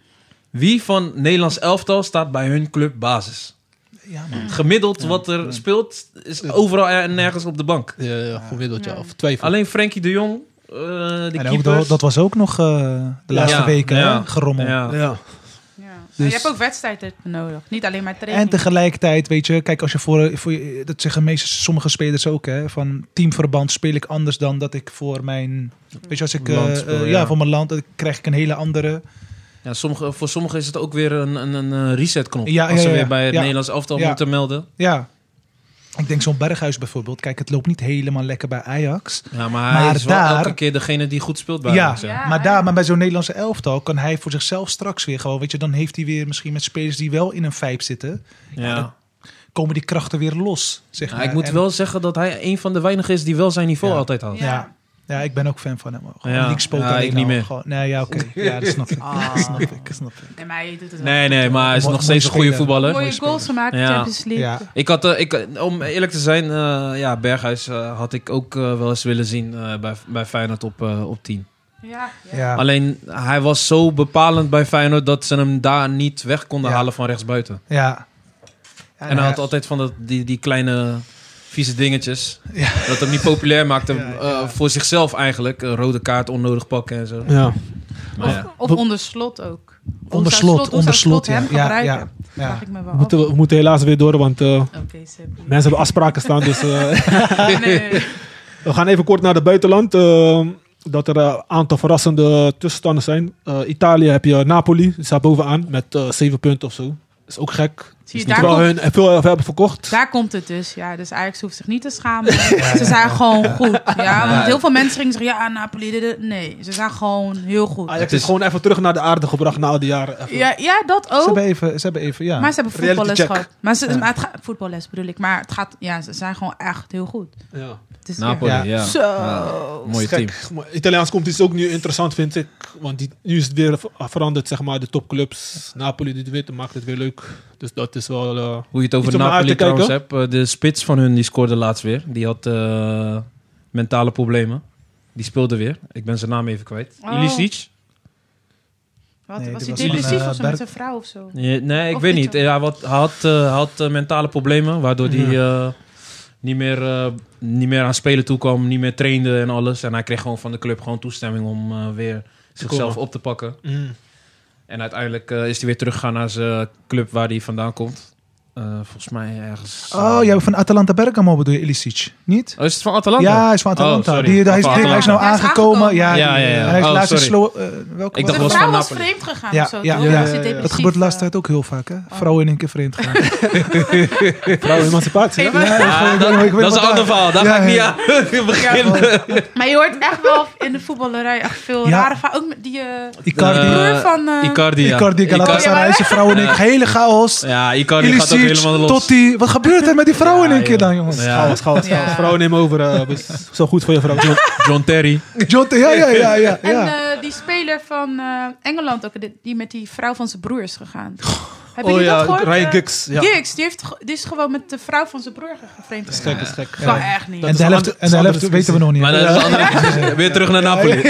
Speaker 5: Wie van Nederlands elftal staat bij hun club basis?
Speaker 4: Ja, man.
Speaker 5: Gemiddeld wat er speelt, is overal en nergens op de bank.
Speaker 2: Ja, ja, gemiddeld, ja. Of twijfel.
Speaker 5: Alleen Frenkie de Jong eh, de
Speaker 4: en ook
Speaker 5: keepers.
Speaker 4: dat, dat was ook nog eh, de laatste
Speaker 5: Ja,
Speaker 4: weken
Speaker 5: ja,
Speaker 4: hè, gerommel.
Speaker 5: ja.
Speaker 6: Ja.
Speaker 3: Ja. Maar
Speaker 6: Dus-
Speaker 3: je hebt ook wedstrijdritme nodig. Niet alleen maar training.
Speaker 4: En tegelijkertijd, weet je, kijk, als je voor, voor je- dat zeggen meeste, sommige spelers ook, hè, van teamverband speel ik anders dan dat ik voor mijn, weet je, als ik, eh,
Speaker 5: Land speel,
Speaker 4: eh, ja.
Speaker 5: ja.
Speaker 4: voor mijn land, dan krijg ik een hele andere.
Speaker 5: Ja, sommige, voor sommigen is het ook weer een, een, een eh, resetknop.
Speaker 4: Ja,
Speaker 5: als ze
Speaker 4: ja, ja.
Speaker 5: weer bij het
Speaker 4: Ja.
Speaker 5: Nederlands elftal
Speaker 4: Ja.
Speaker 5: moeten melden.
Speaker 4: Ja, ik denk zo'n Berghuis bijvoorbeeld, kijk, het loopt niet helemaal lekker bij Ajax.
Speaker 5: Ja, maar hij
Speaker 4: Maar
Speaker 5: is wel
Speaker 4: daar-
Speaker 5: elke keer degene die goed speelt bij
Speaker 4: Ja.
Speaker 5: Ajax, hè.
Speaker 3: Ah, Ja.
Speaker 4: maar daar, maar bij zo'n Nederlandse elftal kan hij voor zichzelf straks weer gewoon, weet je, dan heeft hij weer misschien met spelers die wel in een vijp zitten,
Speaker 5: Ja.
Speaker 4: dat- komen die krachten weer los, zeg
Speaker 5: Ja,
Speaker 4: maar.
Speaker 5: Ah, ik moet
Speaker 4: En-
Speaker 5: wel zeggen dat hij een van de weinigen is die wel zijn niveau
Speaker 4: Ja.
Speaker 5: altijd houdt.
Speaker 4: Ja. Ja, ik ben ook fan van hem. Gewoon
Speaker 5: Ja.
Speaker 4: ja. League
Speaker 5: Ja, ik niet meer.
Speaker 4: nou, Gewoon, nee, ja, oké. Ja, dat snap ik.
Speaker 3: Ah.
Speaker 4: Dat snap ik. dat snap ik.
Speaker 3: Nee, maar je doet het wel.
Speaker 5: Nee, nee, maar hij is
Speaker 4: Mooi-
Speaker 5: nog steeds een
Speaker 4: mooie
Speaker 5: goede
Speaker 4: speler.
Speaker 5: voetballer.
Speaker 3: Mooie
Speaker 4: speler.
Speaker 3: goals gemaakt in
Speaker 5: Ja.
Speaker 3: de Champions League.
Speaker 4: Ja.
Speaker 5: Ik had, eh, ik, om eerlijk te zijn, eh, ja, Berghuis eh, had ik ook eh, wel eens willen zien eh, bij, bij Feyenoord op, eh, op 10.
Speaker 3: Ja, ja.
Speaker 4: Ja.
Speaker 5: Alleen hij was zo bepalend bij Feyenoord dat ze hem daar niet weg konden
Speaker 4: Ja.
Speaker 5: halen van rechtsbuiten.
Speaker 4: ja.
Speaker 5: En, hij had altijd van dat, die, die kleine vieze dingetjes.
Speaker 4: Ja.
Speaker 5: Dat hem niet populair maakte
Speaker 4: Ja, ja.
Speaker 5: eh, voor zichzelf eigenlijk. Een rode kaart onnodig pakken en zo.
Speaker 2: Ja.
Speaker 5: Maar ja.
Speaker 3: Of onder slot ook.
Speaker 4: Onder slot,
Speaker 3: hoe
Speaker 4: onder
Speaker 3: zou
Speaker 4: slot,
Speaker 3: hem
Speaker 4: ja. Ja,
Speaker 3: gebruiken?
Speaker 4: ja, ja.
Speaker 3: Vraag ik me wel
Speaker 2: We,
Speaker 3: af.
Speaker 2: moeten, we moeten helaas weer door, want eh,
Speaker 3: Oké, Seppie.
Speaker 2: mensen hebben afspraken staan. Dus eh,
Speaker 3: Nee.
Speaker 2: we gaan even kort naar het buitenland. eh, dat er een aantal verrassende tussenstanden zijn. Eh, Italië heb je Napoli, die staat bovenaan met eh 7 punten of zo. Is ook gek.
Speaker 3: Zie je, daar
Speaker 2: Terwijl
Speaker 3: komt,
Speaker 2: hun eh, veel hebben verkocht.
Speaker 3: daar komt het dus. Ja, dus Ajax hoeft zich niet te schamen. Ze zijn gewoon goed. Ja, want heel veel mensen gingen zeggen, ja, Napoli. dit, dit. Nee, ze zijn gewoon heel goed.
Speaker 2: Ajax is gewoon even terug naar de aarde gebracht na al die jaren. Even.
Speaker 3: Ja, ja dat
Speaker 4: Ze
Speaker 3: ook.
Speaker 4: hebben even, ze hebben even ja.
Speaker 3: Maar ze hebben
Speaker 4: Reality
Speaker 3: voetballes
Speaker 4: check.
Speaker 3: gehad. Maar ze, maar het gaat, voetballes bedoel ik. Maar het gaat, ja, ze zijn gewoon echt heel goed.
Speaker 2: Ja.
Speaker 3: Het is-
Speaker 5: Napoli, ja.
Speaker 4: Ja.
Speaker 3: ja. Zo.
Speaker 5: Mooi team.
Speaker 2: Gek. Maar Italiaans komt is ook nu interessant, vind ik. Want die, nu is het weer ver- veranderd, zeg maar. De topclubs. Napoli die het wint, maakt het weer leuk. Dus dat is wel... eh,
Speaker 5: Hoe je het
Speaker 2: Iets
Speaker 5: over
Speaker 2: om naar uit
Speaker 5: Napoli
Speaker 2: te
Speaker 5: trouwens hebt. eh, De spits van hun die scoorde laatst weer. Die had eh, mentale problemen. Die speelde weer. Ik ben zijn naam even kwijt.
Speaker 3: Oh.
Speaker 5: Ilicic?
Speaker 3: Wat,
Speaker 4: Nee,
Speaker 3: was
Speaker 4: dit
Speaker 3: hij
Speaker 4: was van,
Speaker 3: depressief
Speaker 4: eh,
Speaker 3: of zo met
Speaker 4: Berg-
Speaker 3: zijn vrouw of zo?
Speaker 5: Nee, nee, ik
Speaker 3: Of
Speaker 5: weet
Speaker 3: niet,
Speaker 5: niet. Eh, Hij had, hij had, eh, hij had eh, mentale problemen. Waardoor hij eh, niet, meer, eh, niet meer aan spelen toekwam. Niet meer trainde en alles. En hij kreeg gewoon van de club gewoon toestemming om eh, weer zichzelf
Speaker 2: komen.
Speaker 5: op te pakken.
Speaker 2: mm.
Speaker 5: En uiteindelijk eh, is hij weer teruggegaan naar zijn club waar hij vandaan komt. Eh, volgens mij ergens...
Speaker 4: Oh,
Speaker 5: eh,
Speaker 4: ja, van Atalanta Bergamo bedoel je Ilicic, niet?
Speaker 5: Oh, is het van Atalanta? Oh,
Speaker 4: Ja, hij is van Atalanta.
Speaker 5: sorry.
Speaker 4: die, hij, is,
Speaker 5: Van
Speaker 4: hij is nou
Speaker 5: Atalanta.
Speaker 3: Hij is
Speaker 4: aangekomen.
Speaker 3: aangekomen.
Speaker 4: Ja,
Speaker 5: Ja, ja, ja.
Speaker 4: En hij is
Speaker 5: Oh,
Speaker 4: laatst in
Speaker 5: sorry.
Speaker 4: Slo- eh, welke
Speaker 5: Ik
Speaker 4: was
Speaker 5: dacht
Speaker 3: Zijn vrouw
Speaker 5: wel- was van
Speaker 4: het?
Speaker 3: was
Speaker 5: Napoli.
Speaker 3: vreemd gegaan
Speaker 4: Ja,
Speaker 3: of zo.
Speaker 4: ja,
Speaker 3: toch?
Speaker 4: ja.
Speaker 2: Ja,
Speaker 3: Was hij
Speaker 2: ja, ja.
Speaker 4: Dat
Speaker 3: depressief,
Speaker 4: gebeurt de laatste
Speaker 3: eh?
Speaker 4: tijd ook heel vaak, hè? Vrouwen in één keer vreemd gaan.
Speaker 2: Vrouwenemancipatie,
Speaker 3: Hey,
Speaker 2: ja?
Speaker 3: maar-
Speaker 5: Ah, dat,
Speaker 4: ik weet
Speaker 5: dat is
Speaker 4: wat
Speaker 5: een ander
Speaker 4: daar-
Speaker 5: verhaal. Daar
Speaker 4: Ja,
Speaker 5: ga ik niet
Speaker 4: ja.
Speaker 5: aan beginnen.
Speaker 3: Maar je hoort echt wel in de voetballerij echt veel
Speaker 4: Ja.
Speaker 3: rare verhalen. Ook met die eh
Speaker 4: Icardi,
Speaker 5: Eh,
Speaker 3: broer van... eh,
Speaker 5: Icardi, ja.
Speaker 4: Icardi, Galatasaray, zijn vrouwen in één keer. Hele chaos.
Speaker 5: Ja, Icardi gaat ook
Speaker 4: Ilicic,
Speaker 5: helemaal los.
Speaker 4: Totti. Wat gebeurt er met die vrouwen in één
Speaker 5: Ja,
Speaker 4: keer dan,
Speaker 5: joh.
Speaker 4: jongens?
Speaker 5: Ja.
Speaker 2: Chaos, chaos,
Speaker 3: Ja.
Speaker 2: chaos. Vrouwen nemen over. eh, is zo goed voor je vrouw. John.
Speaker 5: John Terry.
Speaker 4: John, ja, ja, ja, ja.
Speaker 3: En
Speaker 4: ja.
Speaker 3: eh, die speler van eh, Engeland ook, die- die met die vrouw van zijn broer is gegaan. Hebben
Speaker 2: Oh
Speaker 3: jullie
Speaker 2: ja,
Speaker 3: dat gehoord?
Speaker 2: Ryan
Speaker 3: Eh,
Speaker 2: Giggs. Ja.
Speaker 3: Giggs, die, heeft, ge- die is gewoon met de vrouw van zijn broer gegaan, vreemd
Speaker 2: Dat is
Speaker 3: gegaan.
Speaker 2: gek, dat is gek.
Speaker 3: Kan echt niet.
Speaker 2: dat
Speaker 4: en
Speaker 2: is
Speaker 4: de
Speaker 2: een
Speaker 4: helft,
Speaker 2: ander-
Speaker 4: en de
Speaker 2: andere
Speaker 4: helft
Speaker 2: discussie.
Speaker 4: weten we nog niet.
Speaker 5: Maar dat is een andere discussie. Weer terug naar Napoli.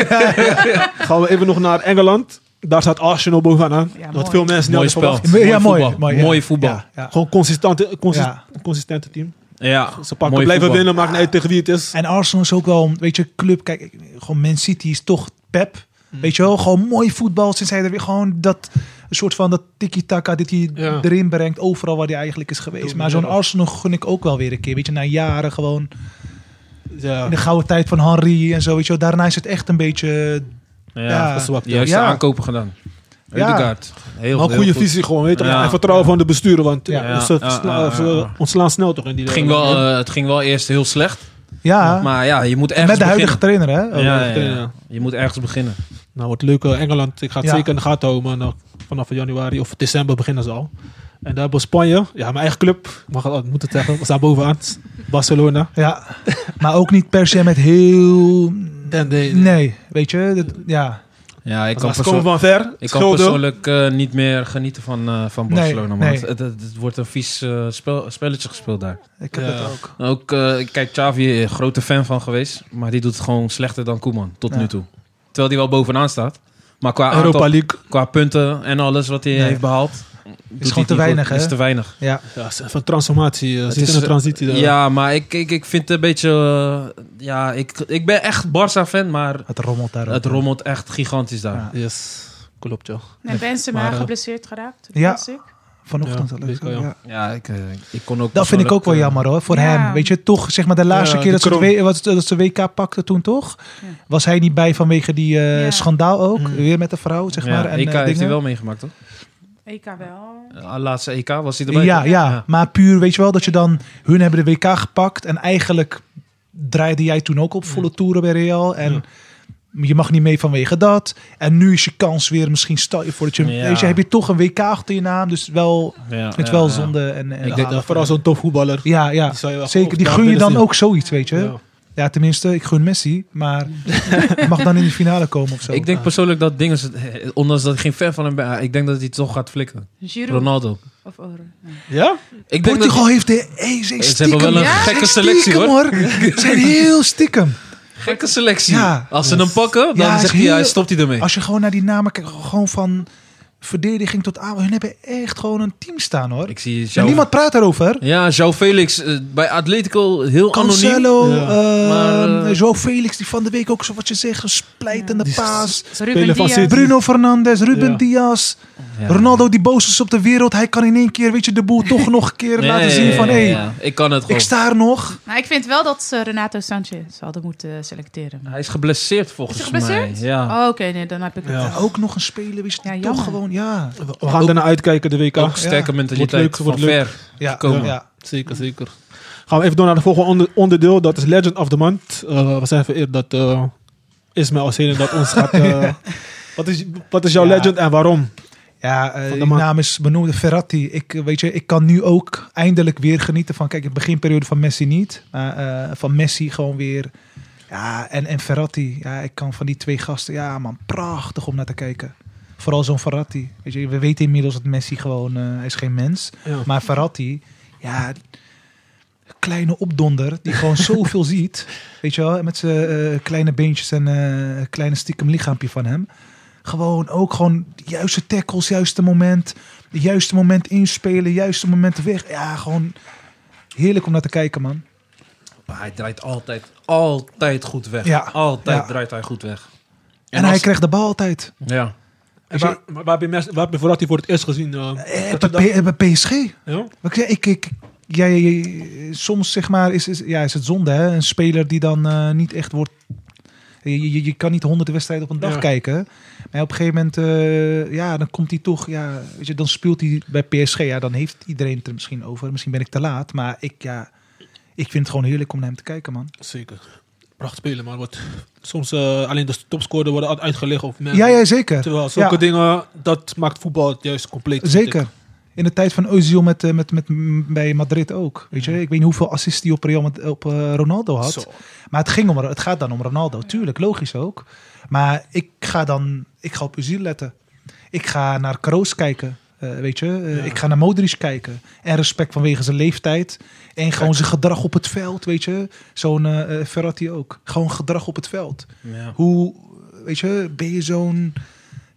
Speaker 2: Gaan we even nog naar Engeland. Daar staat Arsenal bovenaan.
Speaker 3: Ja,
Speaker 2: wat
Speaker 3: mooi.
Speaker 2: veel mensen niet
Speaker 5: Mooi
Speaker 2: hadden
Speaker 5: spel.
Speaker 2: verwacht.
Speaker 4: Ja, ja, mooi,
Speaker 5: voetbal.
Speaker 4: mooi, ja.
Speaker 5: Mooi voetbal.
Speaker 4: Ja, ja.
Speaker 2: Gewoon consistente, consist,
Speaker 4: Ja.
Speaker 2: consistente team.
Speaker 5: Ja,
Speaker 2: Ze pakken,
Speaker 5: mooi
Speaker 2: blijven
Speaker 5: voetbal.
Speaker 2: winnen, maakt niet uit tegen wie het is.
Speaker 4: En Arsenal is ook wel, een- weet je, club. Kijk, ik- gewoon Man City is toch pep.
Speaker 2: Mm.
Speaker 4: Weet je wel, gewoon mooi voetbal. Sinds hij er weer gewoon dat een soort van dat tiki-taka dat hij
Speaker 2: Ja.
Speaker 4: erin brengt. Overal waar hij eigenlijk is geweest.
Speaker 2: Doe
Speaker 4: maar zo'n
Speaker 2: meer.
Speaker 4: Arsenal gun ik ook wel weer een keer. Weet je, na jaren gewoon
Speaker 2: Ja,
Speaker 4: in de gouden tijd van Henry en zo. Weet je wel, daarna is het echt een beetje...
Speaker 5: Ja,
Speaker 4: Ja.
Speaker 5: verzwakt. Juiste
Speaker 4: Ja.
Speaker 5: aankopen gedaan.
Speaker 4: Ja.
Speaker 5: Rudegaard. Heel,
Speaker 2: maar een
Speaker 5: heel
Speaker 2: goede
Speaker 5: goed.
Speaker 2: visie gewoon. Weet je,
Speaker 5: Ja.
Speaker 2: En vertrouwen van de besturen. Want
Speaker 4: Ja.
Speaker 2: eh, ze,
Speaker 5: Ja, ja,
Speaker 2: sla-
Speaker 5: ja,
Speaker 2: ze
Speaker 5: ja.
Speaker 2: ontslaan snel toch in die
Speaker 5: Het ging, wel, eh, het ging wel eerst heel slecht.
Speaker 4: Ja,
Speaker 5: Maar ja, je moet ergens
Speaker 4: met de huidige Oh,
Speaker 5: beginnen.
Speaker 4: trainer hè.
Speaker 5: Ja,
Speaker 2: Ja,
Speaker 5: ja, ja.
Speaker 2: ja.
Speaker 5: Je moet ergens beginnen.
Speaker 2: Nou, wat leuk. eh, Engeland, ik ga het
Speaker 4: Ja.
Speaker 2: zeker in de gaten houden. Maar nou, vanaf januari of december beginnen ze al. En daar hebben we Spanje. Ja, mijn eigen club. Mag ik al- moet het zeggen. We staan bovenaan. Barcelona.
Speaker 4: Ja, maar ook niet per se met heel...
Speaker 2: En de,
Speaker 4: Nee, weet je, dat- ja.
Speaker 5: Ja, ik
Speaker 2: Maar
Speaker 5: kan,
Speaker 2: ze komen
Speaker 5: perso-
Speaker 2: van ver.
Speaker 5: ik kan
Speaker 2: Schulden.
Speaker 5: persoonlijk eh, niet meer genieten van, eh, van
Speaker 4: Nee,
Speaker 5: Barcelona. man.
Speaker 4: nee.
Speaker 5: Het, het- het wordt een vies eh, spel- spelletje gespeeld daar.
Speaker 4: Ik heb
Speaker 2: Ja.
Speaker 4: dat ook.
Speaker 5: Ook, eh, kijk, Xavi, eh, grote fan van geweest. Maar die doet het gewoon slechter dan Koeman tot
Speaker 4: Ja.
Speaker 5: nu toe. Terwijl die wel bovenaan staat. Maar qua,
Speaker 2: Europa
Speaker 5: aantal,
Speaker 2: League.
Speaker 5: qua punten en alles wat hij
Speaker 4: Nee.
Speaker 5: heeft behaald. doet
Speaker 4: gewoon te
Speaker 5: hij het niet
Speaker 4: weinig,
Speaker 5: goed. Het
Speaker 4: hè?
Speaker 5: is te weinig.
Speaker 4: Ja,
Speaker 2: Ja, is even transformatie. eh,
Speaker 5: Het
Speaker 2: zit
Speaker 5: is-
Speaker 2: in de transitie. daar.
Speaker 5: Ja, maar ik, ik, ik vind het een beetje... eh, ja, ik, ik ben echt Barça-fan, maar
Speaker 4: het rommelt daar.
Speaker 5: het
Speaker 4: ook.
Speaker 5: rommelt echt gigantisch daar.
Speaker 4: Ja.
Speaker 2: Yes, klopt joh.
Speaker 3: Nee, Benzema
Speaker 2: Maar, eh,
Speaker 3: geblesseerd geraakt.
Speaker 4: ja.
Speaker 3: Ja.
Speaker 4: Vanochtend.
Speaker 2: Ja,
Speaker 4: al
Speaker 2: weet ik wel, ja.
Speaker 4: ja.
Speaker 5: Ja, ik, eh, ik kon ook...
Speaker 4: Dat vind ik ook wel
Speaker 5: persoonlijk, eh,
Speaker 4: jammer hoor, voor
Speaker 3: Ja.
Speaker 4: hem. Weet je, toch zeg maar de laatste
Speaker 2: Ja,
Speaker 4: keer
Speaker 2: de
Speaker 4: dat ze, het
Speaker 2: kroon.
Speaker 4: W- wat- dat ze WK pakte toen toch,
Speaker 3: Ja.
Speaker 4: was hij niet bij vanwege die eh,
Speaker 3: Ja.
Speaker 4: schandaal ook.
Speaker 2: Mm.
Speaker 4: Weer met de vrouw, zeg
Speaker 5: eh,
Speaker 4: maar.
Speaker 5: ja,
Speaker 4: en,
Speaker 5: EK
Speaker 4: eh,
Speaker 5: heeft hij
Speaker 4: dingen.
Speaker 5: wel meegemaakt, toch?
Speaker 3: EK E wel.
Speaker 5: Eh, laatste EK was hij erbij.
Speaker 4: ja,
Speaker 5: toch?
Speaker 4: ja, maar puur, weet je wel, dat je dan, hun hebben de WK gepakt en eigenlijk draaide jij toen ook op
Speaker 5: Mm.
Speaker 4: volle toeren bij Real en je mag niet mee vanwege dat. En nu is je kans weer, misschien stel je voor dat je,
Speaker 5: Ja.
Speaker 4: weet je, heb je toch een WK achter je naam, dus wel,
Speaker 5: Ja,
Speaker 4: het
Speaker 5: ja,
Speaker 4: wel
Speaker 5: ja.
Speaker 4: zonde. En, en,
Speaker 5: Ik denk
Speaker 2: Ja, vooral zo'n tof voetballer.
Speaker 4: ja, ja.
Speaker 2: Die zou je wel
Speaker 4: Zeker,
Speaker 2: goed
Speaker 4: die
Speaker 2: daar
Speaker 4: gun je
Speaker 2: willen
Speaker 4: dan
Speaker 2: zien.
Speaker 4: ook zoiets, weet je.
Speaker 2: Ja.
Speaker 4: Ja, tenminste, ik gun Messi, maar mag dan eh, in de finale komen of zo.
Speaker 5: Ik denk persoonlijk dat dingen... Ondanks dat ik geen fan van hem ben, ah, ik denk dat hij toch gaat flikken.
Speaker 3: Giroud
Speaker 5: Ronaldo.
Speaker 3: of Oren.
Speaker 2: Ja?
Speaker 5: Ik denk dat
Speaker 4: Portugal heeft de hey, ze
Speaker 5: Ze
Speaker 4: stiekem,
Speaker 5: hebben wel een
Speaker 3: Ja?
Speaker 5: gekke
Speaker 4: Stiekem,
Speaker 5: selectie, hoor.
Speaker 4: Ze zijn heel stiekem.
Speaker 5: Gekke selectie.
Speaker 4: Ja.
Speaker 5: Als ze hem pakken, dan
Speaker 4: Ja,
Speaker 5: zegt
Speaker 4: is
Speaker 5: hij, ja,
Speaker 4: heel-
Speaker 5: stopt hij ermee.
Speaker 4: Als je gewoon naar die namen kijkt, gewoon van verdediging tot aan. Hun hebben echt gewoon een team staan, hoor.
Speaker 5: Ik zie
Speaker 4: En
Speaker 5: jou,
Speaker 4: niemand praat daarover.
Speaker 5: Ja, João Felix eh, bij Atletico heel anoniem.
Speaker 4: Cancelo,
Speaker 2: Ja.
Speaker 4: eh,
Speaker 5: Maar, eh,
Speaker 4: João Felix, die van de week ook zo wat je zegt, een splijtende
Speaker 2: Die
Speaker 4: paas.
Speaker 3: Ruben
Speaker 2: van
Speaker 3: Diaz.
Speaker 2: City.
Speaker 4: Bruno Fernandes, Ruben
Speaker 2: Ja.
Speaker 4: Diaz.
Speaker 5: Ja.
Speaker 4: Ronaldo die boos is op de wereld. Hij kan in één keer, weet je, de boel toch nog een keer
Speaker 5: Ja,
Speaker 4: laten
Speaker 5: ja,
Speaker 4: zien
Speaker 5: ja,
Speaker 4: van...
Speaker 5: ja,
Speaker 4: hé, hey,
Speaker 5: ja. Ik kan het gewoon.
Speaker 4: ik sta er nog.
Speaker 3: Nou, ik vind wel dat ze Renato Sanchez hadden moeten selecteren.
Speaker 5: Hij is geblesseerd volgens
Speaker 3: Is hij geblesseerd?
Speaker 5: mij. Ja.
Speaker 3: Oh, Oké, nee, dan heb ik het.
Speaker 2: Ja.
Speaker 3: eh,
Speaker 4: Ook nog een speler, weet je,
Speaker 3: Ja,
Speaker 4: die
Speaker 3: jammer.
Speaker 4: toch gewoon... Ja,
Speaker 2: We we gaan daarna uitkijken de WK.
Speaker 5: Ook sterke
Speaker 2: Wordt
Speaker 5: mentaliteit
Speaker 2: leuk, wordt
Speaker 5: van
Speaker 2: leuk.
Speaker 5: ver.
Speaker 4: ja,
Speaker 5: Komen.
Speaker 4: ja.
Speaker 2: Zeker, zeker. Gaan we even door naar het volgende onder- onderdeel. Dat is Legend of the Month. Eh, we zijn vereerd dat eh Ismaël Zenen dat ons gaat... eh, wat, is, wat is jouw
Speaker 4: Ja.
Speaker 2: legend en waarom?
Speaker 4: Ja, eh,
Speaker 2: Van de
Speaker 4: die
Speaker 2: man-
Speaker 4: naam is benoemde Ferrati. Ik, eh, weet je, ik kan nu ook eindelijk weer genieten van... Kijk, de beginperiode van Messi niet. Maar eh, van Messi gewoon weer... Ja, en, en Ferrati. Ja, ik kan van die twee gasten... Ja, man, prachtig om naar te kijken. Vooral zo'n Ferrati. Weet je, we weten inmiddels dat Messi gewoon... eh, hij is geen mens.
Speaker 2: Ja.
Speaker 4: Maar Verratti, ja, kleine opdonder die gewoon zoveel ziet. Weet je wel, met zijn eh, kleine beentjes en eh kleine stiekem lichaampje van hem. Gewoon ook gewoon de juiste tackles, juiste moment. De juiste moment inspelen, juiste moment weg. Ja, gewoon heerlijk om naar te kijken, man.
Speaker 5: Maar hij draait altijd, altijd goed weg.
Speaker 4: Ja.
Speaker 5: Altijd
Speaker 4: Ja.
Speaker 5: draait hij goed weg.
Speaker 4: En, hij
Speaker 5: als-
Speaker 4: kreeg de bal altijd.
Speaker 5: Ja.
Speaker 2: En waar, waar, heb je mes- waar heb je vooral die voor het eerst gezien? eh,
Speaker 4: Eh,
Speaker 2: dat je
Speaker 4: bij,
Speaker 2: dacht-
Speaker 4: P- bij PSG.
Speaker 2: ja?
Speaker 4: Wat Ik, ik, ik, ja, ja, ja, soms zeg maar is, is, ja, is het zonde, hè? Een speler die dan eh, niet echt wordt. Je, je, je kan niet honderd wedstrijden op een dag
Speaker 2: Ja.
Speaker 4: kijken. Maar op een gegeven moment, eh, ja, dan komt hij toch. Ja, weet je, dan speelt hij bij PSG. Ja, dan heeft iedereen het er misschien over. Misschien ben ik te laat. Maar ik, ja, ik vind het gewoon heerlijk om naar hem te kijken, man.
Speaker 2: Zeker. Prachtig spelen, maar wordt soms eh, alleen de topscorer worden altijd uitgelegd. Of men-
Speaker 4: Ja, ja zeker.
Speaker 2: Terwijl zulke
Speaker 4: Ja.
Speaker 2: dingen, dat maakt voetbal juist compleet. vind
Speaker 4: Zeker.
Speaker 2: ik.
Speaker 4: In de tijd van Özil met, eh, met, met, m- bij Madrid ook. Weet je, ik weet niet hoeveel assists hij op, Real, Mad- op eh, Ronaldo had.
Speaker 2: Zo.
Speaker 4: Maar het, ging om, het gaat dan om Ronaldo, tuurlijk, logisch ook. Maar ik ga dan, ik ga op Özil letten. Ik ga naar Kroos kijken, eh, weet je. Eh,
Speaker 2: Ja.
Speaker 4: Ik ga naar Modric kijken. En respect vanwege zijn leeftijd. En gewoon zijn gedrag op het veld, weet je. Zo'n eh, eh, Ferrati ook. Gewoon gedrag op het veld.
Speaker 5: Ja.
Speaker 4: Hoe, weet je, ben je zo'n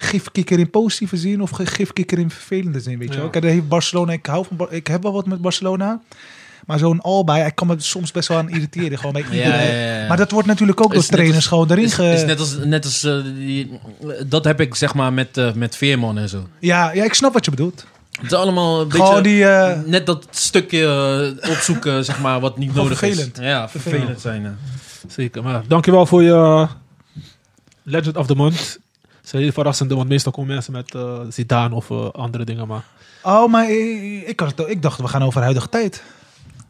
Speaker 4: gifkikker in positieve zin of ge- gifkikker in vervelende zin, weet je
Speaker 2: Ja.
Speaker 4: wel. Kijk, daar heeft Barcelona, ik hou van, Bar- ik heb wel wat met Barcelona. Maar zo'n Alba, ik kan me soms best wel aan irriteren. Gewoon bij
Speaker 5: Ja,
Speaker 4: iedereen.
Speaker 5: ja, ja, ja.
Speaker 4: Maar dat wordt natuurlijk
Speaker 5: Is
Speaker 4: ook door
Speaker 5: net
Speaker 4: trainers
Speaker 5: als-
Speaker 4: gewoon daarin
Speaker 5: is,
Speaker 4: ge...
Speaker 5: is net als, net als eh, die, dat heb ik zeg maar met, eh, met Veerman en zo.
Speaker 4: ja, ja, ik snap wat je bedoelt.
Speaker 5: Het is allemaal een beetje...
Speaker 4: Gewoon die... eh,
Speaker 5: Net dat stukje eh, opzoeken, zeg maar, wat niet
Speaker 4: Gewoon
Speaker 5: nodig
Speaker 4: vervelend.
Speaker 5: is. Ja, vervelend zijn. eh.
Speaker 2: Zeker, maar dankjewel voor je eh, Legend of the Month. Het is heel verrassend, want meestal komen mensen met eh, Zidane of eh, andere dingen. Maar
Speaker 4: oh, maar ik, ik, had het- ik dacht, we gaan over huidige tijd.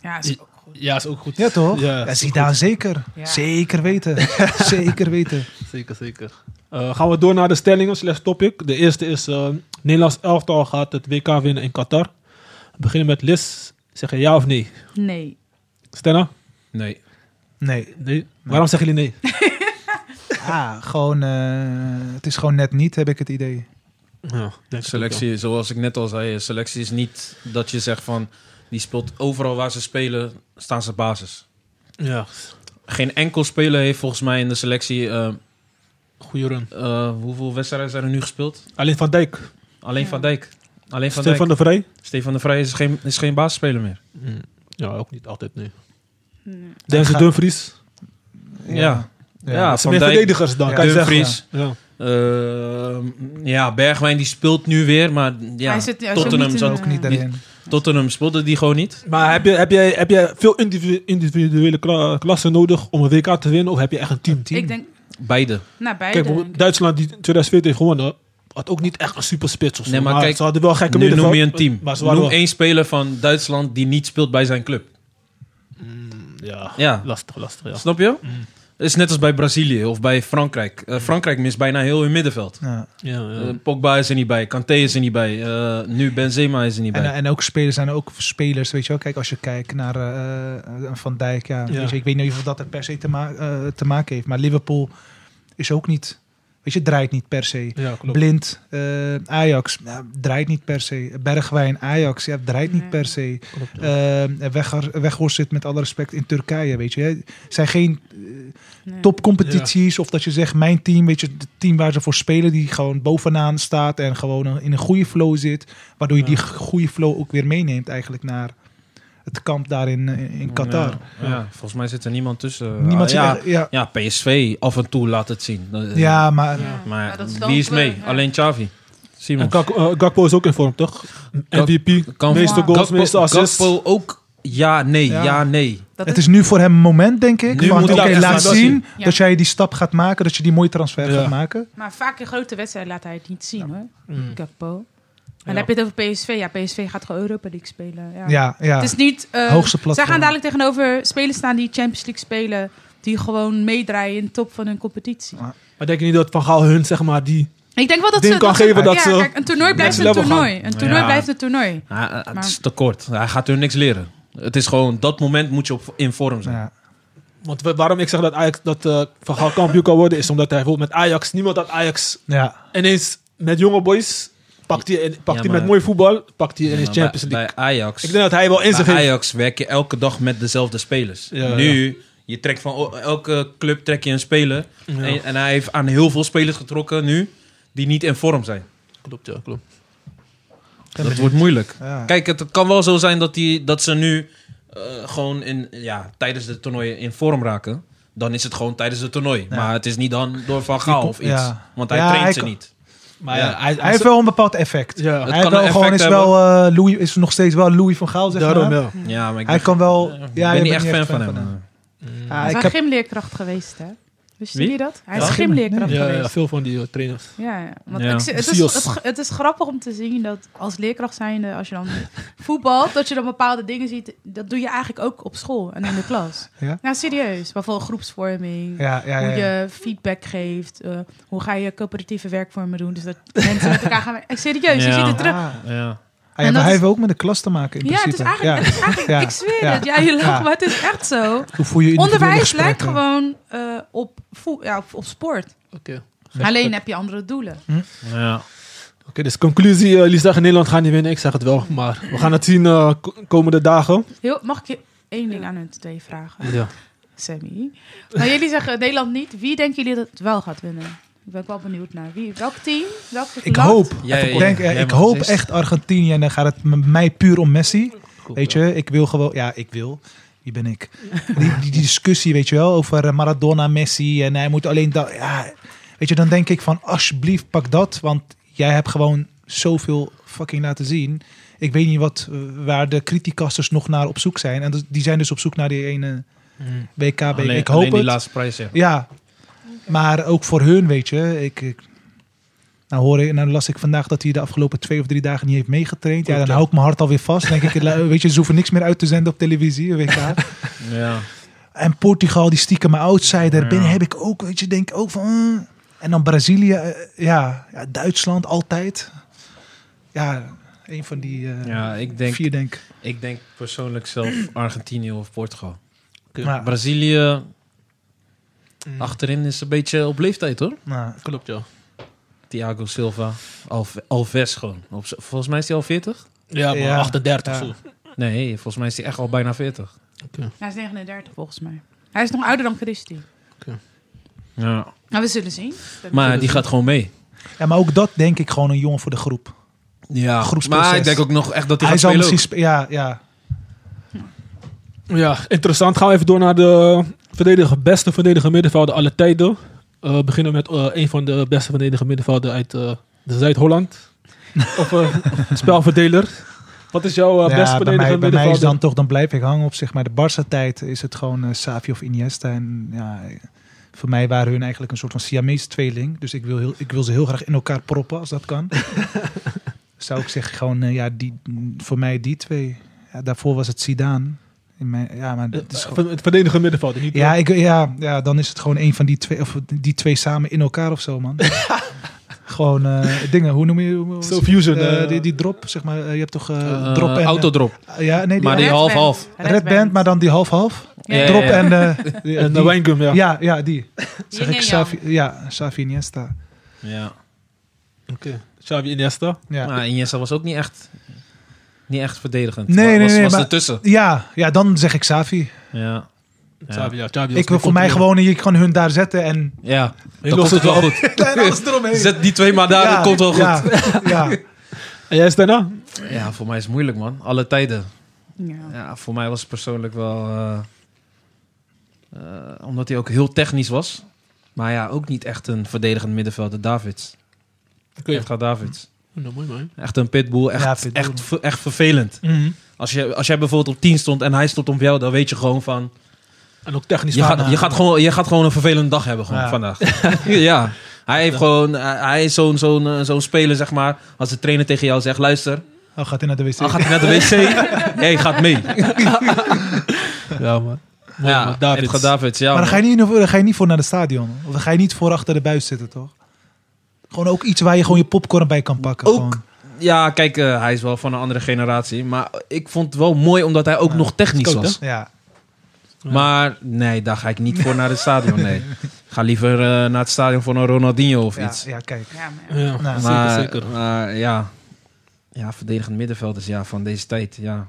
Speaker 3: Ja, is ook goed.
Speaker 2: ja, is ook goed.
Speaker 4: Ja, toch?
Speaker 2: Ja,
Speaker 4: Ja,
Speaker 2: is
Speaker 4: Zidane zeker.
Speaker 3: Ja.
Speaker 4: Zeker weten. zeker weten.
Speaker 2: Zeker, zeker. Eh, gaan we door naar de stellingen slash topic. De eerste is, eh, Nederlands elftal gaat het WK winnen in Qatar. We beginnen met Liz. Zeg je ja of nee?
Speaker 3: Nee.
Speaker 2: Stenna?
Speaker 5: Nee.
Speaker 4: Nee.
Speaker 2: Nee. Waarom zeggen jullie nee?
Speaker 4: Ah, gewoon... eh, het is gewoon net niet, heb ik het idee.
Speaker 2: Ja, denk ik ook,
Speaker 5: Selectie, zoals ik net al zei, eh, selectie is niet dat je zegt van die speelt overal waar ze spelen, staan ze basis.
Speaker 2: ja. Ja,
Speaker 5: Geen enkel speler heeft volgens mij in de selectie. eh,
Speaker 2: goede run.
Speaker 5: eh, hoeveel wedstrijden zijn er nu gespeeld?
Speaker 2: Alleen Van Dijk.
Speaker 5: Alleen
Speaker 3: Ja.
Speaker 5: Van Dijk. Alleen Van
Speaker 2: Stefan
Speaker 5: Dijk.
Speaker 2: de Vrij?
Speaker 5: Stefan de Vrij is geen, is geen basisspeler meer.
Speaker 6: Mm. Ja, ook niet altijd, nee.
Speaker 3: Nee.
Speaker 2: Denzel
Speaker 4: ga-
Speaker 2: Dumfries?
Speaker 5: Ja. Ja,
Speaker 2: Ja, ze
Speaker 5: Van
Speaker 2: meer
Speaker 5: Dijk,
Speaker 2: verdedigers dan,
Speaker 4: Ja.
Speaker 2: kan je zeggen.
Speaker 5: Dumfries.
Speaker 2: Ja.
Speaker 5: Eh, ja, Bergwijn die speelt nu weer, maar ja,
Speaker 3: Hij zit- hij zit
Speaker 5: Tottenham,
Speaker 3: niet in eh,
Speaker 5: zat-
Speaker 4: Ook niet daarin.
Speaker 5: Tottenham speelde die gewoon niet.
Speaker 2: Maar heb je, heb, jij, heb jij veel individu- individuele kla- klassen nodig om een WK te winnen? Of heb je echt een team?
Speaker 3: Ik denk,
Speaker 5: Beide.
Speaker 3: nou beide.
Speaker 2: Kijk, bijvoorbeeld Duitsland die 2014 heeft gewonnen, had ook niet echt een superspits of zo.
Speaker 5: Nee, maar kijk,
Speaker 2: ze hadden wel gekke
Speaker 5: Nu noem
Speaker 2: middenveld,
Speaker 5: je een team.
Speaker 2: Maar ze waren
Speaker 5: Noem
Speaker 2: wel-
Speaker 5: één speler van Duitsland die niet speelt bij zijn club.
Speaker 2: Hmm, Ja,
Speaker 5: Ja,
Speaker 2: lastig, lastig. Ja.
Speaker 5: snap je? Het is net als bij Brazilië of bij Frankrijk. Eh, Frankrijk mist bijna heel hun middenveld.
Speaker 4: Ja.
Speaker 6: Ja, ja.
Speaker 5: Eh, Pogba is er niet bij, Kanté is er niet bij, eh, nu Benzema is er niet bij.
Speaker 4: En, eh, en ook spelers zijn er ook spelers, weet je wel. Kijk, als je kijkt naar eh, eh, Van Dijk, ja,
Speaker 2: Ja.
Speaker 4: Weet je, ik weet niet of dat er per se te, ma- eh, te maken heeft. Maar Liverpool is ook niet, weet je, draait niet per se.
Speaker 2: Ja, klopt.
Speaker 4: Blind, eh, Ajax, ja, draait niet per se. Bergwijn, Ajax, ja, draait niet
Speaker 3: Nee.
Speaker 4: per se.
Speaker 2: Klopt, ja.
Speaker 4: Eh, Weggar- Weghorst zit met alle respect in Turkije, weet je. Het zijn geen
Speaker 3: Nee.
Speaker 4: topcompetities of dat je zegt mijn team, weet je, het team waar ze voor spelen, die gewoon bovenaan staat en gewoon een- in een goede flow zit, waardoor je die g- goede flow ook weer meeneemt eigenlijk naar het kamp daar in, eh, in Qatar.
Speaker 5: Ja, ja, volgens mij zit er niemand tussen.
Speaker 4: Niemand
Speaker 5: Ah,
Speaker 4: zit
Speaker 5: ja,
Speaker 4: echt- ja.
Speaker 5: ja, PSV af en toe laat het zien. Eh,
Speaker 4: ja, maar
Speaker 3: Ja,
Speaker 5: Maar
Speaker 3: ja, dat wel
Speaker 5: wie is mee?
Speaker 3: kleur, ja.
Speaker 5: Alleen Xavi.
Speaker 2: En
Speaker 5: Simon.
Speaker 2: Gak- eh, Gakpo is ook in vorm, toch? MVP,
Speaker 5: kan-
Speaker 2: meeste goals,
Speaker 5: Gakpo-
Speaker 2: meeste assists.
Speaker 5: Gakpo ook ja, nee, ja,
Speaker 4: Ja.
Speaker 5: nee.
Speaker 3: Dat
Speaker 4: het is nu voor hem een moment, denk ik.
Speaker 5: Nu
Speaker 4: van,
Speaker 5: moet hij
Speaker 4: oké,
Speaker 5: echt
Speaker 4: laat
Speaker 5: laten
Speaker 4: zien
Speaker 3: zien.
Speaker 4: dat jij die stap gaat maken, dat je die mooie transfer
Speaker 2: Ja.
Speaker 4: gaat maken.
Speaker 3: Maar vaak in grote wedstrijden laat hij het niet zien hoor.
Speaker 2: Mm.
Speaker 3: Gakpo. En
Speaker 2: Ja.
Speaker 3: dan heb je het over PSV. Ja, PSV gaat gewoon Europa League spelen. Ja.
Speaker 4: Ja, ja.
Speaker 3: Het is niet... eh,
Speaker 4: Hoogste platform.
Speaker 3: Zij gaan dadelijk tegenover spelers staan die Champions League spelen. Die gewoon meedraaien in de top van hun competitie.
Speaker 2: Maar denk je niet dat Van Gaal hun, zeg maar, die...
Speaker 3: Ik denk wel dat
Speaker 2: Ding
Speaker 3: ze...
Speaker 2: kan
Speaker 3: ze-
Speaker 2: geven dat
Speaker 3: ja,
Speaker 2: ze
Speaker 3: Kijk, een toernooi blijft een
Speaker 2: next level
Speaker 3: toernooi. Een toernooi
Speaker 5: Ja.
Speaker 3: blijft een toernooi.
Speaker 5: Ah, ah, het
Speaker 3: Maar-
Speaker 5: is te kort. Hij gaat hun niks leren. Het is gewoon, dat moment moet je op, in vorm zijn.
Speaker 4: ja.
Speaker 2: Want wa- waarom ik zeg dat, Ajax, dat eh, Van Gaal kampioen kan worden, is omdat hij bijvoorbeeld met Ajax... Niemand had Ajax
Speaker 4: Ja.
Speaker 2: ineens met jonge boys... Pakt hij, pakt
Speaker 5: Ja,
Speaker 2: hij
Speaker 5: maar-
Speaker 2: met mooi voetbal, pakt hij
Speaker 5: Ja,
Speaker 2: ineens
Speaker 5: maar
Speaker 2: Champions
Speaker 5: bij,
Speaker 2: League.
Speaker 5: bij Ajax.
Speaker 2: ik denk dat hij wel in zich
Speaker 5: bij
Speaker 2: heeft.
Speaker 5: Ajax werk je elke dag met dezelfde spelers.
Speaker 2: Ja,
Speaker 5: nu, je trekt van o- elke club trek je een speler.
Speaker 2: Ja.
Speaker 5: En, en hij heeft aan heel veel spelers getrokken nu die niet in vorm zijn.
Speaker 6: Klopt, ja, klopt.
Speaker 5: Dat wordt moeilijk.
Speaker 4: Ja.
Speaker 5: Kijk, het kan wel zo zijn dat, die, dat ze nu eh, gewoon in, ja, tijdens de toernooien in vorm raken. Dan is het gewoon tijdens het toernooi. Maar het is niet dan door Van Gaal of iets.
Speaker 4: Ja.
Speaker 5: Want hij
Speaker 4: Ja,
Speaker 5: traint
Speaker 4: hij
Speaker 5: ze
Speaker 4: kan-
Speaker 5: niet.
Speaker 2: Maar
Speaker 5: Ja.
Speaker 2: ja, hij,
Speaker 4: Hij heeft wel een bepaald effect.
Speaker 2: Ja,
Speaker 5: Het
Speaker 4: Hij heeft
Speaker 5: kan
Speaker 4: wel
Speaker 5: een
Speaker 4: gewoon, is,
Speaker 5: effect
Speaker 4: wel, eh, Louis, is nog steeds wel Louis van Gaal, zeg
Speaker 2: daarom
Speaker 4: maar.
Speaker 2: ja.
Speaker 5: Ja, maar ik
Speaker 4: Hij
Speaker 5: ben,
Speaker 4: kan wel... Ja,
Speaker 5: ik
Speaker 4: je
Speaker 5: ben
Speaker 4: bent
Speaker 5: niet echt fan van hem. eh.
Speaker 2: Mm.
Speaker 4: Ah,
Speaker 3: Hij
Speaker 4: ik
Speaker 3: is
Speaker 4: heb-
Speaker 3: een gymleerkracht geweest hè. Wisten
Speaker 5: Wie?
Speaker 3: jullie dat? Hij is
Speaker 4: Ja.
Speaker 3: gymleerkracht
Speaker 2: Ja, ja,
Speaker 3: geweest.
Speaker 2: veel van die eh, trainers.
Speaker 3: Ja, ja. want
Speaker 5: Ja.
Speaker 3: Ik, zie- het, is,
Speaker 2: Sios.
Speaker 3: het, ge- het is grappig om te zien dat als leerkracht zijnde, als je dan voetbalt, dat je dan bepaalde dingen ziet. Dat doe je eigenlijk ook op school en in de klas.
Speaker 4: Ja?
Speaker 3: Nou, serieus. Bijvoorbeeld groepsvorming.
Speaker 4: Ja, ja, ja.
Speaker 3: Hoe
Speaker 4: ja.
Speaker 3: je feedback geeft. eh, hoe ga je coöperatieve werkvormen doen. Dus dat mensen met elkaar gaan werken. Eh, Serieus, je
Speaker 5: Ja.
Speaker 3: ziet het terug.
Speaker 4: Ah.
Speaker 5: Ja.
Speaker 4: Hij,
Speaker 3: En
Speaker 4: heeft-
Speaker 3: dat
Speaker 4: hij
Speaker 3: is-
Speaker 4: heeft ook met de klas te maken in
Speaker 3: Ja, het
Speaker 4: principe.
Speaker 3: is eigenlijk, het is eigenlijk
Speaker 4: Ja.
Speaker 3: ik zweer
Speaker 4: Ja.
Speaker 3: het. Ja, je lacht,
Speaker 4: Ja.
Speaker 3: maar het is echt zo.
Speaker 4: Hoe voel je individuele
Speaker 3: Onderwijs
Speaker 4: gesprekken?
Speaker 3: lijkt gewoon eh, op, voe- ja, op, op sport.
Speaker 2: Oké.
Speaker 3: Alleen heb je andere doelen.
Speaker 5: Ja.
Speaker 2: Oké, dus conclusie, eh, jullie zeggen Nederland gaat niet winnen. Ik zeg het wel, maar we gaan het zien eh, ko- komende dagen.
Speaker 3: Heel, mag ik je één ding aan hun twee vragen?
Speaker 2: Ja.
Speaker 3: Sammy. Maar jullie zeggen Nederland niet. Wie denken jullie dat het wel gaat winnen? Ik ben wel benieuwd naar wie. Welk team? Welk
Speaker 4: Ik
Speaker 3: land?
Speaker 4: hoop,
Speaker 5: Jij-
Speaker 4: ik, denk, eh,
Speaker 5: jij
Speaker 4: ik
Speaker 5: mag
Speaker 4: hoop
Speaker 5: zes.
Speaker 4: echt Argentinië en dan gaat het m- mij puur om Messi. Weet je, ik wil gewoon, ja, ik wil. Wie ben ik? Die, die, die discussie, weet je wel, over eh, Maradona, Messi en hij moet alleen dat. Ja, weet je, dan denk ik van alsjeblieft pak dat, want jij hebt gewoon zoveel fucking laten zien. Ik weet niet wat, eh, waar de criticasters nog naar op zoek zijn. En dus- die zijn dus op zoek naar die ene WK.
Speaker 5: Alleen,
Speaker 4: ik hoop
Speaker 5: alleen die
Speaker 4: het.
Speaker 5: laatste prijs, ja.
Speaker 4: Ja, maar ook voor hun, weet je. Ik, ik, nou, hoor, ik- nou las ik vandaag dat hij de afgelopen twee of drie dagen niet heeft meegetraind. Ja, dan hou ik mijn hart alweer vast. Dan denk ik, la- weet je, ze hoeven niks meer uit te zenden op televisie. Weet je.
Speaker 5: ja.
Speaker 4: En Portugal, die stiekem een outsider.
Speaker 5: Ja.
Speaker 4: Binnen heb ik ook, weet je, denk ik ook van... eh. En dan Brazilië, eh, ja, ja, Duitsland altijd. Ja, een van die eh,
Speaker 5: Ja, ik denk,
Speaker 4: vier, denk ik.
Speaker 5: ik denk persoonlijk zelf Argentinië of Portugal.
Speaker 4: Maar-
Speaker 5: Brazilië achterin is een beetje op leeftijd hoor.
Speaker 4: Nou,
Speaker 6: Klopt, ja.
Speaker 5: Thiago Silva, Alve- Alves gewoon. Op z- volgens mij is hij al 40.
Speaker 2: Ja, maar
Speaker 4: Ja.
Speaker 2: 38
Speaker 4: Ja.
Speaker 2: zo.
Speaker 5: Nee, volgens mij is hij echt al bijna 40.
Speaker 3: Hij is 39 volgens mij. Hij is nog ouder dan Christie.
Speaker 5: Ja.
Speaker 3: Nou, we zullen zien.
Speaker 5: dus- Maar die gaat gewoon mee.
Speaker 4: ja, maar ook dat denk ik gewoon een jongen voor de groep.
Speaker 5: Ja,
Speaker 4: groepsproces.
Speaker 5: maar ik denk ook nog echt dat hij,
Speaker 4: Hij
Speaker 5: gaat
Speaker 4: zal
Speaker 5: spelen.
Speaker 4: misschien... spe- Ja, ja.
Speaker 2: Ja, interessant. Gaan we even door naar de verdediger, beste verdediger middenvelder aller tijden. Eh, beginnen met eh, een van de beste verdediger middenvelden uit eh, de Zuid-Holland. of eh, spelverdeler. Wat is jouw eh, beste
Speaker 4: Ja, bij,
Speaker 2: verdediger
Speaker 4: mij, bij mij is
Speaker 2: middenvelder?
Speaker 4: dan toch, dan blijf ik hangen op zeg maar de Barca-tijd. Is het gewoon eh, Xavi of Iniesta. En ja, voor mij waren hun eigenlijk een soort van Siamese tweeling. Dus ik wil, heel, ik wil ze heel graag in elkaar proppen als dat kan. Zou ik zeggen gewoon, eh, ja, die, voor mij die twee. Ja, daarvoor was het Zidane. In mijn, ja, maar
Speaker 2: Eh,
Speaker 4: het is
Speaker 2: eh,
Speaker 4: gewoon-
Speaker 2: van- Het verdediger middenvelder, niet?
Speaker 4: ja, ik, ja, ja, dan is het gewoon een van die twee, of die twee samen in elkaar of zo, man. gewoon eh, dingen, hoe noem je... hoe- hoe-
Speaker 2: Zo fusion,
Speaker 4: eh,
Speaker 2: eh,
Speaker 4: die, die drop, zeg maar. eh, je hebt toch eh,
Speaker 5: Eh,
Speaker 4: drop en...
Speaker 5: Autodrop.
Speaker 4: eh, ja, nee, die,
Speaker 5: Maar die
Speaker 4: Red,
Speaker 5: half-half.
Speaker 4: Band, maar dan die half-half.
Speaker 5: Ja, ja,
Speaker 4: Drop
Speaker 5: ja.
Speaker 4: en... eh, die-
Speaker 2: En
Speaker 4: die-
Speaker 2: uh, Wijngum, ja.
Speaker 4: ja, ja, die.
Speaker 3: Yin
Speaker 4: Zeg
Speaker 3: en
Speaker 4: ik
Speaker 3: yang.
Speaker 4: Xavi, ja, Xavi Iniesta.
Speaker 5: Ja.
Speaker 2: Oké. Xavi Iniesta.
Speaker 4: Ja.
Speaker 5: Maar Iniesta was ook niet echt, niet echt verdedigend.
Speaker 4: Nee, nee,
Speaker 5: was,
Speaker 4: nee,
Speaker 5: Was
Speaker 4: maar-
Speaker 5: ertussen.
Speaker 4: Ja, ja, dan zeg ik Xavi.
Speaker 5: Ja. Ja.
Speaker 2: Xavi, ja. Xavi was
Speaker 4: Ik wil
Speaker 2: die
Speaker 4: voor mij
Speaker 2: controle.
Speaker 4: gewoon, je kan hun daar zetten en...
Speaker 5: Ja.
Speaker 2: Je
Speaker 5: Dan
Speaker 2: lost
Speaker 5: komt het
Speaker 2: het wel
Speaker 5: wel goed.
Speaker 4: En alles eromheen.
Speaker 5: Zet die twee maar daar,
Speaker 4: Ja,
Speaker 5: dat komt wel goed.
Speaker 4: Ja,
Speaker 5: Ja.
Speaker 4: ja.
Speaker 2: En jij is daarna?
Speaker 5: voor mij is het moeilijk, man. Alle tijden.
Speaker 3: Ja.
Speaker 5: Ja, voor mij was het persoonlijk wel... eh, eh, omdat hij ook heel technisch was. Maar ja, ook niet echt een verdedigend middenvelder. Davids.
Speaker 2: Oké. Oh,
Speaker 5: Echt aan Davids.
Speaker 6: Nou, mooi man.
Speaker 5: Echt een pitbull. Echt,
Speaker 4: Ja, pitbull.
Speaker 5: echt, ver- echt vervelend.
Speaker 4: Mhm.
Speaker 5: Als, je, als jij bijvoorbeeld op 10 stond en hij stond op jou, dan weet je gewoon van...
Speaker 2: En ook technisch.
Speaker 5: Je gaat,
Speaker 4: aan.
Speaker 5: je, gaat gewoon, je gaat gewoon een vervelende dag hebben gewoon
Speaker 4: Ja.
Speaker 5: vandaag. ja. Hij, heeft gewoon, hij hij is zo'n zo'n eh, zo'n speler, zeg maar. Als de trainer tegen jou zegt, luister,
Speaker 4: Oh, gaat hij naar de wc?
Speaker 5: al gaat hij naar de wc. Hé, gaat mee.
Speaker 2: Ja, man. Mooi,
Speaker 5: ja,
Speaker 2: man. Davids.
Speaker 5: Edgar Davids, ja.
Speaker 4: maar dan
Speaker 5: man.
Speaker 4: ga je, niet, dan ga je niet voor naar het stadion. Of dan ga je niet voor achter de buis zitten, toch? Gewoon ook iets waar je gewoon je popcorn bij kan pakken.
Speaker 5: Ook.
Speaker 4: gewoon.
Speaker 5: Ja, kijk, eh, hij is wel van een andere generatie. Maar ik vond het wel mooi omdat hij ook nog technisch
Speaker 2: Scout,
Speaker 5: was.
Speaker 4: Ja.
Speaker 5: Maar nee, daar ga ik niet voor naar het stadion. Nee. Ga liever eh, naar het stadion voor een Ronaldinho of
Speaker 4: Ja,
Speaker 5: iets.
Speaker 4: ja, kijk.
Speaker 3: Ja, maar-
Speaker 2: Ja,
Speaker 4: Nou,
Speaker 2: zeker,
Speaker 5: maar,
Speaker 2: zeker.
Speaker 5: maar ja. ja, verdedigend middenvelders ja, van deze tijd. Ja.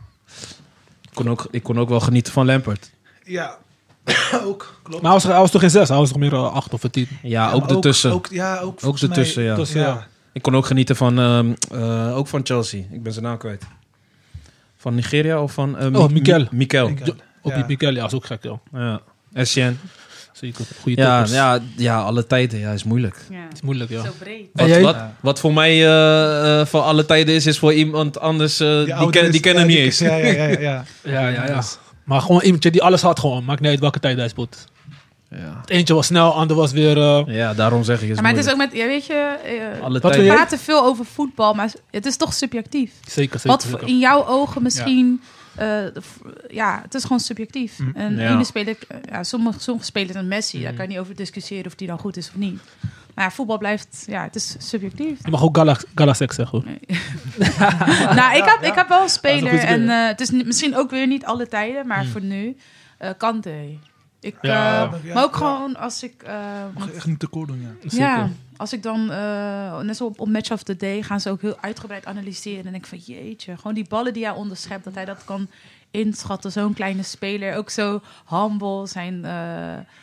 Speaker 5: Ik, kon ook, ik kon ook wel genieten van Lampert.
Speaker 4: Ja, ook. Klopt.
Speaker 2: Maar hij was, hij was toch geen zes? Hij was toch meer eh, acht of een tien?
Speaker 5: Ja, ook ertussen.
Speaker 4: Ook, ja, ook,
Speaker 5: Ook
Speaker 4: volgens mij-
Speaker 5: ertussen, ja.
Speaker 2: Tussen, ja.
Speaker 5: Ik kon ook genieten van, ehm, eh, ook van Chelsea. Ik ben zijn naam kwijt. Van Nigeria of van... eh, Mi-
Speaker 2: Oh, Mikel.
Speaker 5: Mi- Mikel.
Speaker 4: Ik-
Speaker 2: Op die
Speaker 4: Ja.
Speaker 2: Mikel, ja, is ook gek, joh.
Speaker 5: Ja. SCN.
Speaker 2: Zeker. Goede
Speaker 5: Ja,
Speaker 2: toppers.
Speaker 5: ja, ja, alle tijden. Ja, is moeilijk.
Speaker 3: ja.
Speaker 2: Het is moeilijk, ja.
Speaker 3: Zo breed.
Speaker 2: En
Speaker 5: Wat,
Speaker 2: jij?
Speaker 5: wat,
Speaker 4: Ja.
Speaker 5: wat voor mij eh, eh, van alle tijden is, is voor iemand anders... eh, die,
Speaker 4: oude
Speaker 5: ken,
Speaker 4: is-
Speaker 5: die kennen
Speaker 4: ja,
Speaker 5: hem niet
Speaker 4: die-
Speaker 5: eens.
Speaker 4: Ja, ja, ja. ja, ja.
Speaker 2: Ja, ja, ja. Maar gewoon iemand die alles had gewoon. Maakt niet uit welke tijd hij speelt.
Speaker 5: Ja.
Speaker 2: Het eentje was snel, ander was weer... eh,
Speaker 5: ja, daarom zeg ik het is
Speaker 3: Ja, maar het is
Speaker 5: moeilijk.
Speaker 3: ook met, ja, weet je, eh,
Speaker 5: Alle
Speaker 2: Wat wil
Speaker 5: tijden.
Speaker 2: je?
Speaker 3: we praten veel over voetbal, maar het is toch subjectief.
Speaker 2: zeker, zeker.
Speaker 3: Wat
Speaker 2: zeker.
Speaker 3: voor- in jouw ogen misschien, ja, ja het is gewoon subjectief.
Speaker 4: Mm.
Speaker 3: En
Speaker 5: Ja.
Speaker 3: ene speler, eh, ja, sommige, sommige spelers een Messi, daar kan je niet over discussiëren of die dan goed is of niet. Maar ja, voetbal blijft, ja, het is subjectief.
Speaker 2: Je mag ook Galax- Galaxex zeggen, hoor.
Speaker 3: nou, ik heb, ik heb wel een speler
Speaker 2: goed idee.
Speaker 3: en eh, het is ni- misschien ook weer niet alle tijden, maar voor nu, eh Kante. Ik,
Speaker 2: Ja.
Speaker 3: eh,
Speaker 4: Ja,
Speaker 3: maar ook
Speaker 4: ja.
Speaker 3: gewoon als ik... eh,
Speaker 4: Mag je echt niet tekort doen, ja.
Speaker 2: Zeker.
Speaker 3: Ja, als ik dan, eh, net zo op, op Match of the Day, gaan ze ook heel uitgebreid analyseren. En denk ik van, jeetje, gewoon die ballen die hij onderschept, dat hij dat kan inschatten. Zo'n kleine speler, ook zo humble. Zijn, eh,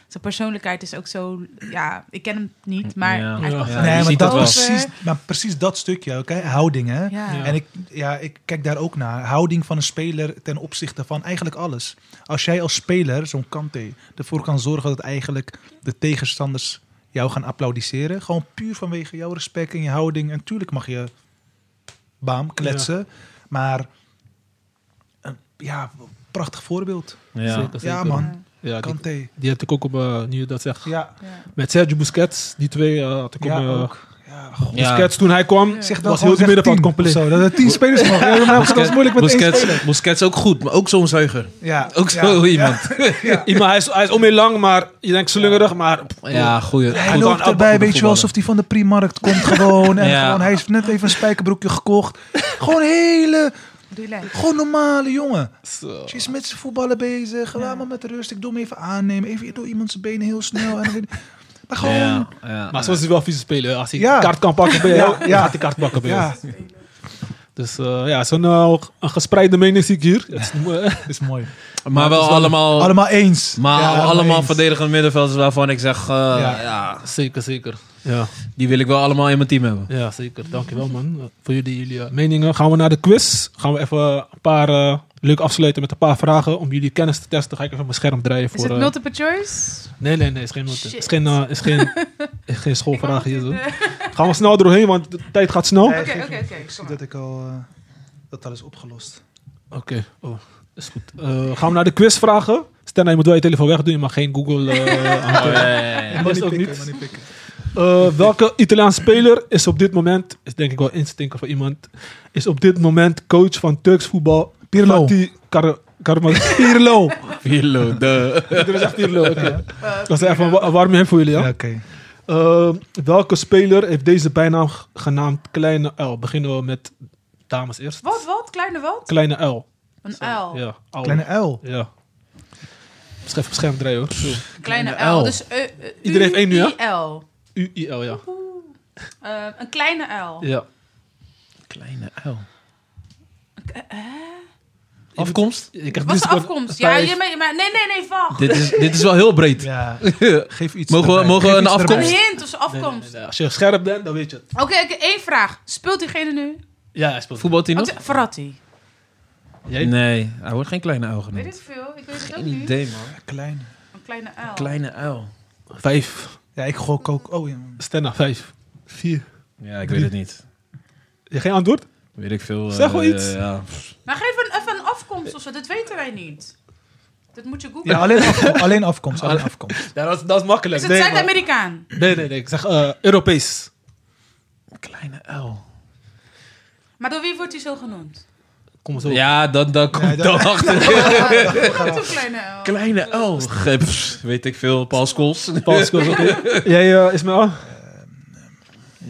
Speaker 3: zijn persoonlijkheid is ook zo, ja, ik ken hem niet, maar
Speaker 5: Ja.
Speaker 3: hij
Speaker 2: Ja.
Speaker 3: kan
Speaker 5: Ja,
Speaker 3: gewoon
Speaker 5: je
Speaker 4: nee, maar
Speaker 5: ziet
Speaker 4: dat,
Speaker 5: dat wel.
Speaker 4: precies, maar precies dat stukje, oké? Houding, hè?
Speaker 3: Ja.
Speaker 2: Ja.
Speaker 4: En ik, ja, ik kijk daar ook naar. Houding van een speler ten opzichte van eigenlijk alles. Als jij als speler, zo'n Kante, ervoor kan zorgen dat eigenlijk de tegenstanders jou gaan applaudisseren. Gewoon puur vanwege jouw respect en je houding. En tuurlijk mag je baam kletsen. Maar een, ja, prachtig voorbeeld.
Speaker 5: Ja.
Speaker 2: Zeker,
Speaker 4: Ja,
Speaker 2: zeker.
Speaker 4: man.
Speaker 2: Ja, die,
Speaker 4: Kante.
Speaker 2: die heb ik ook op, eh, nu je dat zegt.
Speaker 4: Ja,
Speaker 3: Ja.
Speaker 2: Met Sergio Busquets, die twee eh, had ik op...
Speaker 4: ja,
Speaker 2: eh,
Speaker 4: ook. Ja,
Speaker 2: Busquets, toen hij kwam,
Speaker 4: Zeg dat
Speaker 2: was heel de middenveld compleet.
Speaker 4: Zo, dat het tien spelers mag. Ja, maar Ah, dat is moeilijk met één
Speaker 5: Busquets,
Speaker 4: speler.
Speaker 5: Busquets ook goed, maar ook zo'n zuiger.
Speaker 4: Ja,
Speaker 5: Ook
Speaker 4: ja,
Speaker 5: zo
Speaker 4: ja.
Speaker 5: iemand.
Speaker 2: Ja, maar hij, is, hij is om heel lang, maar je denkt slungerig, maar... pff,
Speaker 5: Ja, goeie.
Speaker 4: Hij
Speaker 5: goed
Speaker 4: loopt
Speaker 5: aan-
Speaker 4: erbij,
Speaker 5: goede
Speaker 4: weet je wel, alsof hij van de primarkt komt gewoon. En
Speaker 5: Ja.
Speaker 4: gewoon, hij heeft net even een spijkerbroekje gekocht. gewoon hele,
Speaker 3: relax.
Speaker 4: gewoon normale jongen.
Speaker 2: zo.
Speaker 4: Ze is met zijn voetballen bezig. Laat
Speaker 3: Ja.
Speaker 4: maar met rust. Ik doe hem even aannemen. Even door iemands benen heel snel. En dan weer- maar gewoon,
Speaker 5: Ja,
Speaker 4: ja.
Speaker 5: ja.
Speaker 2: Maar soms is hij wel vieze spelen. Als hij
Speaker 4: Ja.
Speaker 2: kaart kan pakken bij
Speaker 4: Ja,
Speaker 2: jou,
Speaker 4: ja.
Speaker 2: dan gaat hij kaart pakken bij jou. Dus eh, ja, zo'n eh, een gespreide mening zie ik hier. Het is, eh,
Speaker 4: Dat is mooi.
Speaker 5: Maar, wel allemaal,
Speaker 4: Allemaal eens.
Speaker 5: Oh. maar
Speaker 4: Ja,
Speaker 5: allemaal
Speaker 4: eens.
Speaker 5: verdedigende middenvelders waarvan ik zeg, eh, ja.
Speaker 6: Zeker, zeker. Ja,
Speaker 5: die wil ik wel allemaal in mijn team hebben.
Speaker 6: ja zeker. Dankjewel, man. Eh,
Speaker 2: voor jullie, jullie eh, meningen. Gaan we naar de quiz. Gaan we even een paar eh, leuk afsluiten met een paar vragen. Om jullie kennis te testen. Ga ik even mijn scherm draaien voor.
Speaker 3: Is het
Speaker 2: eh,
Speaker 3: multiple choice?
Speaker 2: nee, nee, nee. Is geen, multi-
Speaker 3: Shit.
Speaker 2: is geen, eh, is geen, is geen schoolvraag hier doen.
Speaker 3: Oké,
Speaker 2: Gaan we snel doorheen, want de tijd gaat snel. Oké,
Speaker 4: Nee, geef
Speaker 3: oké,
Speaker 4: niet.
Speaker 3: oké.
Speaker 4: Ik zie
Speaker 3: kom maar.
Speaker 4: dat ik al... eh, dat al is opgelost.
Speaker 2: oh, is goed. Eh, gaan we naar de quizvragen. Stel, nou, je moet wel je telefoon wegdoen. Je mag geen Google eh, aan-
Speaker 5: Oh,
Speaker 4: Ik
Speaker 2: Dat
Speaker 4: mag
Speaker 2: is ook
Speaker 4: pikken,
Speaker 2: niet.
Speaker 4: ik mag pikken.
Speaker 2: Eh, welke Italiaanse speler is op dit moment, is denk ik wel instinker voor iemand, is op dit moment coach van Turks voetbal?
Speaker 4: Pirlo.
Speaker 2: Fatih Kar Karma- Pirlo.
Speaker 5: Pirlo, de...
Speaker 2: Iedereen zegt Pirlo, oké.
Speaker 3: Eh,
Speaker 2: Dat is even een wa- warm hem voor jullie, ja.
Speaker 4: Ja, Oké.
Speaker 2: Eh, welke speler heeft deze bijnaam g- genaamd Kleine L? Beginnen we met dames eerst.
Speaker 3: Wat, Oh. wat? Kleine wat?
Speaker 2: Kleine L.
Speaker 3: Een uil.
Speaker 2: Ja, L.
Speaker 4: Kleine L.
Speaker 2: Ja. Misschien even beschermd draaien hoor. Zo.
Speaker 3: Kleine
Speaker 6: Kleine
Speaker 3: uil.
Speaker 6: uil.
Speaker 3: Dus eh, eh,
Speaker 2: Iedereen heeft één nu, hè?
Speaker 3: UIL.
Speaker 2: U-I-L, ja.
Speaker 3: Eh, een kleine uil.
Speaker 2: Ja.
Speaker 5: Kleine uil.
Speaker 3: eh?
Speaker 5: Afkomst?
Speaker 2: Je krijgt
Speaker 3: Wat is de
Speaker 2: Discord
Speaker 3: afkomst? Ja,
Speaker 2: vijf.
Speaker 3: je mee, maar nee, nee, nee, wacht.
Speaker 5: Dit is, dit is wel heel breed.
Speaker 4: Ja. Geef iets
Speaker 5: Mogen we-
Speaker 4: erbij.
Speaker 5: mogen we
Speaker 4: Geef
Speaker 5: een
Speaker 4: iets
Speaker 5: afkomst?
Speaker 3: Een
Speaker 4: erbij.
Speaker 3: hint of zijn
Speaker 2: Nee, nee, nee,
Speaker 3: afkomst.
Speaker 2: nee. Als je scherp bent, dan weet je het.
Speaker 3: Oké, oké, één vraag. Speelt diegene nu?
Speaker 2: Ja, hij speelt.
Speaker 5: Voetbalteam nog?
Speaker 3: Wat- Verratti.
Speaker 2: Jij?
Speaker 5: Nee, hij wordt geen kleine uil
Speaker 3: Weet
Speaker 5: genoemd.
Speaker 3: ik veel? Ik weet het ook
Speaker 5: Geen
Speaker 3: niet.
Speaker 5: idee, man.
Speaker 4: Klein.
Speaker 3: Een kleine uil.
Speaker 5: Kleine uil.
Speaker 2: Vijf.
Speaker 4: Ja, ik gok ook... Oh, ja.
Speaker 2: Stenna, vijf. Vier.
Speaker 5: Ja, ik weet het niet.
Speaker 2: Je geen antwoord?
Speaker 5: Weet ik veel.
Speaker 2: Zeg
Speaker 5: eh,
Speaker 2: wel iets.
Speaker 5: Ja.
Speaker 3: Maar geef een, even een afkomst of zo. Dat weten wij niet. Dat moet je googlen.
Speaker 4: Ja, alleen afkomst. Alleen afkomst. Alleen afkomst.
Speaker 2: Ja, dat, is- dat is makkelijk.
Speaker 3: Is het
Speaker 2: nee, maar-
Speaker 3: Zuid-Amerikaan?
Speaker 2: nee, nee, nee. Ik zeg eh, Europees.
Speaker 5: Kleine uil.
Speaker 3: Maar door wie wordt hij zo genoemd?
Speaker 2: Kom zo.
Speaker 5: Ja, dan, dan komt
Speaker 4: dat-
Speaker 5: dan achter.
Speaker 3: Wat een kleine uil.
Speaker 5: Kleine uil. Ge- pff, Weet ik veel. Paul Scholes.
Speaker 2: Paul Scholes, oké. Jij, eh Ismaël?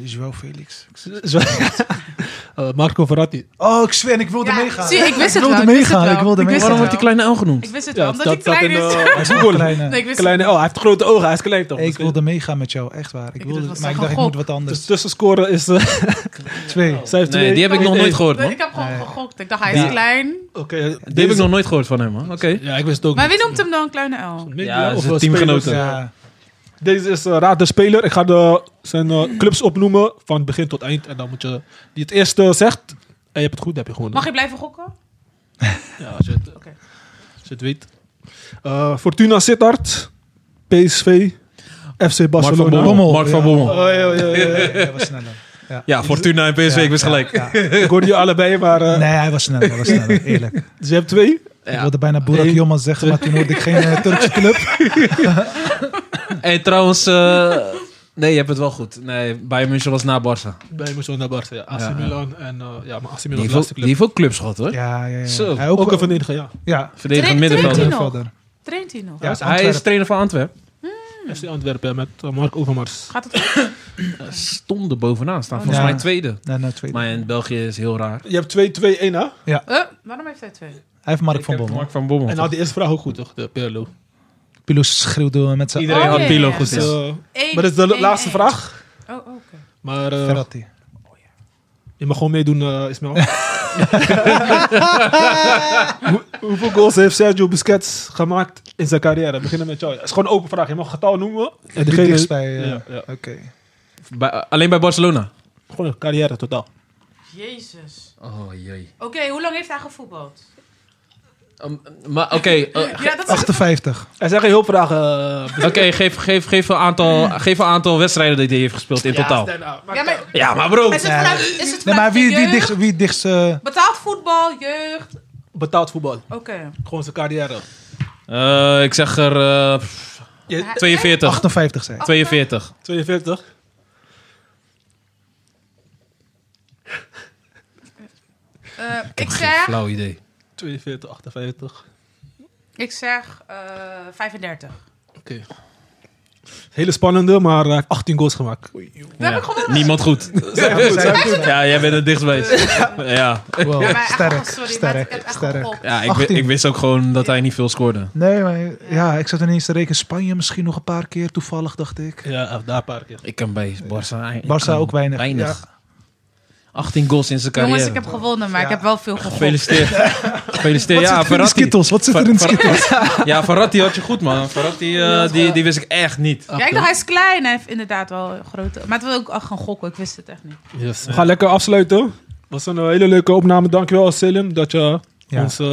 Speaker 4: Joao Felix.
Speaker 2: Zo- Eh, Marco Verratti.
Speaker 4: Oh, ik zweer, ik wilde
Speaker 3: Ja,
Speaker 4: meegaan.
Speaker 3: zie, ik wist het
Speaker 4: wilde
Speaker 3: wel. ik wist het
Speaker 4: meegaan,
Speaker 3: wel.
Speaker 4: ik wilde meegaan.
Speaker 3: wist het
Speaker 5: Waarom wordt die
Speaker 3: wel.
Speaker 5: kleine uil genoemd?
Speaker 3: Ik wist het
Speaker 2: Ja,
Speaker 3: wel, omdat hij klein
Speaker 2: en,
Speaker 3: is.
Speaker 2: eh, hij is een goal.
Speaker 4: Kleine.
Speaker 3: Nee, ik wist
Speaker 2: Kleine, oh, hij heeft grote ogen. Hij is klein toch? eh,
Speaker 4: ik wilde meegaan met jou, echt waar. Ik
Speaker 3: Ik
Speaker 4: wilde,
Speaker 3: dacht,
Speaker 4: maar ik
Speaker 3: dat was
Speaker 4: dacht, ik
Speaker 3: een
Speaker 4: moet wat
Speaker 2: Dus
Speaker 4: anders.
Speaker 2: tussenscore is... eh,
Speaker 4: Twee.
Speaker 2: zij heeft
Speaker 5: Nee,
Speaker 2: twee.
Speaker 5: die heb ik nog
Speaker 2: Nee.
Speaker 5: nooit gehoord,
Speaker 3: het wel.
Speaker 5: man.
Speaker 3: Ik heb gewoon gegokt. Ik dacht, hij
Speaker 4: Ja.
Speaker 3: is klein.
Speaker 2: Oké.
Speaker 5: Die heb ik nog nooit gehoord van hem, man. Oké.
Speaker 2: Ja, ik wist het ook
Speaker 3: Maar
Speaker 2: niet.
Speaker 3: wie noemt hem dan kleine L?
Speaker 2: Media
Speaker 5: Ja,
Speaker 2: of
Speaker 5: zijn
Speaker 2: eh,
Speaker 5: teamgenoten.
Speaker 2: spelers?
Speaker 4: Ja.
Speaker 2: Deze is eh, Raad de Speler. Ik ga de, zijn eh, clubs opnoemen van begin tot eind. En dan moet je... Die het eerst eh, zegt... En je hebt het goed, dan heb je gewoon...
Speaker 3: Mag je blijven gokken?
Speaker 2: Ja, als je het,
Speaker 3: Oké.
Speaker 2: als je het weet. Eh, Fortuna Sittard. PSV. FC
Speaker 5: Mark
Speaker 2: Barcelona.
Speaker 5: van Bommel.
Speaker 4: Bommel.
Speaker 5: Mark van
Speaker 4: Ja.
Speaker 5: Bommel.
Speaker 2: Oh, ja, ja, ja, ja.
Speaker 4: Hij was sneller.
Speaker 5: Ja, Fortuna en PSV,
Speaker 4: Ja,
Speaker 5: ik was
Speaker 4: ja,
Speaker 5: gelijk.
Speaker 4: ja.
Speaker 2: Ik hoorde je allebei, maar... eh,
Speaker 4: Nee, hij was sneller, hij was sneller, eerlijk.
Speaker 2: Dus je hebt twee.
Speaker 4: Ik wilde bijna Burak
Speaker 2: Eén,
Speaker 4: Yilmaz zeggen, maar toen hoorde ik geen eh, Turkse club.
Speaker 5: En trouwens, eh, nee, je hebt het wel goed. Nee, Bayern München was na Barça.
Speaker 2: Bij Moesel naar Barca. Ja. AC
Speaker 5: Ja, ja.
Speaker 2: Milan. En eh, ja, maar AC Milan is
Speaker 5: Die heeft
Speaker 2: de
Speaker 5: ook-
Speaker 2: laatste
Speaker 5: die
Speaker 2: club.
Speaker 5: heeft ook clubs gehad, hoor.
Speaker 4: Ja, ja, ja.
Speaker 5: Zo,
Speaker 4: Hij
Speaker 2: Ook,
Speaker 4: ook,
Speaker 2: een verdediger, ja.
Speaker 4: Ja,
Speaker 5: Verdedigend
Speaker 3: Traint-
Speaker 5: middenvelder.
Speaker 3: traint
Speaker 4: middenvelder.
Speaker 3: Traint hij nog?
Speaker 4: Ja.
Speaker 5: Hij is
Speaker 4: Antwerpen.
Speaker 5: trainer van Antwerpen.
Speaker 2: FC Antwerpen met eh, Mark Overmars.
Speaker 3: Gaat het goed?
Speaker 5: Eh, Stonden bovenaan, staan volgens
Speaker 4: Ja.
Speaker 5: mij tweede.
Speaker 4: Nee, nee, tweede.
Speaker 5: Maar in België is heel raar.
Speaker 2: Je hebt 2-2-1, hè?
Speaker 3: Eh, waarom heeft hij twee?
Speaker 4: Hij heeft Mark
Speaker 5: Ik
Speaker 4: van
Speaker 5: heb
Speaker 4: Bommel.
Speaker 5: Mark van Bommel.
Speaker 2: En had die eerste vraag ook goed, toch? De Perlo.
Speaker 4: Pilo schreeuwde met zijn
Speaker 5: Iedereen
Speaker 3: Oh,
Speaker 5: had
Speaker 3: ja,
Speaker 5: Pilo
Speaker 3: ja, ja.
Speaker 5: goed.
Speaker 2: Dus,
Speaker 5: ja.
Speaker 2: eh,
Speaker 3: Eén,
Speaker 2: maar dat is de
Speaker 3: één,
Speaker 2: laatste
Speaker 3: één.
Speaker 2: vraag.
Speaker 3: Oh, oké.
Speaker 2: Maar eh,
Speaker 4: Verratti.
Speaker 2: je mag gewoon meedoen, eh, Ismael. Hoe- hoeveel goals heeft Sergio Busquets gemaakt in zijn carrière? We beginnen met jou. Het is gewoon een open vraag. Je mag een getal noemen. En
Speaker 4: Die
Speaker 2: degene-
Speaker 4: dichtst bij... eh,
Speaker 2: Ja, ja.
Speaker 4: Oké.
Speaker 5: Bij- alleen bij Barcelona.
Speaker 2: Gewoon een carrière totaal.
Speaker 3: Jezus.
Speaker 5: Oh jee.
Speaker 3: Oké, hoe lang heeft hij gevoetbald?
Speaker 5: maar oké, eh,
Speaker 3: Ja, dat is...
Speaker 4: 58.
Speaker 2: Er zijn geen hulpvragen. eh,
Speaker 5: oké, geef, geef, geef, een aantal, geef een aantal wedstrijden die hij heeft gespeeld in totaal.
Speaker 3: Ja, maar
Speaker 5: Ja, maar bro.
Speaker 3: is het
Speaker 4: Ja.
Speaker 3: vanuit, is het
Speaker 4: Nee,
Speaker 3: vanuit
Speaker 4: maar wie,
Speaker 3: de
Speaker 4: wie
Speaker 3: jeugd?
Speaker 4: dichtst... Wie dichtst eh,
Speaker 3: Betaald voetbal, jeugd. Oké.
Speaker 2: betaald voetbal. Gewoon zijn carrière.
Speaker 5: Eh, ik zeg er eh, pff,
Speaker 2: Je-
Speaker 5: 42.
Speaker 4: 58 zijn.
Speaker 5: 42.
Speaker 2: 42.
Speaker 3: Eh, ik zeg...
Speaker 5: Flauw idee.
Speaker 2: 42, 58.
Speaker 3: Ik zeg eh 35.
Speaker 2: Hele spannende, maar hij heeft 18 goals gemaakt.
Speaker 3: We hebben gewonnen.
Speaker 5: Niemand goed. Ja, jij bent het dichtstbij. Ja,
Speaker 4: Wow,
Speaker 3: Ja, maar echt,
Speaker 4: sterk,
Speaker 3: oh, sorry, maar ik
Speaker 4: sterk,
Speaker 3: heb echt
Speaker 4: sterk.
Speaker 3: gegokt.
Speaker 5: ja ik, wi-
Speaker 4: 18.
Speaker 5: ik wist ook gewoon dat hij niet veel scoorde.
Speaker 4: Nee, maar ja, ik zat ineens te rekenen. Spanje misschien nog een paar keer, toevallig dacht ik.
Speaker 2: Ja, daar een paar keer.
Speaker 5: Ik kan bij Barça
Speaker 4: Barça ook weinig.
Speaker 5: Weinig. 18 goals in zijn carrière.
Speaker 3: Jongens, ik heb gewonnen, maar ik
Speaker 4: Ja.
Speaker 3: heb wel veel gegokt.
Speaker 5: Gefeliciteerd. Gefeliciteerd.
Speaker 4: Wat
Speaker 5: ja,
Speaker 4: zit er in de
Speaker 5: Verratti.
Speaker 4: Skittles? Wat zit er in de
Speaker 5: Ver-
Speaker 4: Skittles?
Speaker 5: Ja, Verratti had je goed, man. Verratti, eh, die, die wist ik echt niet.
Speaker 3: Ja, ik dacht, hij is klein. Hij heeft inderdaad wel grote... Maar het was ook al gaan gokken. Ik wist het echt niet.
Speaker 6: Yes.
Speaker 2: We gaan lekker afsluiten. was een eh, hele leuke opname. Dankjewel, Selim, dat je
Speaker 4: Ja.
Speaker 2: ons eh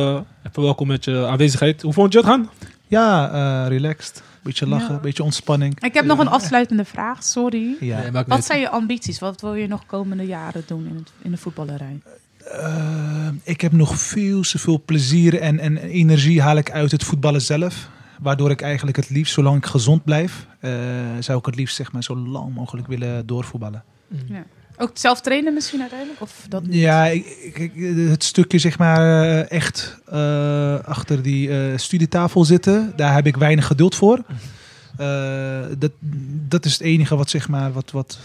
Speaker 2: even welkom met je aanwezigheid. Hoe vond je het gaan?
Speaker 4: Ja, eh, relaxed. Beetje lachen,
Speaker 3: Ja.
Speaker 4: beetje ontspanning.
Speaker 3: Ik heb nog een afsluitende vraag, sorry.
Speaker 4: Ja.
Speaker 6: Nee, maakt
Speaker 3: Wat
Speaker 6: niet.
Speaker 3: zijn je ambities? Wat wil je nog komende jaren doen in, het, in de voetballerij?
Speaker 4: Eh, ik heb nog veel te veel plezier en, en energie haal ik uit het voetballen zelf. Waardoor ik eigenlijk het liefst, zolang ik gezond blijf, eh, zou ik het liefst zeg maar, zo lang mogelijk willen doorvoetballen.
Speaker 2: Mm.
Speaker 3: Ook zelf trainen misschien uiteindelijk? Of dat niet?
Speaker 4: Ja, ik, ik- ik- het stukje zeg maar eh, echt eh, achter die eh, studietafel zitten, daar heb ik weinig geduld voor.
Speaker 3: Mhm.
Speaker 4: Eh, dat, dat is het enige wat zeg maar, wat, wat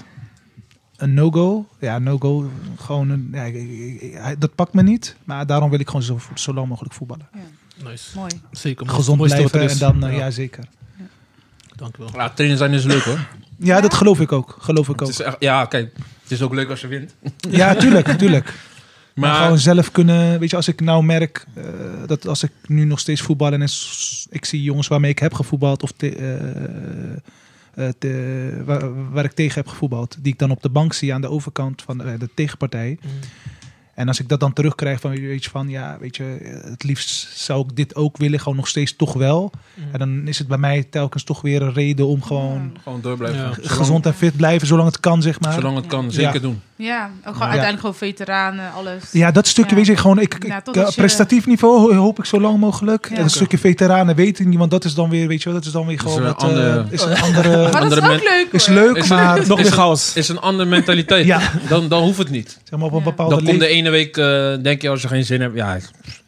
Speaker 4: een no-go. Ja, no-go, gewoon een, ja, ik- ik- ik- hij- dat pakt me niet. Maar daarom wil ik gewoon zo, zo lang mogelijk voetballen.
Speaker 6: Nice.
Speaker 3: Mooi.
Speaker 6: Zeker. man.
Speaker 4: Gezond
Speaker 6: Mooiste wat er
Speaker 4: blijven en
Speaker 6: is.
Speaker 4: dan, eh, ja zeker.
Speaker 6: Dank u wel.
Speaker 5: Ja, trainen zijn is leuk, hoor.
Speaker 4: Ja, dat geloof ik ook. Geloof ik
Speaker 5: Het
Speaker 4: ook.
Speaker 5: is echt, ja, kijk, het is ook leuk als je wint.
Speaker 4: Ja, tuurlijk, tuurlijk. Maar,
Speaker 5: Maar,
Speaker 4: gewoon zelf kunnen. Weet je, als ik nou merk eh, dat als ik nu nog steeds voetbal en s- ik zie jongens waarmee ik heb gevoetbald of te- eh, eh, te- waar, waar ik tegen heb gevoetbald, die ik dan op de bank zie aan de overkant van eh, de tegenpartij.
Speaker 2: Mm.
Speaker 4: En als ik dat dan terugkrijg van weet je van ja, weet je, eh, het liefst zou ik dit ook willen, gewoon nog steeds toch wel.
Speaker 2: Mm.
Speaker 4: En dan is het bij mij telkens toch weer een reden om gewoon
Speaker 5: gewoon door blijven.
Speaker 6: Ja.
Speaker 5: gaan. Zolang-
Speaker 4: gezond en fit blijven, zolang het kan, zeg maar.
Speaker 5: Zolang het kan, zeker doen.
Speaker 3: Ja, ook gewoon uiteindelijk gewoon veteranen, alles.
Speaker 4: Ja, dat stukje
Speaker 3: Ja.
Speaker 4: weet ik gewoon. Ik, ik-
Speaker 3: Ja, totdat
Speaker 4: eh,
Speaker 3: je-
Speaker 4: prestatief niveau ho- hoop ik zo lang mogelijk.
Speaker 3: Ja.
Speaker 4: En een stukje veteranen weten niet, want dat is dan weer, weet je wel, dat is dan weer
Speaker 5: Dat is
Speaker 4: gewoon.
Speaker 5: een
Speaker 4: wat, eh,
Speaker 5: andere-
Speaker 4: is een andere.
Speaker 3: Maar dat is
Speaker 5: Andere
Speaker 3: ook
Speaker 5: men-
Speaker 3: leuk hoor.
Speaker 4: is leuk,
Speaker 5: Is-
Speaker 4: maar
Speaker 2: Nog
Speaker 5: is
Speaker 2: meer
Speaker 5: het-
Speaker 2: chaos.
Speaker 5: is een andere mentaliteit.
Speaker 4: Ja.
Speaker 5: Dan, dan hoeft het niet.
Speaker 4: zeg maar op een
Speaker 3: Ja.
Speaker 4: bepaalde
Speaker 5: Dan komt de
Speaker 4: leeftijd.
Speaker 5: ene week, eh, denk je, als je geen zin hebt, ja,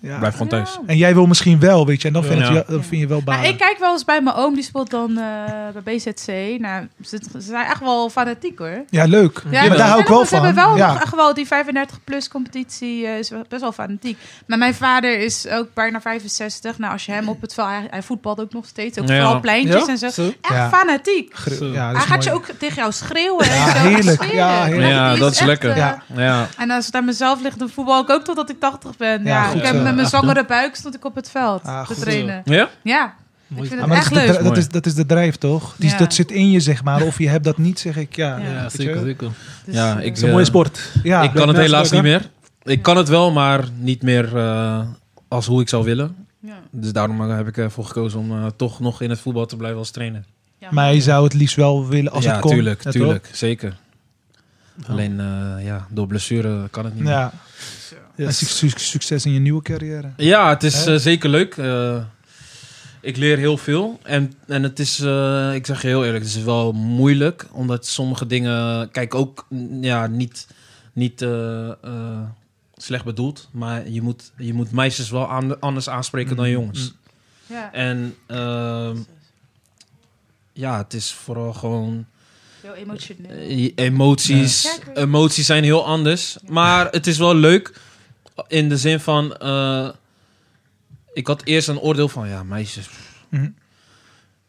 Speaker 4: Ja.
Speaker 5: blijf gewoon thuis.
Speaker 3: Ja.
Speaker 4: En jij wil misschien wel, weet je, en dan vind,
Speaker 5: Ja.
Speaker 4: het je, dan
Speaker 3: Ja.
Speaker 4: vind je wel
Speaker 3: Nou,
Speaker 4: baan.
Speaker 3: ik kijk wel eens bij mijn oom, die speelt dan eh, bij BZC. Nou, ze, ze zijn echt wel fanatiek hoor.
Speaker 4: Ja, leuk.
Speaker 3: Ja,
Speaker 4: Ja, maar daar hou ik wel
Speaker 3: Ze
Speaker 4: van.
Speaker 3: hebben wel nog
Speaker 4: ja.
Speaker 3: echt wel die 35-plus competitie, eh, is wel- best wel fanatiek. Maar mijn vader is ook bijna 65. Nou, als je hem op het veld, hij, hij voetbalt ook nog steeds, ook
Speaker 5: Ja.
Speaker 3: vooral op pleintjes
Speaker 2: Ja?
Speaker 3: en zo. Echt
Speaker 2: Zo.
Speaker 4: Ja.
Speaker 3: fanatiek.
Speaker 4: Gr-
Speaker 2: Zo.
Speaker 4: ja, dat
Speaker 3: hij
Speaker 4: is
Speaker 3: gaat je
Speaker 4: mooi.
Speaker 3: ook tegen jou schreeuwen.
Speaker 4: Ja,
Speaker 3: en zo.
Speaker 4: heerlijk.
Speaker 3: Sfeer.
Speaker 4: Ja, heerlijk.
Speaker 5: Ja,
Speaker 3: die
Speaker 5: dat is
Speaker 3: echt,
Speaker 5: lekker.
Speaker 3: eh,
Speaker 4: Ja.
Speaker 5: Ja.
Speaker 3: En als het aan mezelf ligt, dan voetbal ik ook totdat ik 80 ben.
Speaker 4: Ja,
Speaker 3: Ja,
Speaker 4: goed
Speaker 3: ik heb
Speaker 4: zo.
Speaker 3: met mijn
Speaker 6: Echt,
Speaker 3: zwangere buik stond ik op het veld
Speaker 4: Ah,
Speaker 3: te
Speaker 4: goed.
Speaker 3: trainen.
Speaker 5: Ja?
Speaker 3: Ja, ik
Speaker 6: Mooi.
Speaker 3: vind
Speaker 4: Ja,
Speaker 3: het
Speaker 4: maar
Speaker 3: echt
Speaker 4: dat, is de,
Speaker 3: leuk.
Speaker 4: dri- dat, is, dat is de drijf, toch? Die, is-
Speaker 3: Ja.
Speaker 4: Dat zit in je, zeg maar. Of je hebt dat niet, zeg ik. Ja,
Speaker 3: Ja.
Speaker 6: Ja,
Speaker 4: weet je.
Speaker 6: zeker, zeker.
Speaker 3: Dus,
Speaker 5: Ja,
Speaker 3: eh,
Speaker 5: ik-
Speaker 2: Het is een mooie
Speaker 5: Ja.
Speaker 2: sport.
Speaker 4: Ja.
Speaker 5: ik kan het
Speaker 2: Blijf
Speaker 5: helaas niet
Speaker 2: luisteren.
Speaker 5: meer. Ik kan het wel, maar niet meer eh, als hoe ik zou willen.
Speaker 3: ja.
Speaker 5: Dus daarom eh, heb ik ervoor gekozen om eh, toch nog in het voetbal te blijven als trainer.
Speaker 3: Ja.
Speaker 4: Maar je zou het liefst wel willen als
Speaker 5: ja,
Speaker 4: het kon.
Speaker 5: tuurlijk,
Speaker 4: Ja, toch?
Speaker 5: tuurlijk, zeker. Alleen eh, ja, door blessure kan het niet meer.
Speaker 4: Ja. En suc- suc- succes in je nieuwe carrière.
Speaker 5: Ja, het is
Speaker 4: Hè?
Speaker 5: eh, zeker leuk. Eh, ik leer heel veel. En, en het is, eh, ik zeg je heel eerlijk, het is wel moeilijk. Omdat sommige dingen, kijk ook, mm, ja, niet, niet eh, eh, slecht bedoeld. Maar je moet, je moet meisjes wel aan- anders aanspreken
Speaker 4: Mm,
Speaker 5: dan jongens.
Speaker 3: Ja.
Speaker 5: En ehm, ja, het is vooral gewoon
Speaker 3: Heel emotioneel.
Speaker 5: eh, emoties.
Speaker 3: Ja. Ja, ik weet-
Speaker 5: Emoties zijn heel anders. Maar het is wel leuk in de zin van. eh, ik had eerst een oordeel van ja, meisjes. pff,
Speaker 4: Mhm.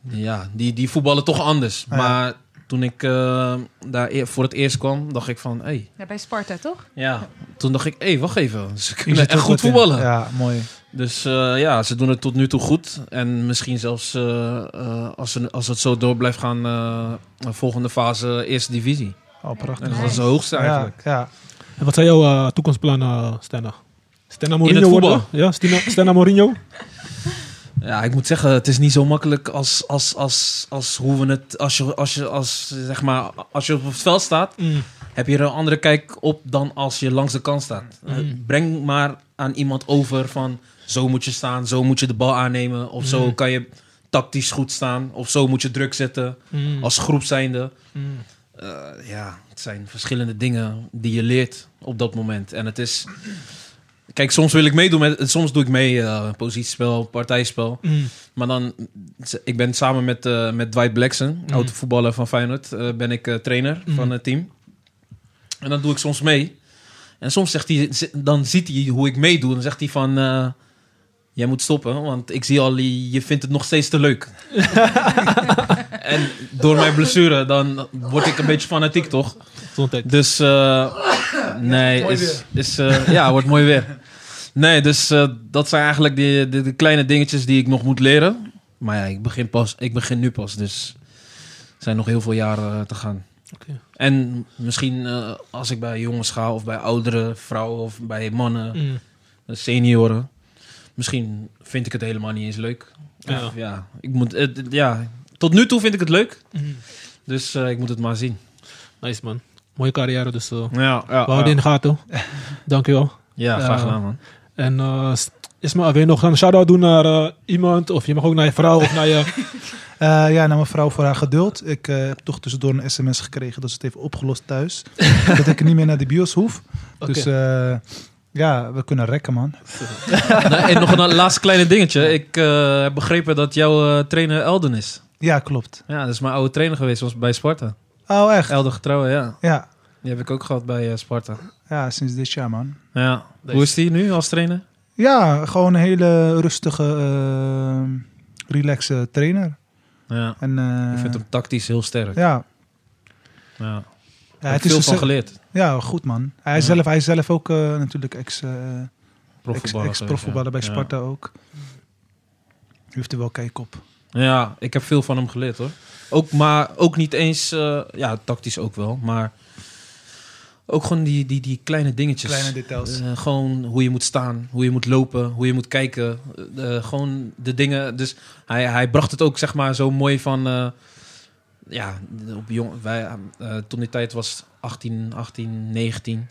Speaker 5: Ja, die, die voetballen toch anders.
Speaker 4: Ja.
Speaker 5: Maar toen ik eh, daar e- voor het eerst kwam, dacht ik van hé. Hey,
Speaker 3: Ja, bij Sparta, toch?
Speaker 5: ja. Toen dacht ik, hé, hey, wacht even. Ze
Speaker 4: Je
Speaker 5: kunnen
Speaker 4: zit
Speaker 5: echt
Speaker 4: ook
Speaker 5: goed
Speaker 4: wat in.
Speaker 5: voetballen.
Speaker 4: Ja, mooi.
Speaker 5: Dus eh, ja, ze doen het tot nu toe goed. En misschien zelfs eh, eh, als, ze, als het zo door blijft gaan, eh, de volgende fase eerste divisie.
Speaker 4: Oh, prachtig.
Speaker 5: En dat is de hoogste eigenlijk.
Speaker 4: Ja, ja.
Speaker 2: En wat zijn jouw eh, toekomstplannen, Stenna? Stenna Mourinho
Speaker 5: het
Speaker 2: worden?
Speaker 5: voetbal?
Speaker 2: Ja, Stenna, Stenna Mourinho.
Speaker 5: Ja, ik moet zeggen, het is niet zo makkelijk als, als, als, als hoe we het. Als je, als, je, als, zeg maar, als je op het veld staat,
Speaker 2: Mm.
Speaker 5: heb je er een andere kijk op dan als je langs de kant staat. Eh, breng maar aan iemand over van zo moet je staan, zo moet je de bal aannemen, of zo kan je tactisch goed staan, of zo moet je druk zetten
Speaker 2: Mm.
Speaker 5: als groep zijnde. Eh, ja, het zijn verschillende dingen die je leert op dat moment. En het is. Kijk, soms wil ik meedoen met. Soms doe ik mee eh positiespel, partijspel.
Speaker 2: Mm.
Speaker 5: Maar dan, ik ben samen met, eh, met Dwight Blackson, oud voetballer van Feyenoord, eh, ben ik eh, trainer van het team. En dan doe ik soms mee. En soms zegt hij, z- dan ziet hij hoe ik meedoe. En dan zegt hij van, eh, jij moet stoppen, want ik zie al, je je vindt het nog steeds te leuk. en door mijn blessure, dan word ik een beetje fanatiek, toch?
Speaker 2: Gezondheid.
Speaker 5: Dus eh, Nee,
Speaker 6: Mooi
Speaker 5: is, is, eh, ja, wordt mooi weer. Nee, dus eh, dat zijn eigenlijk de, de, de kleine dingetjes die ik nog moet leren. Maar ja, ik begin, pas, ik begin nu pas, dus er zijn nog heel veel jaren eh, te gaan.
Speaker 6: Oké.
Speaker 5: En misschien eh, als ik bij jongens ga, of bij oudere vrouwen, of bij mannen, eh,
Speaker 2: Mm.
Speaker 5: senioren. Misschien vind ik het helemaal niet eens leuk. Ja,
Speaker 2: Ja.
Speaker 5: ja, ik moet, het- het- ja tot nu toe vind ik het leuk.
Speaker 2: Mhm.
Speaker 5: Dus eh, ik moet het maar zien.
Speaker 6: Nice man. Mooie carrière, dus eh,
Speaker 5: Ja, ja,
Speaker 2: We houden in de gaten. Dankjewel.
Speaker 5: ja graag
Speaker 2: Ja.
Speaker 5: gedaan, man.
Speaker 2: En eh, Ismael, wil je nog een shout-out doen naar eh, iemand? Of je mag ook naar je vrouw of naar je...
Speaker 4: Eh, ja, naar mijn vrouw voor haar geduld. Ik eh, heb toch tussendoor een sms gekregen dat ze het heeft opgelost thuis. dat ik niet meer naar de bios hoef. Dus eh, ja, we kunnen rekken, man.
Speaker 5: Nou, en nog een laatste kleine dingetje. Ik eh, heb begrepen dat jouw eh, trainer Elden is.
Speaker 4: Ja, klopt.
Speaker 5: Ja, dat is mijn oude trainer geweest was bij Sparta.
Speaker 4: Oh, echt?
Speaker 5: Elden getrouwen, ja.
Speaker 4: Ja,
Speaker 5: Die heb ik ook gehad bij eh, Sparta.
Speaker 4: ja sinds dit jaar, man.
Speaker 5: Ja.
Speaker 6: Deze.
Speaker 5: Hoe is die nu als trainer?
Speaker 4: Ja, gewoon een hele rustige, eh relaxe trainer.
Speaker 5: Ja.
Speaker 4: En, eh,
Speaker 5: Ik vind hem tactisch heel sterk. Ja.
Speaker 4: Ja, ja
Speaker 5: Daar heb
Speaker 4: het
Speaker 5: ik
Speaker 4: is
Speaker 5: veel
Speaker 4: een
Speaker 5: van
Speaker 4: se-
Speaker 5: geleerd.
Speaker 4: Ja, goed man. Hij, is
Speaker 5: Ja.
Speaker 4: zelf, hij is zelf ook eh, natuurlijk ex, eh, ex,
Speaker 5: Profvoetballer. geweest,
Speaker 4: ex-profvoetballer
Speaker 5: ja.
Speaker 4: bij
Speaker 5: Ja.
Speaker 4: Sparta ook. Hij heeft er wel kijk op.
Speaker 5: Ja, ik heb veel van hem geleerd hoor. Ook, maar ook niet eens, eh, ja, tactisch ook wel, maar ook gewoon die, die, die kleine dingetjes.
Speaker 4: Kleine details.
Speaker 5: Eh, gewoon hoe je moet staan, hoe je moet lopen, hoe je moet kijken. Eh, eh, gewoon de dingen. Dus hij, hij bracht het ook zeg maar zo mooi van. eh, ja, op jong, wij, eh, toen die tijd was 18, 18, 19.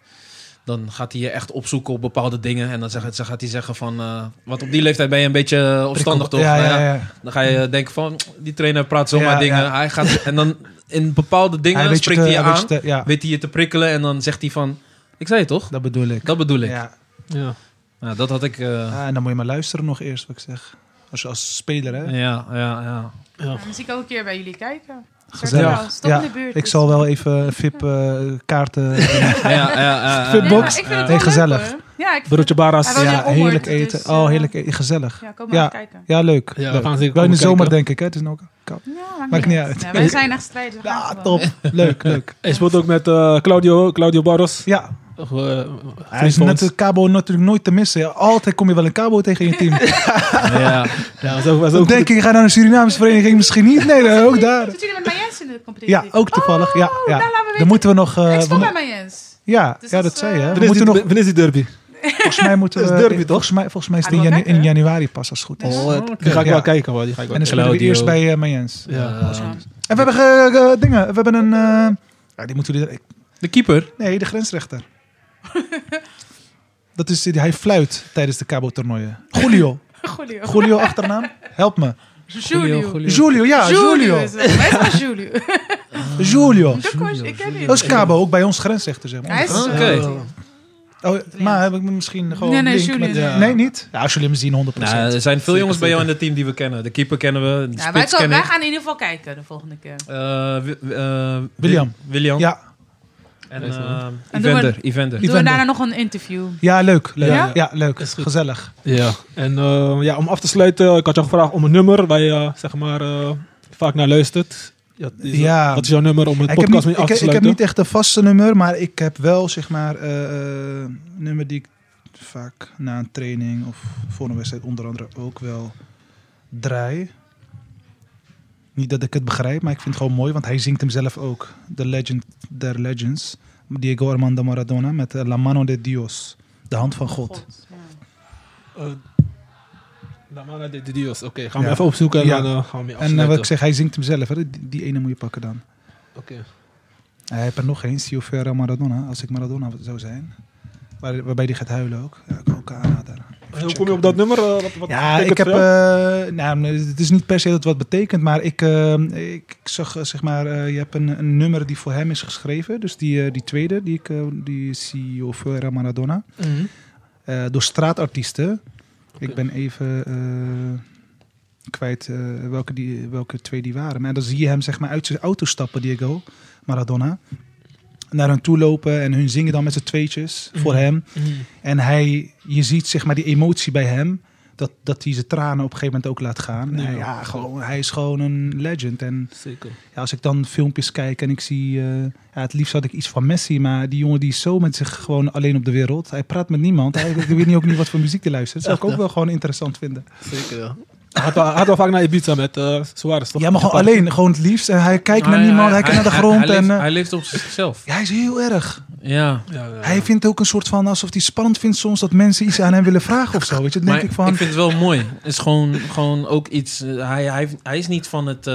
Speaker 5: Dan gaat hij je echt opzoeken op bepaalde dingen. En dan zeg, dan gaat hij zeggen van... eh want op die leeftijd ben je een beetje opstandig, toch?
Speaker 4: Ja,
Speaker 5: Nou
Speaker 4: ja,
Speaker 5: ja,
Speaker 4: ja.
Speaker 5: dan ga je denken van, die trainer praat zomaar
Speaker 4: Ja,
Speaker 5: dingen.
Speaker 4: ja.
Speaker 5: Hij gaat, en dan in bepaalde dingen
Speaker 4: weet
Speaker 5: spreekt hij
Speaker 4: te-
Speaker 5: je
Speaker 4: weet
Speaker 5: aan.
Speaker 4: te- ja,
Speaker 5: Weet hij je te prikkelen en dan zegt hij van, ik zei het toch?
Speaker 4: dat bedoel ik.
Speaker 5: Dat bedoel ik.
Speaker 4: Ja.
Speaker 2: Ja.
Speaker 5: Nou, dat had ik... eh,
Speaker 4: Ah, en dan moet je maar luisteren nog eerst, wat ik zeg. Als, je- als speler, hè.
Speaker 5: ja, ja, ja.
Speaker 2: Oh.
Speaker 3: Ja, misschien kan ik ook een keer bij jullie kijken.
Speaker 4: Gezellig.
Speaker 3: Gezellig. Stop
Speaker 4: Ja,
Speaker 3: in de buurt.
Speaker 4: Ik zal wel even eh, VIP-kaarten...
Speaker 5: ja, ja, ja, ja.
Speaker 3: Nee, maar
Speaker 4: Fitbox.
Speaker 3: ik vind het
Speaker 4: Nee,
Speaker 3: wel
Speaker 4: gezellig.
Speaker 3: leuk, hoor. Ja, ik vind
Speaker 2: Broertje Baras.
Speaker 3: Hij woont
Speaker 4: ja,
Speaker 3: in Ommoord,
Speaker 4: heerlijk
Speaker 3: dus,
Speaker 4: eten.
Speaker 3: eh,
Speaker 4: oh, heerlijk eten. Gezellig.
Speaker 3: ja, kom maar
Speaker 4: Ja.
Speaker 3: even kijken.
Speaker 4: Ja, leuk.
Speaker 2: Ja, we
Speaker 4: leuk.
Speaker 2: gaan zeker
Speaker 4: Wel in
Speaker 2: komen
Speaker 4: de zomer,
Speaker 2: kijken.
Speaker 4: denk ik, hè. Het is nog koud.
Speaker 3: Ja,
Speaker 4: Maakt niet uit.
Speaker 3: Ja, wij zijn echt strijders. we gaan
Speaker 4: Ja,
Speaker 3: gewoon.
Speaker 4: top. Leuk, leuk.
Speaker 2: Hij speelt ook met eh, Claudio, Claudio Barros.
Speaker 4: Ja,
Speaker 2: Of, eh,
Speaker 4: Hij is
Speaker 2: vriend van
Speaker 4: net
Speaker 2: ons.
Speaker 4: de Cabo natuurlijk nooit te missen. Ja, Altijd kom je wel een Cabo tegen in je team.
Speaker 5: ja.
Speaker 2: Ja, was ook, was
Speaker 4: Dan
Speaker 2: ook
Speaker 4: denk ik, ik ga naar een Surinaamse vereniging misschien niet. Nee, nee, ook daar.
Speaker 3: Zitten jullie met Mayens in de competitie?
Speaker 4: Ja, ook toevallig. Ja,
Speaker 3: Oh, nou,
Speaker 4: ja.
Speaker 3: laten we
Speaker 4: Dan
Speaker 3: weten.
Speaker 4: moeten we nog... eh,
Speaker 3: Ik
Speaker 4: we
Speaker 3: stop
Speaker 4: mo-
Speaker 3: bij Mayens.
Speaker 4: ja,
Speaker 3: Dus
Speaker 4: ja,
Speaker 3: dat
Speaker 4: dat
Speaker 3: is,
Speaker 4: zei je.
Speaker 3: eh,
Speaker 4: hè. We
Speaker 2: Wanneer is, die,
Speaker 4: moeten nog...
Speaker 2: wanneer is die derby?
Speaker 4: Volgens mij moeten we...
Speaker 2: Dat is derby, toch?
Speaker 4: Volgens mij, volgens mij is het in,
Speaker 3: Ah,
Speaker 4: janu-
Speaker 3: wel
Speaker 4: in
Speaker 3: kijken.
Speaker 4: januari pas, als het goed is.
Speaker 3: Ja.
Speaker 4: En
Speaker 2: Die ga ik
Speaker 4: Ja.
Speaker 2: wel kijken hoor. Die ga ik wel kijken.
Speaker 4: dan spelen we
Speaker 5: Claudio.
Speaker 4: eerst bij eh Mayens.
Speaker 2: Ja.
Speaker 5: Eh,
Speaker 3: Ja.
Speaker 4: En we hebben ge- ge- dingen. We hebben een... eh, ja, die moeten jullie...
Speaker 5: de keeper.
Speaker 4: Nee, de grensrechter. Dat is, die- hij fluit tijdens de Cabo-toernooien. Julio.
Speaker 3: Julio.
Speaker 4: Julio achternaam. Help me.
Speaker 3: Julio.
Speaker 4: Julio, ja, Julio. Oh,
Speaker 3: is het. Wij zijn Julio.
Speaker 4: Julio.
Speaker 3: De coach, ik ken
Speaker 4: Dat
Speaker 3: hem.
Speaker 4: is Cabo, ook bij ons grensrechter, zeg maar.
Speaker 3: Hij is... eh,
Speaker 5: Oké.
Speaker 4: Oh, maar heb ik me misschien gewoon
Speaker 3: Nee, nee,
Speaker 4: een link
Speaker 3: Julio.
Speaker 4: met-
Speaker 3: Ja.
Speaker 4: Nee, niet? Ja, als jullie hem zien, 100%.
Speaker 5: Nou, er zijn veel jongens bij jou in het team die we kennen. De keeper kennen we, de
Speaker 3: Ja, Nou, wij,
Speaker 5: spits
Speaker 3: komen,
Speaker 5: kennen
Speaker 3: wij
Speaker 5: ik.
Speaker 3: gaan in ieder geval kijken de volgende keer.
Speaker 5: Eh, Wi- eh,
Speaker 4: William.
Speaker 5: William.
Speaker 4: ja.
Speaker 5: En
Speaker 2: Nice,
Speaker 5: eh,
Speaker 3: En doen we-
Speaker 5: Evander. Evander.
Speaker 3: Doen we
Speaker 4: ben
Speaker 3: daarna nog een interview.
Speaker 4: ja, leuk. leuk.
Speaker 2: Ja?
Speaker 4: Ja? leuk. Gezellig.
Speaker 2: Ja, en eh, ja, om af te sluiten, ik had jou gevraagd om een nummer waar je eh, zeg maar, eh, vaak naar luistert. Ja, is-
Speaker 4: Ja.
Speaker 2: Wat is jouw nummer om het
Speaker 4: Ik heb,
Speaker 2: podcast
Speaker 4: niet,
Speaker 2: mee af te
Speaker 4: ik, ik heb
Speaker 2: sluiten?
Speaker 4: niet echt een vaste nummer, maar ik heb wel, zeg maar, eh, eh, nummer die ik vaak na een training of voor een wedstrijd onder andere ook wel draai. Niet dat ik het begrijp, maar ik vind het gewoon mooi, want hij zingt hem zelf ook. The Legend der Legends. Diego Armando Maradona met eh, La Mano de Dios. De hand van God.
Speaker 3: God, ja.
Speaker 2: Eh, La Mano de Dios, oké. gaan we
Speaker 4: Ja.
Speaker 2: even opzoeken en
Speaker 4: Ja.
Speaker 2: dan eh, gaan we mee
Speaker 4: En eh, wat ik
Speaker 2: afsluiten.
Speaker 4: zeg, hij zingt hem zelf. Hè? Die, die ene moet je pakken dan.
Speaker 2: Oké.
Speaker 4: Hij heeft er nog één, Siofera Maradona. Als ik Maradona zou zijn. Waar, waarbij die gaat huilen ook. Ja, ik kan ook aanraden.
Speaker 2: En Hoe kom je op dat nummer? Eh, wat, wat
Speaker 4: Ja,
Speaker 2: betekent
Speaker 4: ik heb.
Speaker 2: het voor jou?
Speaker 4: eh, nou, het is niet per se dat het wat betekent, maar ik, eh, ik, ik zag eh, zeg maar. eh, je hebt een, een nummer die voor hem is geschreven. Dus die, eh, die tweede, die ik. eh, die CEO Fuera Maradona.
Speaker 2: Mhm.
Speaker 4: eh, door straatartiesten. Ik ben even. eh, kwijt eh, welke, die, welke twee die waren. Maar dan zie je hem zeg maar uit zijn auto stappen, Diego Maradona. Naar hen toe lopen en hun zingen dan met z'n tweetjes voor hem.
Speaker 2: Mhm.
Speaker 4: En hij, je ziet zeg maar die emotie bij hem. dat, dat hij zijn tranen op een gegeven moment ook laat gaan.
Speaker 6: Ja.
Speaker 4: En ja, gewoon, hij is gewoon een legend. En
Speaker 6: Zeker.
Speaker 4: ja, als ik dan filmpjes kijk en ik zie... eh, ja, het liefst had ik iets van Messi, maar die jongen die is zo met zich gewoon alleen op de wereld. Hij praat met niemand. Hij ik weet niet ook niet wat voor muziek hij luistert. Dat zou ik ook wel gewoon interessant vinden.
Speaker 6: Zeker, ja. Hij had, wel- hij had wel vaak naar Ibiza met eh Suarez, toch?
Speaker 4: Ja, maar gewoon alleen. Gewoon het liefst. En hij kijkt naar
Speaker 5: Nou, Hij-
Speaker 4: niemand. Hij kijkt naar de grond.
Speaker 5: Hij,
Speaker 4: en,
Speaker 5: leeft,
Speaker 4: eh,
Speaker 5: hij leeft op zichzelf.
Speaker 4: ja, hij is heel erg.
Speaker 5: Ja.
Speaker 6: Ja, ja, ja.
Speaker 4: Hij vindt ook een soort van, alsof hij spannend vindt soms dat mensen iets aan hem willen vragen of zo. Weet je, dan
Speaker 5: Maar
Speaker 4: denk ik van...
Speaker 5: vind het wel mooi. Het is gewoon, gewoon ook iets... eh, Hij, hij, hij is niet van het... eh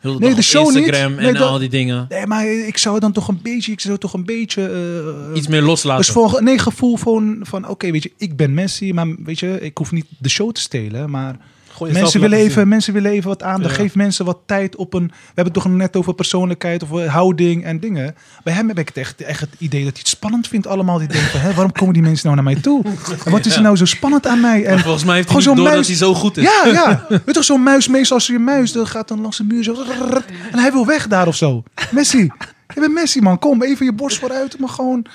Speaker 5: heel
Speaker 4: Nee,
Speaker 5: dag
Speaker 4: de show niet.
Speaker 5: Instagram en
Speaker 4: Nee, dat-
Speaker 5: al die dingen.
Speaker 4: Nee, maar ik zou dan toch een beetje, ik zou toch een beetje... eh,
Speaker 5: Iets meer loslaten.
Speaker 4: dus voor, nee, gevoel van, van oké, weet je, ik ben Messi, maar weet je, ik hoef niet de show te stelen, maar
Speaker 6: Gewoon jezelf
Speaker 4: mensen willen,
Speaker 6: laten
Speaker 4: even, mensen willen even wat aandacht.
Speaker 6: Ja.
Speaker 4: Geef mensen wat tijd op een... We hebben het toch net over persoonlijkheid of eh, houding en dingen. Bij hem heb ik het echt, echt het idee dat hij het spannend vindt allemaal. Die denkt van, hè, waarom komen die mensen nou naar mij toe? En wat is er nou zo spannend aan mij?
Speaker 5: Maar
Speaker 4: En
Speaker 5: volgens mij heeft hij
Speaker 4: gewoon
Speaker 5: niet door
Speaker 4: zo'n
Speaker 5: dat
Speaker 4: muis-
Speaker 5: hij zo goed is.
Speaker 4: Ja, ja. Weet je toch, zo'n muis, meestal als je een muis, dan gaat dan langs de muur zo. rrrr, En hij wil weg daar of zo. Messi. Je bent Messi, man. Kom, even je borst vooruit. Maar gewoon,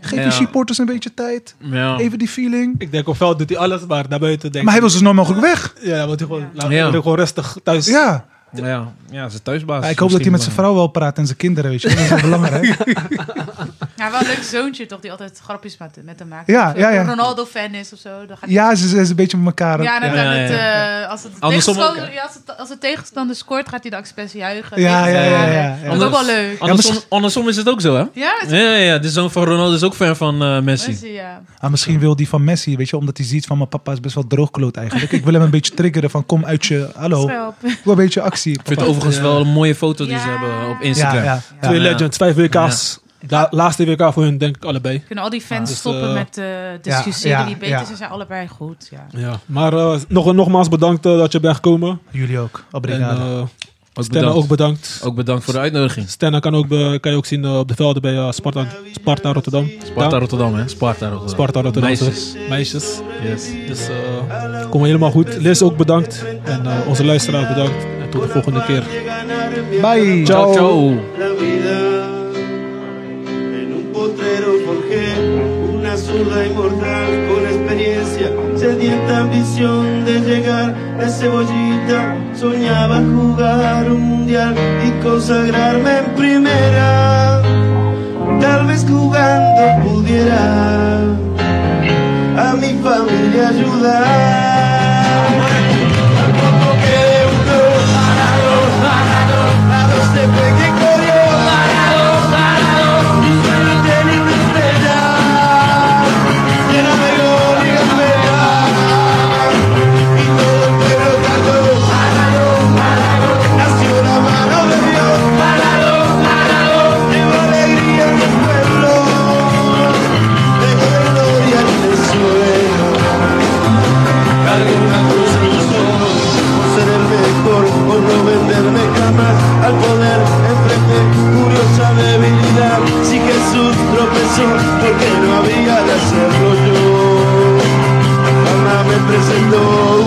Speaker 4: geef
Speaker 5: Ja. Oh.
Speaker 4: die supporters een beetje tijd.
Speaker 5: Ja.
Speaker 4: Even die feeling.
Speaker 6: Ik denk op veld doet hij alles, maar daarbuiten denk
Speaker 4: Maar hij
Speaker 6: ik...
Speaker 4: wil zo snel mogelijk weg.
Speaker 6: Ja, hij wil hij gewoon, laat-
Speaker 5: Ja.
Speaker 6: wil hij gewoon rustig thuis.
Speaker 4: Ja.
Speaker 5: Ja, ja, zijn thuisbaas.
Speaker 4: Ja, ik hoop dat hij met zijn vrouw wel praat en zijn kinderen, weet je. Dat is wel belangrijk.
Speaker 3: Ja, wel een leuk zoontje toch, die altijd grapjes met, met hem maakt.
Speaker 4: Ja,
Speaker 3: Als er
Speaker 4: ja, ja.
Speaker 3: een Ronaldo-fan is of zo, dan gaat hij...
Speaker 4: Ja, ze ze is een beetje met elkaar.
Speaker 3: Ja, dan
Speaker 5: Ja,
Speaker 3: kan
Speaker 5: ja,
Speaker 3: het,
Speaker 5: ja.
Speaker 3: eh, als, het
Speaker 5: Andersom ook,
Speaker 3: tegenstander, ja, als, het, als het tegenstander scoort, gaat hij de expres juichen.
Speaker 4: Ja, ja, ja, ja, ja.
Speaker 3: Dat is ook wel leuk.
Speaker 5: Andersom, andersom is het ook zo, hè?
Speaker 3: Ja, het is
Speaker 5: Ja, ja, ja. De zoon van Ronaldo is ook fan van eh, Messi.
Speaker 3: Messi, ja.
Speaker 4: Ah, misschien wil die van Messi, weet je, omdat hij ziet van mijn papa is best wel droogkloot eigenlijk. Ik wil hem een beetje triggeren van kom uit je, hallo, ik
Speaker 3: Schelp.
Speaker 4: wil een beetje actie.
Speaker 5: Ik vind het overigens wel een mooie foto die ze
Speaker 3: Ja.
Speaker 5: hebben op
Speaker 4: Ja,
Speaker 5: Instagram.
Speaker 4: ja.
Speaker 6: Twee
Speaker 5: Ja.
Speaker 6: legends, vijf WK's. La- laatste WK voor hun, denk ik, allebei.
Speaker 3: Kunnen al die fans
Speaker 6: Ah, dus,
Speaker 3: stoppen
Speaker 6: eh,
Speaker 3: met eh discussiëren
Speaker 4: ja,
Speaker 3: die beter
Speaker 4: ja.
Speaker 3: zijn, zijn allebei goed. Ja.
Speaker 6: Ja. Maar eh, nog, nogmaals bedankt eh, dat je bent gekomen.
Speaker 4: Jullie ook,
Speaker 6: En,
Speaker 4: obrigado.
Speaker 6: eh
Speaker 5: Ook,
Speaker 6: Stenna
Speaker 5: bedankt.
Speaker 6: ook bedankt.
Speaker 5: ook bedankt voor de uitnodiging.
Speaker 6: Stenna kan, ook be- kan je ook zien eh, op de velden bij eh, Sparta, Sparta Rotterdam.
Speaker 5: Sparta Rotterdam, hè? Sparta Rotterdam.
Speaker 6: Sparta Rotterdam.
Speaker 5: Meisjes.
Speaker 6: Meisjes.
Speaker 5: Yes.
Speaker 6: Dus eh kom helemaal goed. Liz ook bedankt. En eh, onze luisteraar bedankt. En tot de volgende keer.
Speaker 4: Bye.
Speaker 5: Ciao, ciao.
Speaker 7: la vida. En un potrero forjé una zurda inmortal con experiencia, sedienta ambición de llegar a cebollita. Soñaba jugar un mundial y consagrarme en primera. Tal vez jugando pudiera a mi familia ayudar. Al poco que de uno a los de Pequecorio Parados, parados Mi sueño tiene una estrella Lléname gol y Y todo el pueblo cantó Parados, parados Nació la mano de Dios Parados, parados Llevo alegría a mi pueblo Dejo de gloria el suelo Cargué una cruz en los ojos por ser el mejor, por no venderme jamás al poder enfrenté curiosa debilidad. Si Jesús tropezó, porque no había de hacerlo yo. Mamá me presentó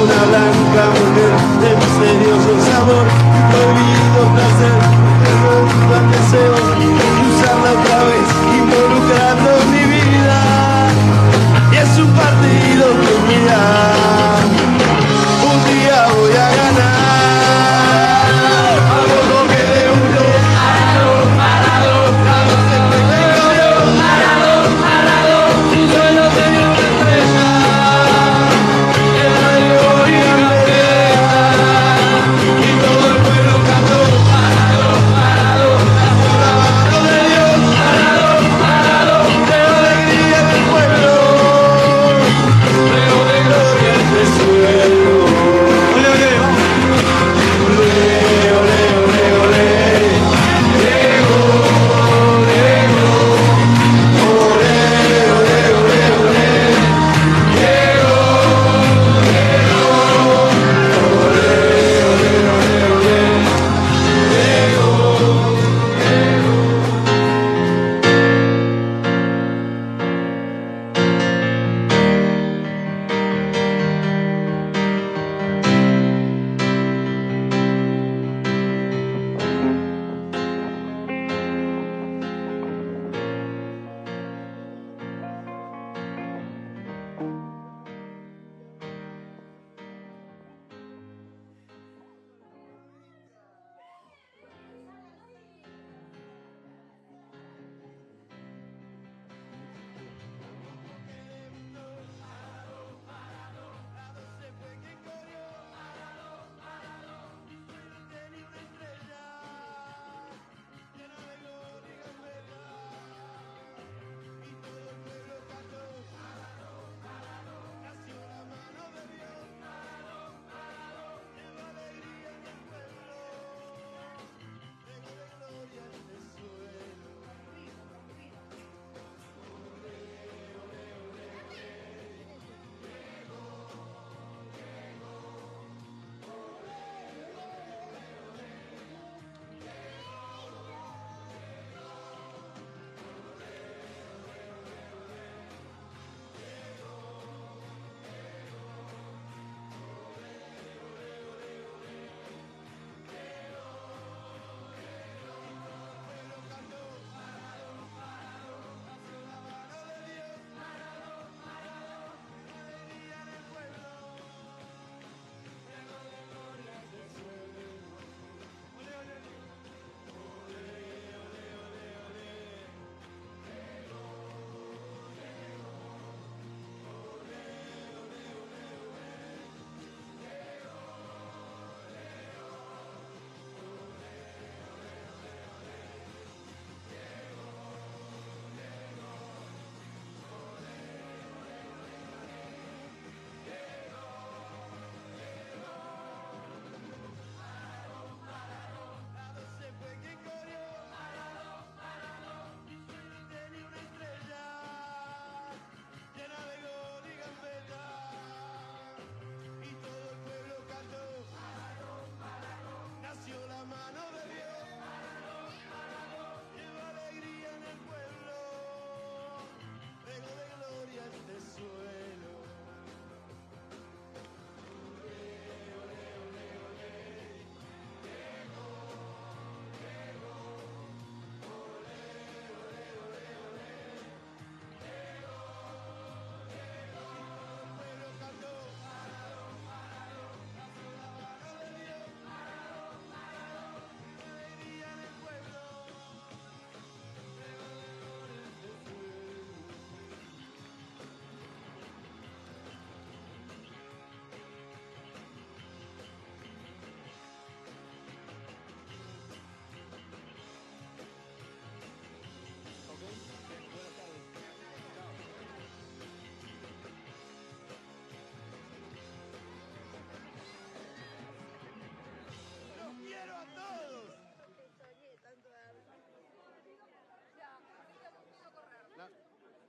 Speaker 7: una blanca mujer de misterioso sabor, y prohibido placer, remonto al deseo de cruzarla otra vez, involucrando mi vida. Y es un partido que mira un día voy a ganar. A poco que de uno, parados, parados, parados, de pequeños, parados, parados, mi sueño tenía una estrella. Era el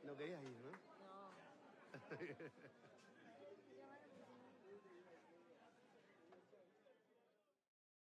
Speaker 7: lo querías ir, ¿no?